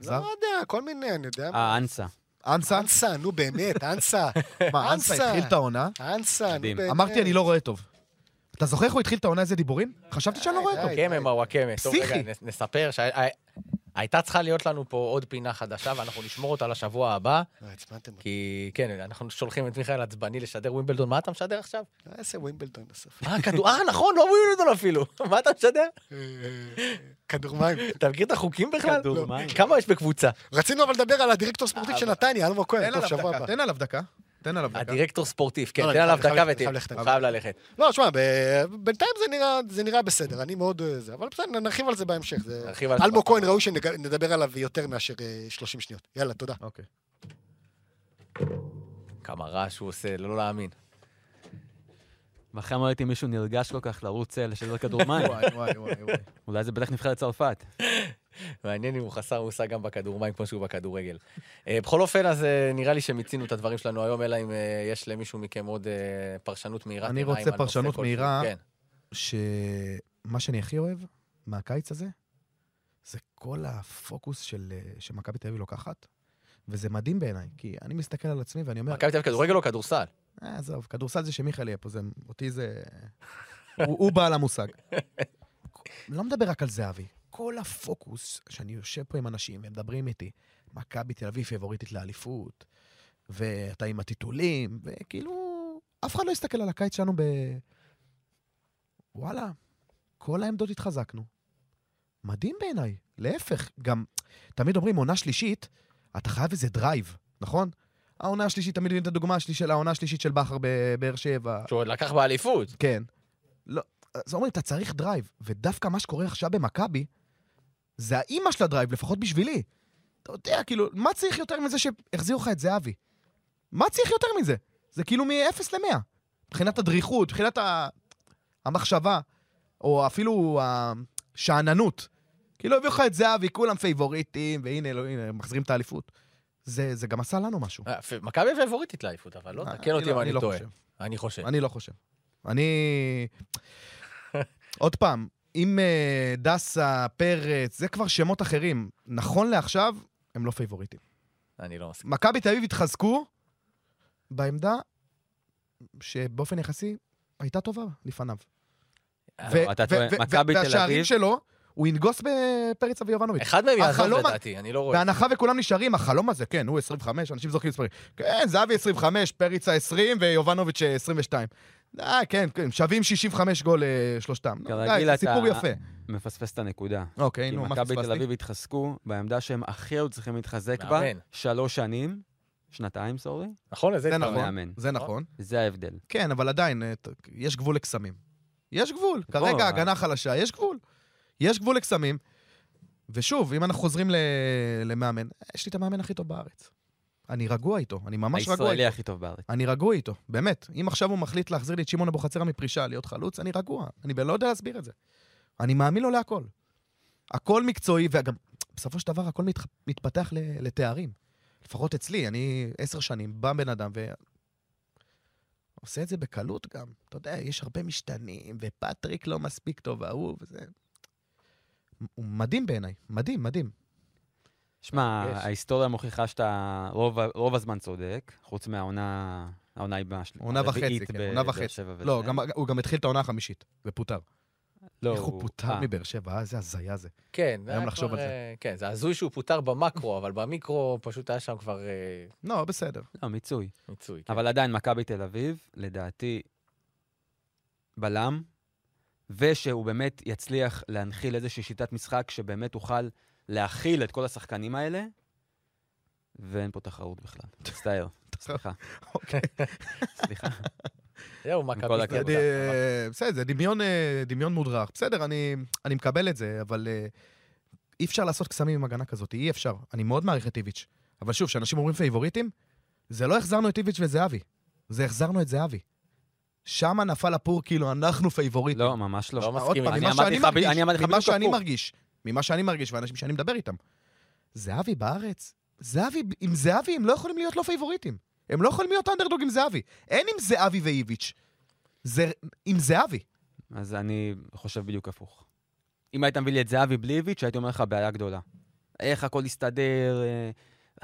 Speaker 4: זר?
Speaker 6: יודע, כל מיני, אני יודע.
Speaker 5: אה, אנסה.
Speaker 4: אנסה?
Speaker 6: אנסה, נו באמת, אנסה.
Speaker 4: מה, אנסה
Speaker 6: אנסה.
Speaker 4: התחיל את העונה?
Speaker 6: אנסה, נו
Speaker 5: מדהים.
Speaker 6: באמת.
Speaker 4: לא- אמרתי, אני לא רואה טוב. אתה זוכר איך הוא התחיל את העונה איזה דיבורים? חשבתי שאני לא רואה אותו.
Speaker 6: די.
Speaker 3: הקמא מהו הקמא. טוב, רגע,
Speaker 4: פסיכי.
Speaker 3: נס- נספר שהייתה צריכה להיות לנו פה עוד פינה חדשה, ואנחנו נשמור אותה לשבוע הבא,
Speaker 6: אה, עצבנתם אותי.
Speaker 3: כי כן, אנחנו שולחים את מיכאל עצבני לשדר ווימבלדון. מה אתה משדר עכשיו?
Speaker 6: לא אעשה ווימבלדון בסוף.
Speaker 3: אה, כדור... אה, נכון, לא ווימבלדון אפילו. מה אתה משדר?
Speaker 6: אה, אה, כדור מים.
Speaker 3: אתה מכיר את החוקים בכלל?
Speaker 5: כדור
Speaker 3: לא.
Speaker 5: מים.
Speaker 3: כמה יש בקבוצה?
Speaker 6: רצינו אבל לדבר על הדירקטור ספורטיב של נתניה, אלמוג
Speaker 4: תן
Speaker 6: כהן,
Speaker 4: עליו
Speaker 6: טוב, שבוע
Speaker 4: דקה,
Speaker 6: הבא.
Speaker 4: תן עליו דקה. תן עליו דקה.
Speaker 3: הדירקטור ספורטיב, כן,
Speaker 6: לא,
Speaker 3: תן
Speaker 6: אני
Speaker 3: עליו
Speaker 6: חייב-
Speaker 3: דקה
Speaker 6: אני
Speaker 3: ותהיה.
Speaker 6: חייב ללכת.
Speaker 3: הוא חייב ללכת.
Speaker 6: לא, שמע, ב- בינתיים זה נראה- זה נראה בסדר, אני מאוד... אה, זה, אבל בסדר, נרחיב על זה בהמשך. זה-
Speaker 3: נרחיב על זה
Speaker 6: אלמוג
Speaker 3: בהמשך.
Speaker 6: כהן ראוי שנדבר עליו יותר מאשר אה, 30 שניות. יאללה, תודה.
Speaker 4: אוקיי.
Speaker 3: כמה רעש הוא עושה, לא להאמין.
Speaker 5: ואחרי לא ראיתי מישהו נרגש כל כך לרוץ אה, לשדר כדור מים.
Speaker 4: וואי, וואי, וואי. וואי.
Speaker 5: אולי זה בטח נבחרת צרפת.
Speaker 3: מעניין אם הוא חסר מושג גם בכדור מים כמו שהוא בכדורגל. אה, בכל אופן, אז אה, נראה לי שמיצינו את הדברים שלנו היום, אלא אם אה, יש למישהו מכם עוד אה, פרשנות מהירה.
Speaker 4: אני
Speaker 3: תיראה
Speaker 4: רוצה
Speaker 3: עם הנושא
Speaker 4: פרשנות
Speaker 3: כלשהו.
Speaker 4: מהירה.
Speaker 3: כן.
Speaker 4: שמה שאני הכי אוהב מהקיץ הזה, זה כל הפוקוס של, אה, שמכבי תל אביב לוקחת, וזה מדהים בעיניי, כי אני מסתכל על עצמי ואני אומר,
Speaker 3: מכבי תל אביב כדורגל או כדורסל?
Speaker 4: אה, עזוב, כדורסל זה שמיכאל יהיה פה, זה, אותי זה... הוא, הוא בעל המושג. אני לא מדבר רק על זהבי. כל הפוקוס, שאני יושב פה עם אנשים והם מדברים איתי, מכבי תל אביב פבוריטית לאליפות, ואתה עם הטיטולים, וכאילו, אף אחד לא הסתכל על הקיץ שלנו ב... וואלה, כל העמדות התחזקנו. מדהים בעיניי. להפך, גם תמיד אומרים עונה שלישית, אתה חייב איזה דרייב, נכון? העונה השלישית, תמיד מביאים את הדוגמה השלישית של העונה השלישית של בכר בבאר שבע.
Speaker 3: שהוא עוד לקח באליפות.
Speaker 4: כן. לא, אז אומרים, אתה צריך דרייב, ודווקא מה שקורה עכשיו במכבי, זה האימא של הדרייב, לפחות בשבילי. אתה יודע, כאילו, מה צריך יותר מזה שהחזירו לך את זהבי? מה צריך יותר מזה? זה כאילו מ-0 ל-100. מבחינת הדריכות, מבחינת ה... המחשבה, או אפילו השאננות. כאילו, הביאו לך את זהבי, כולם פייבוריטים, והנה, לא, הנה, מחזירים את האליפות. זה, זה גם עשה לנו משהו.
Speaker 3: אה, פ- מכבי פייבוריטית לאליפות, אבל לא,
Speaker 4: אה,
Speaker 3: תקן אותי
Speaker 4: לא-
Speaker 3: אם אני
Speaker 4: לא
Speaker 3: טועה.
Speaker 4: חושב.
Speaker 3: אני חושב. כן.
Speaker 4: אני לא חושב. אני... עוד פעם, אם אה, דסה, פרץ, זה כבר שמות אחרים. נכון לעכשיו, הם לא פייבוריטים.
Speaker 3: אני לא מסכים.
Speaker 4: מכבי תל אביב התחזקו בעמדה שבאופן יחסי הייתה טובה לפניו. ו-
Speaker 5: אתה
Speaker 4: ו-
Speaker 5: טועה,
Speaker 4: ו-
Speaker 5: מכבי
Speaker 4: ו-
Speaker 5: תל
Speaker 4: והשערים
Speaker 5: אביב-
Speaker 4: שלו, הוא ינגוס בפרץ אביובנוביץ'.
Speaker 3: אחד מהם יעזוב
Speaker 4: החלום ה-
Speaker 3: לדעתי, אני לא רואה.
Speaker 4: בהנחה וכולם נשארים, החלום הזה, כן, הוא 25, אנשים זוכרים מספרים. כן, זהבי 25, פריצה 20 ויובנוביץ' 22. אה, כן, כן, שווים 65 גול אה, שלושתם.
Speaker 5: כרגיל
Speaker 4: די,
Speaker 5: אתה-
Speaker 4: סיפור יפה.
Speaker 5: מפספס את הנקודה.
Speaker 4: אוקיי,
Speaker 5: כי
Speaker 4: נו, מה
Speaker 5: מכבי תל
Speaker 4: פספסתי?
Speaker 5: אביב התחזקו בעמדה שהם הכי היו צריכים להתחזק בה,
Speaker 3: מאמן.
Speaker 5: שלוש שנים, שנתיים, סורי,
Speaker 3: נכון, לזה
Speaker 4: זה
Speaker 3: התכוונתי.
Speaker 4: נכון,
Speaker 5: מאמן.
Speaker 4: זה נכון.
Speaker 5: זה ההבדל.
Speaker 4: כן, אבל עדיין, אה, ת- יש גבול לקסמים. יש גבול.
Speaker 5: בוא,
Speaker 4: כרגע
Speaker 5: אה.
Speaker 4: הגנה חלשה, יש גבול. יש גבול לקסמים. ושוב, אם אנחנו חוזרים ל- למאמן, אה, יש לי את המאמן הכי טוב בארץ. אני רגוע איתו, אני ממש רגוע איתו.
Speaker 5: הישראלי הכי טוב בארץ.
Speaker 4: אני רגוע איתו, באמת. אם עכשיו הוא מחליט להחזיר לי את שמעון אבוחצירא מפרישה, להיות חלוץ, אני רגוע. אני לא יודע להסביר את זה. אני מאמין לו להכל. הכל מקצועי, וגם בסופו של דבר הכל מת, מתפתח ל, לתארים. לפחות אצלי, אני עשר שנים, בא בן אדם ו... עושה את זה בקלות גם. אתה יודע, יש הרבה משתנים, ופטריק לא מספיק טוב, ההוא וזה. הוא מדהים בעיניי, מדהים, מדהים.
Speaker 5: שמע,
Speaker 3: יש.
Speaker 5: ההיסטוריה מוכיחה שאתה רוב ה- רוב הזמן צודק, חוץ מהעונה... העונה היא בש-
Speaker 4: עונה וחצי,
Speaker 5: הרביעית
Speaker 4: כן,
Speaker 5: ב-
Speaker 4: עונה
Speaker 5: באר
Speaker 4: וחצי.
Speaker 5: שבע וזה.
Speaker 4: לא, גם, הוא גם התחיל את העונה החמישית, ופוטר.
Speaker 5: לא,
Speaker 4: איך הוא פוטר
Speaker 5: אה,
Speaker 4: מבאר שבע, אה, איזה הזיה זה.
Speaker 3: כן, זה
Speaker 4: היום
Speaker 3: היה
Speaker 4: לחשוב
Speaker 3: כבר,
Speaker 4: על זה.
Speaker 3: אה, כן, זה הזוי שהוא פוטר במקרו, אבל במיקרו פשוט היה שם כבר אה,
Speaker 4: לא, בסדר.
Speaker 5: לא, מיצוי.
Speaker 3: מיצוי. כן.
Speaker 5: אבל עדיין, מכבי תל אביב, לדעתי, בלם, ושהוא באמת יצליח להנחיל איזושהי שיטת משחק שבאמת תוכל להכיל את כל השחקנים האלה, ואין פה תחרות בכלל. מצטער, סליחה.
Speaker 4: אוקיי.
Speaker 5: סליחה.
Speaker 3: זהו,
Speaker 5: כל
Speaker 3: מכבי.
Speaker 5: הכבוד.
Speaker 3: תודה.
Speaker 4: אה, בסדר, זה דמיון, אה, דמיון מודרך. בסדר, אני, אני מקבל את זה, אבל אה, אי אפשר לעשות קסמים עם הגנה כזאת, אי אפשר. אני מאוד מעריך את איביץ'. אבל שוב, כשאנשים אומרים פייבוריטים, זה לא החזרנו את איביץ' וזהבי, זה החזרנו את זהבי. שם נפל הפור, כאילו, אנחנו פייבוריטים.
Speaker 5: לא, ממש
Speaker 3: לא
Speaker 5: לא.
Speaker 4: עוד
Speaker 3: מסכים
Speaker 4: פעם,
Speaker 3: איתך.
Speaker 5: אני
Speaker 4: ממה
Speaker 5: אמרתי
Speaker 4: שאני מרגיש, ממה שאני
Speaker 5: לך ב- אני אמרתי לך בדיוק הפוך.
Speaker 4: מרגיש, ממה שאני מרגיש, ואנשים שאני מדבר איתם. זהבי בארץ, זהבי, עם זהבי הם לא יכולים להיות לא פייבוריטים. הם לא יכולים להיות אנדרדוג עם זהבי. אין עם זהבי ואיביץ'. זה עם זהבי.
Speaker 5: אז אני חושב בדיוק הפוך. אם היית מביא לי את זהבי בלי איביץ', הייתי אומר לך בעיה גדולה. איך הכל הסתדר, אה,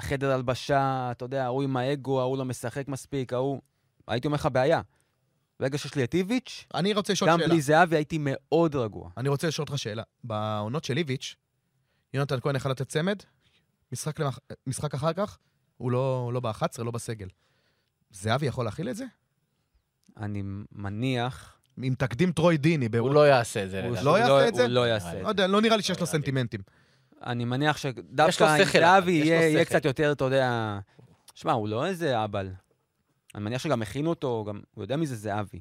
Speaker 5: חדר הלבשה, אתה יודע, ההוא עם האגו, ההוא לא משחק מספיק, ההוא... הייתי אומר לך בעיה. ברגע שיש לי את איביץ',
Speaker 4: אני רוצה לשאול
Speaker 5: גם
Speaker 4: שאלה.
Speaker 5: בלי זהבי הייתי מאוד רגוע.
Speaker 4: אני רוצה לשאול אותך שאלה. בעונות של איביץ', יונתן כהן יכל לתת צמד, משחק, למח... משחק אחר כך, הוא לא, הוא לא ב-11, לא בסגל. זהבי יכול להכיל את זה?
Speaker 5: אני מניח...
Speaker 4: עם תקדים טרוי דיני,
Speaker 3: הוא
Speaker 4: באירופה.
Speaker 3: לא יעשה את זה,
Speaker 5: הוא
Speaker 3: לדעתי.
Speaker 4: לא יעשה את זה?
Speaker 5: הוא לא יעשה את זה.
Speaker 4: לא יודע, לא נראה לי שיש לו סנטימנטים.
Speaker 5: אני מניח
Speaker 3: יש לו
Speaker 5: שדווקא אם
Speaker 3: שכל, אבל,
Speaker 5: זהבי
Speaker 3: יש לו
Speaker 5: יהיה יהיה
Speaker 3: שכל.
Speaker 5: קצת יותר, אתה יודע... שמע, הוא לא איזה אבל. אני מניח שגם הכינו אותו, גם... הוא יודע מי זה זהבי.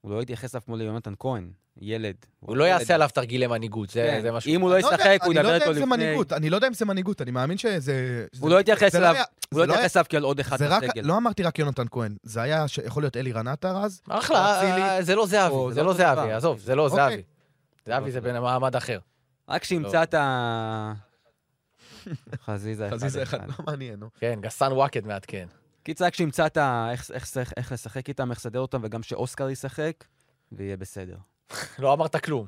Speaker 5: הוא לא יתייחס אף כמו ליונתן כהן, ילד.
Speaker 3: הוא לא
Speaker 5: ילד.
Speaker 3: יעשה עליו תרגילי מנהיגות, זה
Speaker 5: כן,
Speaker 3: זה משהו.
Speaker 5: אם הוא לא
Speaker 4: אני לא יודע-
Speaker 5: ישחק, הוא ידבר
Speaker 4: אני לא
Speaker 5: איתו
Speaker 4: יודע אם זה
Speaker 5: לפני.
Speaker 4: מנהיגות, אני לא יודע אם זה מנהיגות, אני מאמין שזה...
Speaker 5: הוא
Speaker 4: זה-
Speaker 5: לא יתייחס
Speaker 4: זה לא
Speaker 5: אליו,
Speaker 4: היה-
Speaker 5: הוא לא
Speaker 4: זה לא
Speaker 5: יתייחס אליו כעל עוד אחד
Speaker 4: זה רק,
Speaker 5: בסגל.
Speaker 4: לא אמרתי רק יונתן כהן, זה היה, ש... יכול להיות אלירן עטר אז,
Speaker 3: אחלה,
Speaker 4: אצילי.
Speaker 3: זה לא
Speaker 5: או,
Speaker 3: זהבי, זה
Speaker 5: זה
Speaker 3: לא
Speaker 5: אותו
Speaker 3: זהבי,
Speaker 5: דבר.
Speaker 3: עזוב, זה לא
Speaker 4: אוקיי.
Speaker 3: זהבי. זהבי זה
Speaker 5: אוקיי.
Speaker 3: במעמד אחר.
Speaker 5: רק שימצא את ה... חזיזה אחד.
Speaker 4: חזיזה אחד, לא מעניין, נו.
Speaker 3: כן, גסן וואקד מעדכן.
Speaker 5: קיצר, רק שימצא את ה... איך- איך- איך- איך לשחק איתם, איך לסדר אותם, וגם שאוסקר ישחק, ויהיה בסדר.
Speaker 3: לא אמרת כלום.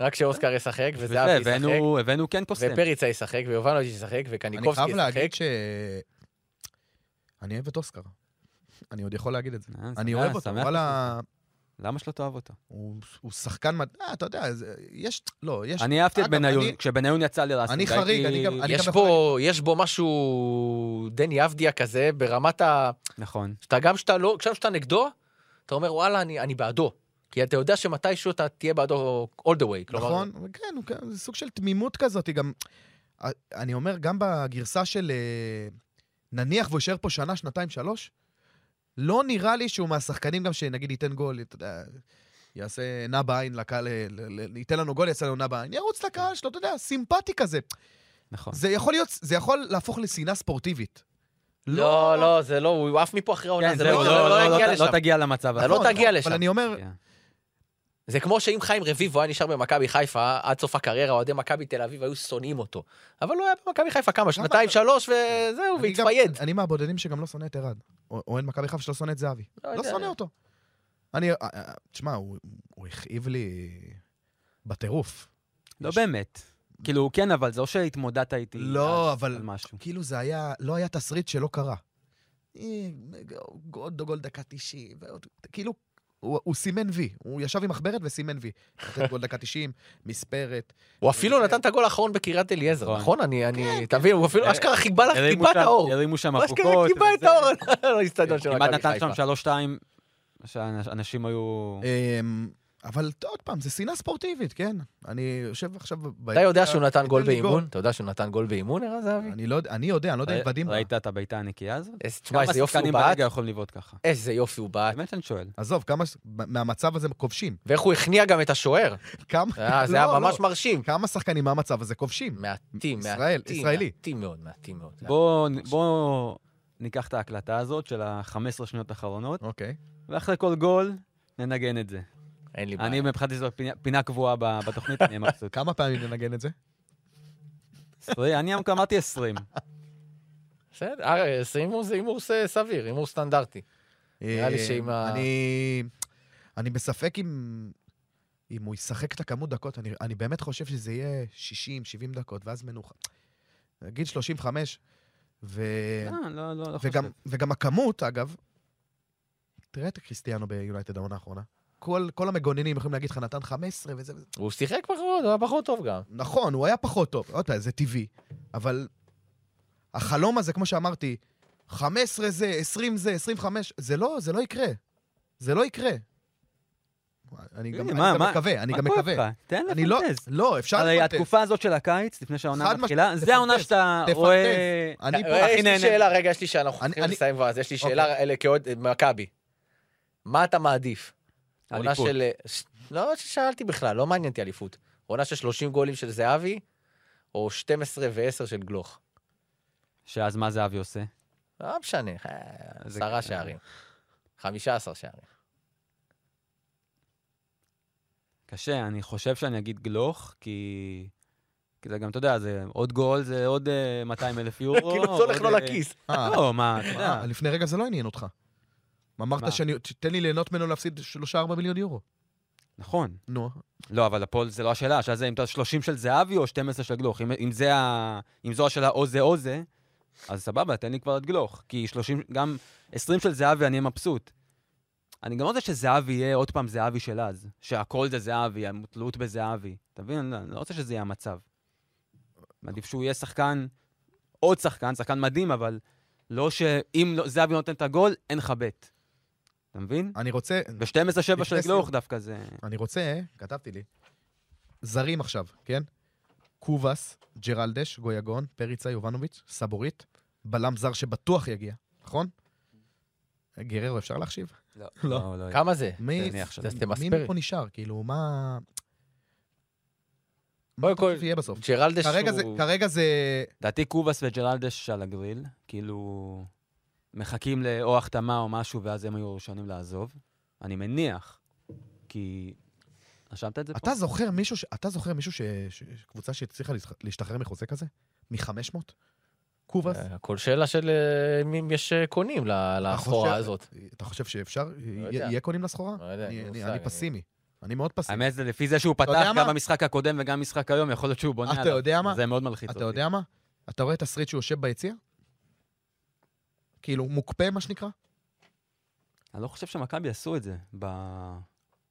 Speaker 3: רק שאוסקר ישחק, וזהבי
Speaker 5: יפה,
Speaker 3: ישחק,
Speaker 5: הבאנו- הבאנו כן קוסם.
Speaker 3: ופריצה ישחק, ויובנוביץ' ישחק,
Speaker 4: אני
Speaker 3: וקניקובסקי
Speaker 4: חייב
Speaker 3: ישחק.
Speaker 4: להגיד ש... אני אוהב את אוסקר. אני עוד יכול להגיד את זה.
Speaker 5: אה,
Speaker 4: אני
Speaker 5: שמח-
Speaker 4: אוהב אותו,
Speaker 5: שמח
Speaker 4: וואלה,
Speaker 5: בשבילך. למה שלא תאהב אותו?
Speaker 4: הוא הוא שחקן... מד- אה, אתה יודע, זה- יש... לא, יש...
Speaker 5: אני אהבתי את
Speaker 4: אגב,
Speaker 5: בניון,
Speaker 4: אני-
Speaker 5: כשבניון יצא לי לעשות...
Speaker 4: אני חריג, אני גם-
Speaker 3: יש
Speaker 4: יכול
Speaker 3: בו- יש בו משהו דני אבדיה כזה, ברמת ה...
Speaker 5: נכון.
Speaker 3: שאתה גם שאתה לא, עכשיו שאתה נגדו, אתה אומר, וואלה, אני, אני בעדו. כי אתה יודע שמתישהו אתה תהיה בעדו all the way. כלומר,
Speaker 4: נכון? כן, הוא כ- זה סוג של תמימות כזאת, היא גם... אה, אני אומר, גם בגרסה של אה, נניח והוא יישאר פה שנה, שנתיים, שלוש, לא נראה לי שהוא מהשחקנים גם שנגיד ייתן גול, אתה יודע, יעשה נע בעין לקהל, אה, ל- ל- ייתן לנו גול, יעשה לנו נע בעין, ירוץ לקהל שלו, אתה יודע, סימפטי כזה.
Speaker 5: נכון.
Speaker 4: זה יכול להיות, זה יכול להפוך לשנאה ספורטיבית.
Speaker 3: לא, לא, זה לא, הוא עף מפה אחרי העונה,
Speaker 5: כן,
Speaker 3: זה
Speaker 5: זהו,
Speaker 3: לא,
Speaker 5: לא-
Speaker 3: זה לא
Speaker 5: לא-
Speaker 3: יגיע
Speaker 5: לא-
Speaker 3: לשם.
Speaker 5: לא תגיע למצב
Speaker 3: אתה
Speaker 5: הזה.
Speaker 3: לא
Speaker 4: נכון,
Speaker 3: תגיע לשם.
Speaker 4: אבל אני אומר,
Speaker 5: כן.
Speaker 3: זה כמו שאם חיים רביבו היה נשאר במכבי חיפה, עד סוף הקריירה, אוהדי מכבי תל אביב היו שונאים אותו. אבל הוא היה במכבי חיפה כמה, שנתיים, שלוש, וזהו,
Speaker 4: אני גם-
Speaker 3: והתפייד.
Speaker 4: אני מהבודדים שגם לא שונא את ערד. או- אוהד מכבי חיפה שלא שונא את זהבי.
Speaker 3: לא
Speaker 4: לא
Speaker 3: יודע.
Speaker 4: שונא אותו. אני, אה, אה, תשמע, הוא הוא הכאיב לי בטירוף.
Speaker 5: לא באמת. כאילו, כן, אבל זה או שהתמודדת איתי.
Speaker 4: לא,
Speaker 5: על-
Speaker 4: אבל-
Speaker 5: על משהו.
Speaker 4: כאילו זה היה, לא היה תסריט שלא קרה. אה, עוד גול דקה 90, ועוד- כאילו, הוא הוא סימן וי. הוא ישב עם מחברת וסימן וי. לתת גול דקה 90, מספרת.
Speaker 3: הוא אפילו נתן את הגול האחרון בקריית אליעזר,
Speaker 5: כן. נכון.
Speaker 3: נכון? אני, אני, תבין, הוא אפילו
Speaker 5: אה,
Speaker 3: אשכרה חיבה לך
Speaker 5: הרימו
Speaker 3: טיפה את
Speaker 5: שם-
Speaker 3: האור.
Speaker 5: הרימו שם
Speaker 3: הוא
Speaker 5: אבוקות.
Speaker 3: אשכרה טיפה את
Speaker 5: וזה.
Speaker 3: האור על האיצטדיון של
Speaker 5: כמעט
Speaker 3: מכבי
Speaker 5: נתן שם
Speaker 3: חיפה. אה,
Speaker 5: 3-2, שאנשים היו...
Speaker 4: אמ, אבל ת- עוד פעם, זה שנאה ספורטיבית, כן? אני יושב עכשיו...
Speaker 3: אתה יודע
Speaker 4: ביציע,
Speaker 3: שהוא נתן
Speaker 4: ניתן
Speaker 3: גול
Speaker 4: לי
Speaker 3: באימון? אתה יודע שהוא נתן גול באימון, ערן
Speaker 5: אה,
Speaker 3: זהבי?
Speaker 4: אני לא יודע, אני יודע, אני לא יודע אם
Speaker 5: ראי-
Speaker 4: ודים...
Speaker 5: ראית את הבעיטה הנקייה הזאת?
Speaker 3: איזה- אה, תשמע, איזה יופי הוא
Speaker 5: כמה
Speaker 3: בעט, אה.
Speaker 5: שחקנים ברגע יכולים לבעוט ככה?
Speaker 3: איזה יופי הוא בעט,
Speaker 5: באמת שאני שואל.
Speaker 4: עזוב, כמה... ש- מהמצב הזה כובשים.
Speaker 3: ואיך הוא הכניע גם את השוער.
Speaker 4: כמה...
Speaker 3: אה, זה
Speaker 4: לא,
Speaker 3: היה
Speaker 4: לא.
Speaker 3: ממש מרשים.
Speaker 4: כמה שחקנים מהמצב הזה כובשים?
Speaker 3: מעטים,
Speaker 4: ישראל,
Speaker 3: מעטים,
Speaker 4: ישראלי.
Speaker 3: מעטים מאוד, מעטים מאוד.
Speaker 5: בואו בוא ניקח את ההקלטה הזאת של ה-15 שניות האחרונות,
Speaker 4: אוקיי.
Speaker 5: ואחרי כל גול ננגן את זה.
Speaker 3: אין לי בעיה.
Speaker 5: אני מבחינתי זו פינה- פינה קבועה ב- בתוכנית, אני אמרתי זאת.
Speaker 4: כמה פעמים ננגן את זה?
Speaker 5: אני אמרתי 20.
Speaker 3: בסדר, אה, זה הימור זה הימור ס- סביר, הימור סטנדרטי. נראה לי
Speaker 4: אה,
Speaker 3: שעם ה-
Speaker 4: אני... אני בספק אם... אם הוא ישחק את הכמות דקות, אני, אני באמת חושב שזה יהיה 60-70 דקות, ואז מנוחה. נגיד 35, ו...
Speaker 3: אה,
Speaker 5: לא, לא, לא לא חושב.
Speaker 4: כן. וגם, וגם הכמות, אגב, תראה את קריסטיאנו ביונייטד העונה האחרונה. כל, כל המגוננים יכולים להגיד לך, נתן 15 וזה וזה.
Speaker 3: הוא שיחק פחות, הוא היה פחות טוב גם.
Speaker 4: נכון, הוא היה פחות טוב, לא יודע, זה טבעי, אבל החלום הזה, כמו שאמרתי, 15 זה, 20 זה, 25, זה לא, זה לא יקרה. זה לא יקרה. אני גם,
Speaker 5: הנה,
Speaker 4: אני
Speaker 5: מה-
Speaker 4: גם
Speaker 5: מה-
Speaker 4: מקווה, אני
Speaker 5: מה
Speaker 4: גם
Speaker 5: כואב
Speaker 4: מקווה.
Speaker 5: לך? תן
Speaker 4: אני לא,
Speaker 5: לפנטז.
Speaker 4: לא, אפשר
Speaker 5: הרי
Speaker 4: לפנטז.
Speaker 5: התקופה הזאת של הקיץ, לפני
Speaker 4: חד
Speaker 5: שהעונה
Speaker 4: משמעית,
Speaker 5: מתחילה, זה העונה
Speaker 4: תפנטז,
Speaker 5: שאתה
Speaker 4: תפנטז.
Speaker 5: רואה...
Speaker 4: אני פה,
Speaker 3: אה,
Speaker 5: הכי
Speaker 3: יש לי
Speaker 5: נהנה.
Speaker 3: שאלה, רגע, יש לי שאלה, אנחנו
Speaker 4: אני-
Speaker 3: צריכים
Speaker 4: אני-
Speaker 3: לסיים כבר, אז יש לי
Speaker 4: אוקיי.
Speaker 3: שאלה אלה, כאוהד מכבי. מה אתה מעדיף? עונה
Speaker 5: אליפות.
Speaker 3: של... ש- לא ששאלתי בכלל, לא מעניין אותי אליפות. עונה של 30 גולים של זהבי, או 12 ו-10 של גלוך.
Speaker 5: שאז מה זהבי עושה?
Speaker 3: לא משנה, אה,
Speaker 5: זה-
Speaker 3: עשרה שערים. 15 שערים.
Speaker 5: קשה, אני חושב שאני אגיד גלוך, כי... כי זה גם, אתה יודע, זה עוד גול, זה עוד 200 אלף יורו.
Speaker 3: כאילו זה הולך לו
Speaker 5: עוד, אה,
Speaker 3: לכיס.
Speaker 4: אה,
Speaker 5: לא, מה, אתה יודע.
Speaker 4: אה, לפני רגע זה לא עניין אותך. אמרת
Speaker 5: מה?
Speaker 4: שאני, תן לי ליהנות ממנו להפסיד 3-4 מיליון יורו.
Speaker 5: נכון.
Speaker 4: נו,
Speaker 5: לא, אבל הפועל זה לא השאלה, השאלה זה אם אתה 30 של זהבי או 12 של גלוך. אם, אם, זה ה... אם זו השאלה או זה או זה, אז סבבה, תן לי כבר את גלוך. כי 30, גם 20 של זהבי אני אהיה מבסוט. אני גם לא רוצה שזהבי יהיה עוד פעם זהבי של אז, שהכל זה זהבי, התלות בזהבי. אתה מבין? אני לא- אני לא רוצה שזה יהיה המצב. מעדיף שהוא יהיה שחקן, עוד שחקן, שחקן מדהים, אבל לא שאם לא, זהבי לא נותן את הגול, אין לך בית. אתה מבין?
Speaker 4: אני רוצה,
Speaker 5: ב-12-7 של
Speaker 4: לפני
Speaker 5: גלוך דווקא זה...
Speaker 4: אני רוצה, כתבתי לי, זרים עכשיו, כן? קובאס, ג'רלדש, גויגון, פריצה, יובנוביץ', סבורית, בלם זר שבטוח יגיע, נכון? גררו אפשר להחשיב?
Speaker 5: לא.
Speaker 3: לא, לא. כמה זה?
Speaker 4: מי
Speaker 5: תניח שזה
Speaker 3: עשיתם
Speaker 4: מי
Speaker 3: מספרת.
Speaker 4: מפה נשאר? כאילו, מה...
Speaker 3: קודם
Speaker 4: מה אתה חושב
Speaker 3: כל,
Speaker 4: שיהיה בסוף?
Speaker 3: ג'רלדש
Speaker 4: כרגע זה-
Speaker 3: הוא...
Speaker 4: כרגע זה...
Speaker 5: לדעתי קובאס וג'רלדש על הגריל, כאילו מחכים לאו החתמה או משהו, ואז הם היו הראשונים לעזוב. אני מניח, כי... רשמת את זה פה?
Speaker 4: אתה זוכר מישהו, ש- אתה זוכר מישהו ש... ש... קבוצה שהצליחה להשתח- להשתחרר מחוזה כזה? מ-500? קובאס?
Speaker 3: אה, כל שאלה של אה, אם יש אה, קונים ל- לסחורה
Speaker 4: חושב-
Speaker 3: הזאת.
Speaker 4: אתה חושב שאפשר?
Speaker 3: לא יודע.
Speaker 4: יהיה יהיה קונים לסחורה?
Speaker 3: לא יודע,
Speaker 4: אני-
Speaker 3: אין לי
Speaker 4: אני-
Speaker 3: מושג,
Speaker 4: אני
Speaker 3: אני-
Speaker 4: פסימי. אני מאוד פסימי.
Speaker 5: האמת, זה לפי זה שהוא
Speaker 4: יודע
Speaker 5: פתח
Speaker 4: מה?
Speaker 5: גם במשחק הקודם וגם במשחק היום, יכול להיות שהוא בונה
Speaker 4: אתה
Speaker 5: עליו.
Speaker 4: יודע מה?
Speaker 5: זה מאוד מלחיץ אותי.
Speaker 4: אתה יודע מה? אתה רואה את הסריט שהוא יושב ביציע? כאילו, מוקפא, מה שנקרא?
Speaker 5: אני לא חושב שמכבי עשו את זה ב-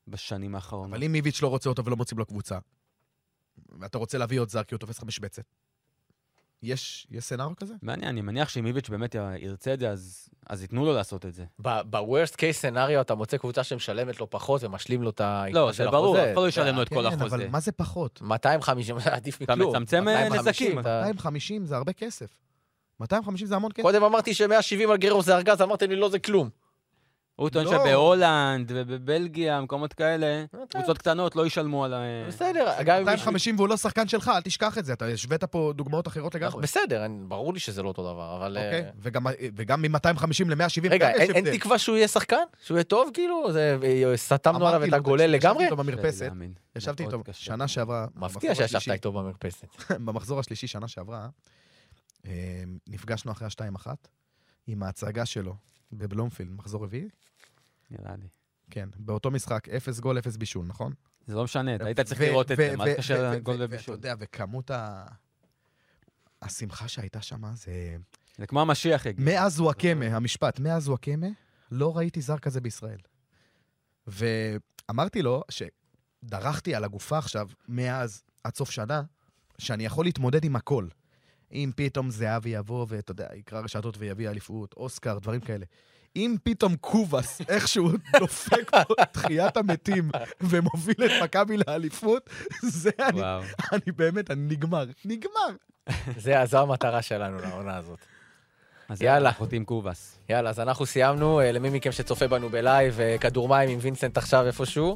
Speaker 5: בשנים האחרונות.
Speaker 4: אבל אם איביץ' לא רוצה אותו ולא מוצאים לו קבוצה, ואתה רוצה להביא עוד זר כי הוא תופס לך משבצת, יש יש סצנריו כזה?
Speaker 5: מעניין, אני מניח שאם איביץ' באמת ירצה את זה, אז אז ייתנו לו לעשות את זה.
Speaker 3: אה, ב-worst case scenario אתה מוצא קבוצה שמשלמת לו פחות ומשלים לו את ה...
Speaker 5: לא, זה
Speaker 3: אה, של
Speaker 5: ברור,
Speaker 3: החוזה.
Speaker 5: אף אחד לא ישלם לו את כל
Speaker 4: כן,
Speaker 5: החוזה.
Speaker 4: אבל מה זה פחות?
Speaker 3: 250, עדיף
Speaker 5: אתה
Speaker 3: מכלום.
Speaker 5: מצמצם, אה,
Speaker 3: 250,
Speaker 5: נזקים.
Speaker 3: אתה-
Speaker 4: 250 זה הרבה כסף. 250 זה המון כסף.
Speaker 3: קודם אמרתי ש-170 על גרו זה ארגז, אמרתם לי לא זה כלום.
Speaker 5: הוא טוען
Speaker 4: לא.
Speaker 5: שבהולנד ובבלגיה, מקומות כאלה,
Speaker 3: אתה-
Speaker 5: קבוצות קטנות לא ישלמו על ה...
Speaker 3: בסדר, גם אם...
Speaker 4: 250 והוא לא שחקן שלך, אל תשכח את זה. אתה השווית פה דוגמאות אחרות לגמרי.
Speaker 3: בסדר, אני- ברור לי שזה לא אותו דבר, אבל... אה,
Speaker 4: אוקיי? וגם- וגם מ-250 ל-170.
Speaker 3: רגע, אין- אין תקווה שהוא יהיה שחקן? שהוא יהיה טוב, כאילו? זה- אה, סתמנו עליו את הגולל לגמרי?
Speaker 4: ישבתי איתו
Speaker 5: קשה לי
Speaker 4: במרפסת,
Speaker 5: אה, להאמין.
Speaker 4: ישבתי
Speaker 5: מאוד
Speaker 4: איתו
Speaker 5: קשה.
Speaker 4: שנה שעברה.
Speaker 3: מפתיע
Speaker 4: במחזור
Speaker 3: שישבת
Speaker 4: השלישי-
Speaker 3: איתו במרפסת.
Speaker 4: במחזור השלישי שנה שעברה, אה, נפגשנו אחרי השתיים אחת, עם ההצגה שלו בבלומפילד, מחזור רביעי.
Speaker 5: נראה לי.
Speaker 4: כן, באותו משחק, אפס גול, אפס בישול, נכון?
Speaker 5: זה לא משנה, אתה היית צריך
Speaker 4: ו-
Speaker 5: לראות את
Speaker 4: ו-
Speaker 5: זה, מה
Speaker 4: ו-
Speaker 5: זה קשר
Speaker 4: ו-
Speaker 5: לגול
Speaker 4: ו- ואתה
Speaker 5: ובישול?
Speaker 4: יודע, וכמות ה... השמחה שהייתה שם, זה...
Speaker 5: זה כמו המשיח יגיד.
Speaker 4: מאז הוא הקמא, המשפט, מאז הוא הקמא, לא ראיתי זר כזה בישראל. ואמרתי לו שדרכתי על הגופה עכשיו, מאז עד סוף שנה, שאני יכול להתמודד עם הכל. אם פתאום זהבי יבוא ואתה יודע, יקרא רשתות ויביא אליפות, אוסקר, דברים כאלה. אם פתאום קובאס איכשהו דופק פה את תחיית המתים ומוביל את מכבי לאליפות, זה אני,
Speaker 5: וואו.
Speaker 4: אני באמת, אני נגמר. נגמר.
Speaker 3: זה, אז זו המטרה שלנו לעונה הזאת.
Speaker 5: אז
Speaker 3: יאללה.
Speaker 5: יאללה. אחותי עם קובאס.
Speaker 3: יאללה, אז אנחנו סיימנו. אה, למי מכם שצופה בנו בלייב, אה, כדור מים עם וינסנט עכשיו איפשהו.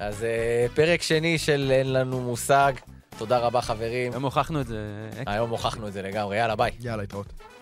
Speaker 3: אז אה, פרק שני של אין לנו מושג. תודה רבה, חברים.
Speaker 5: היום הוכחנו את זה.
Speaker 3: היום הוכחנו את זה לגמרי. יאללה, ביי.
Speaker 4: יאללה, התראות.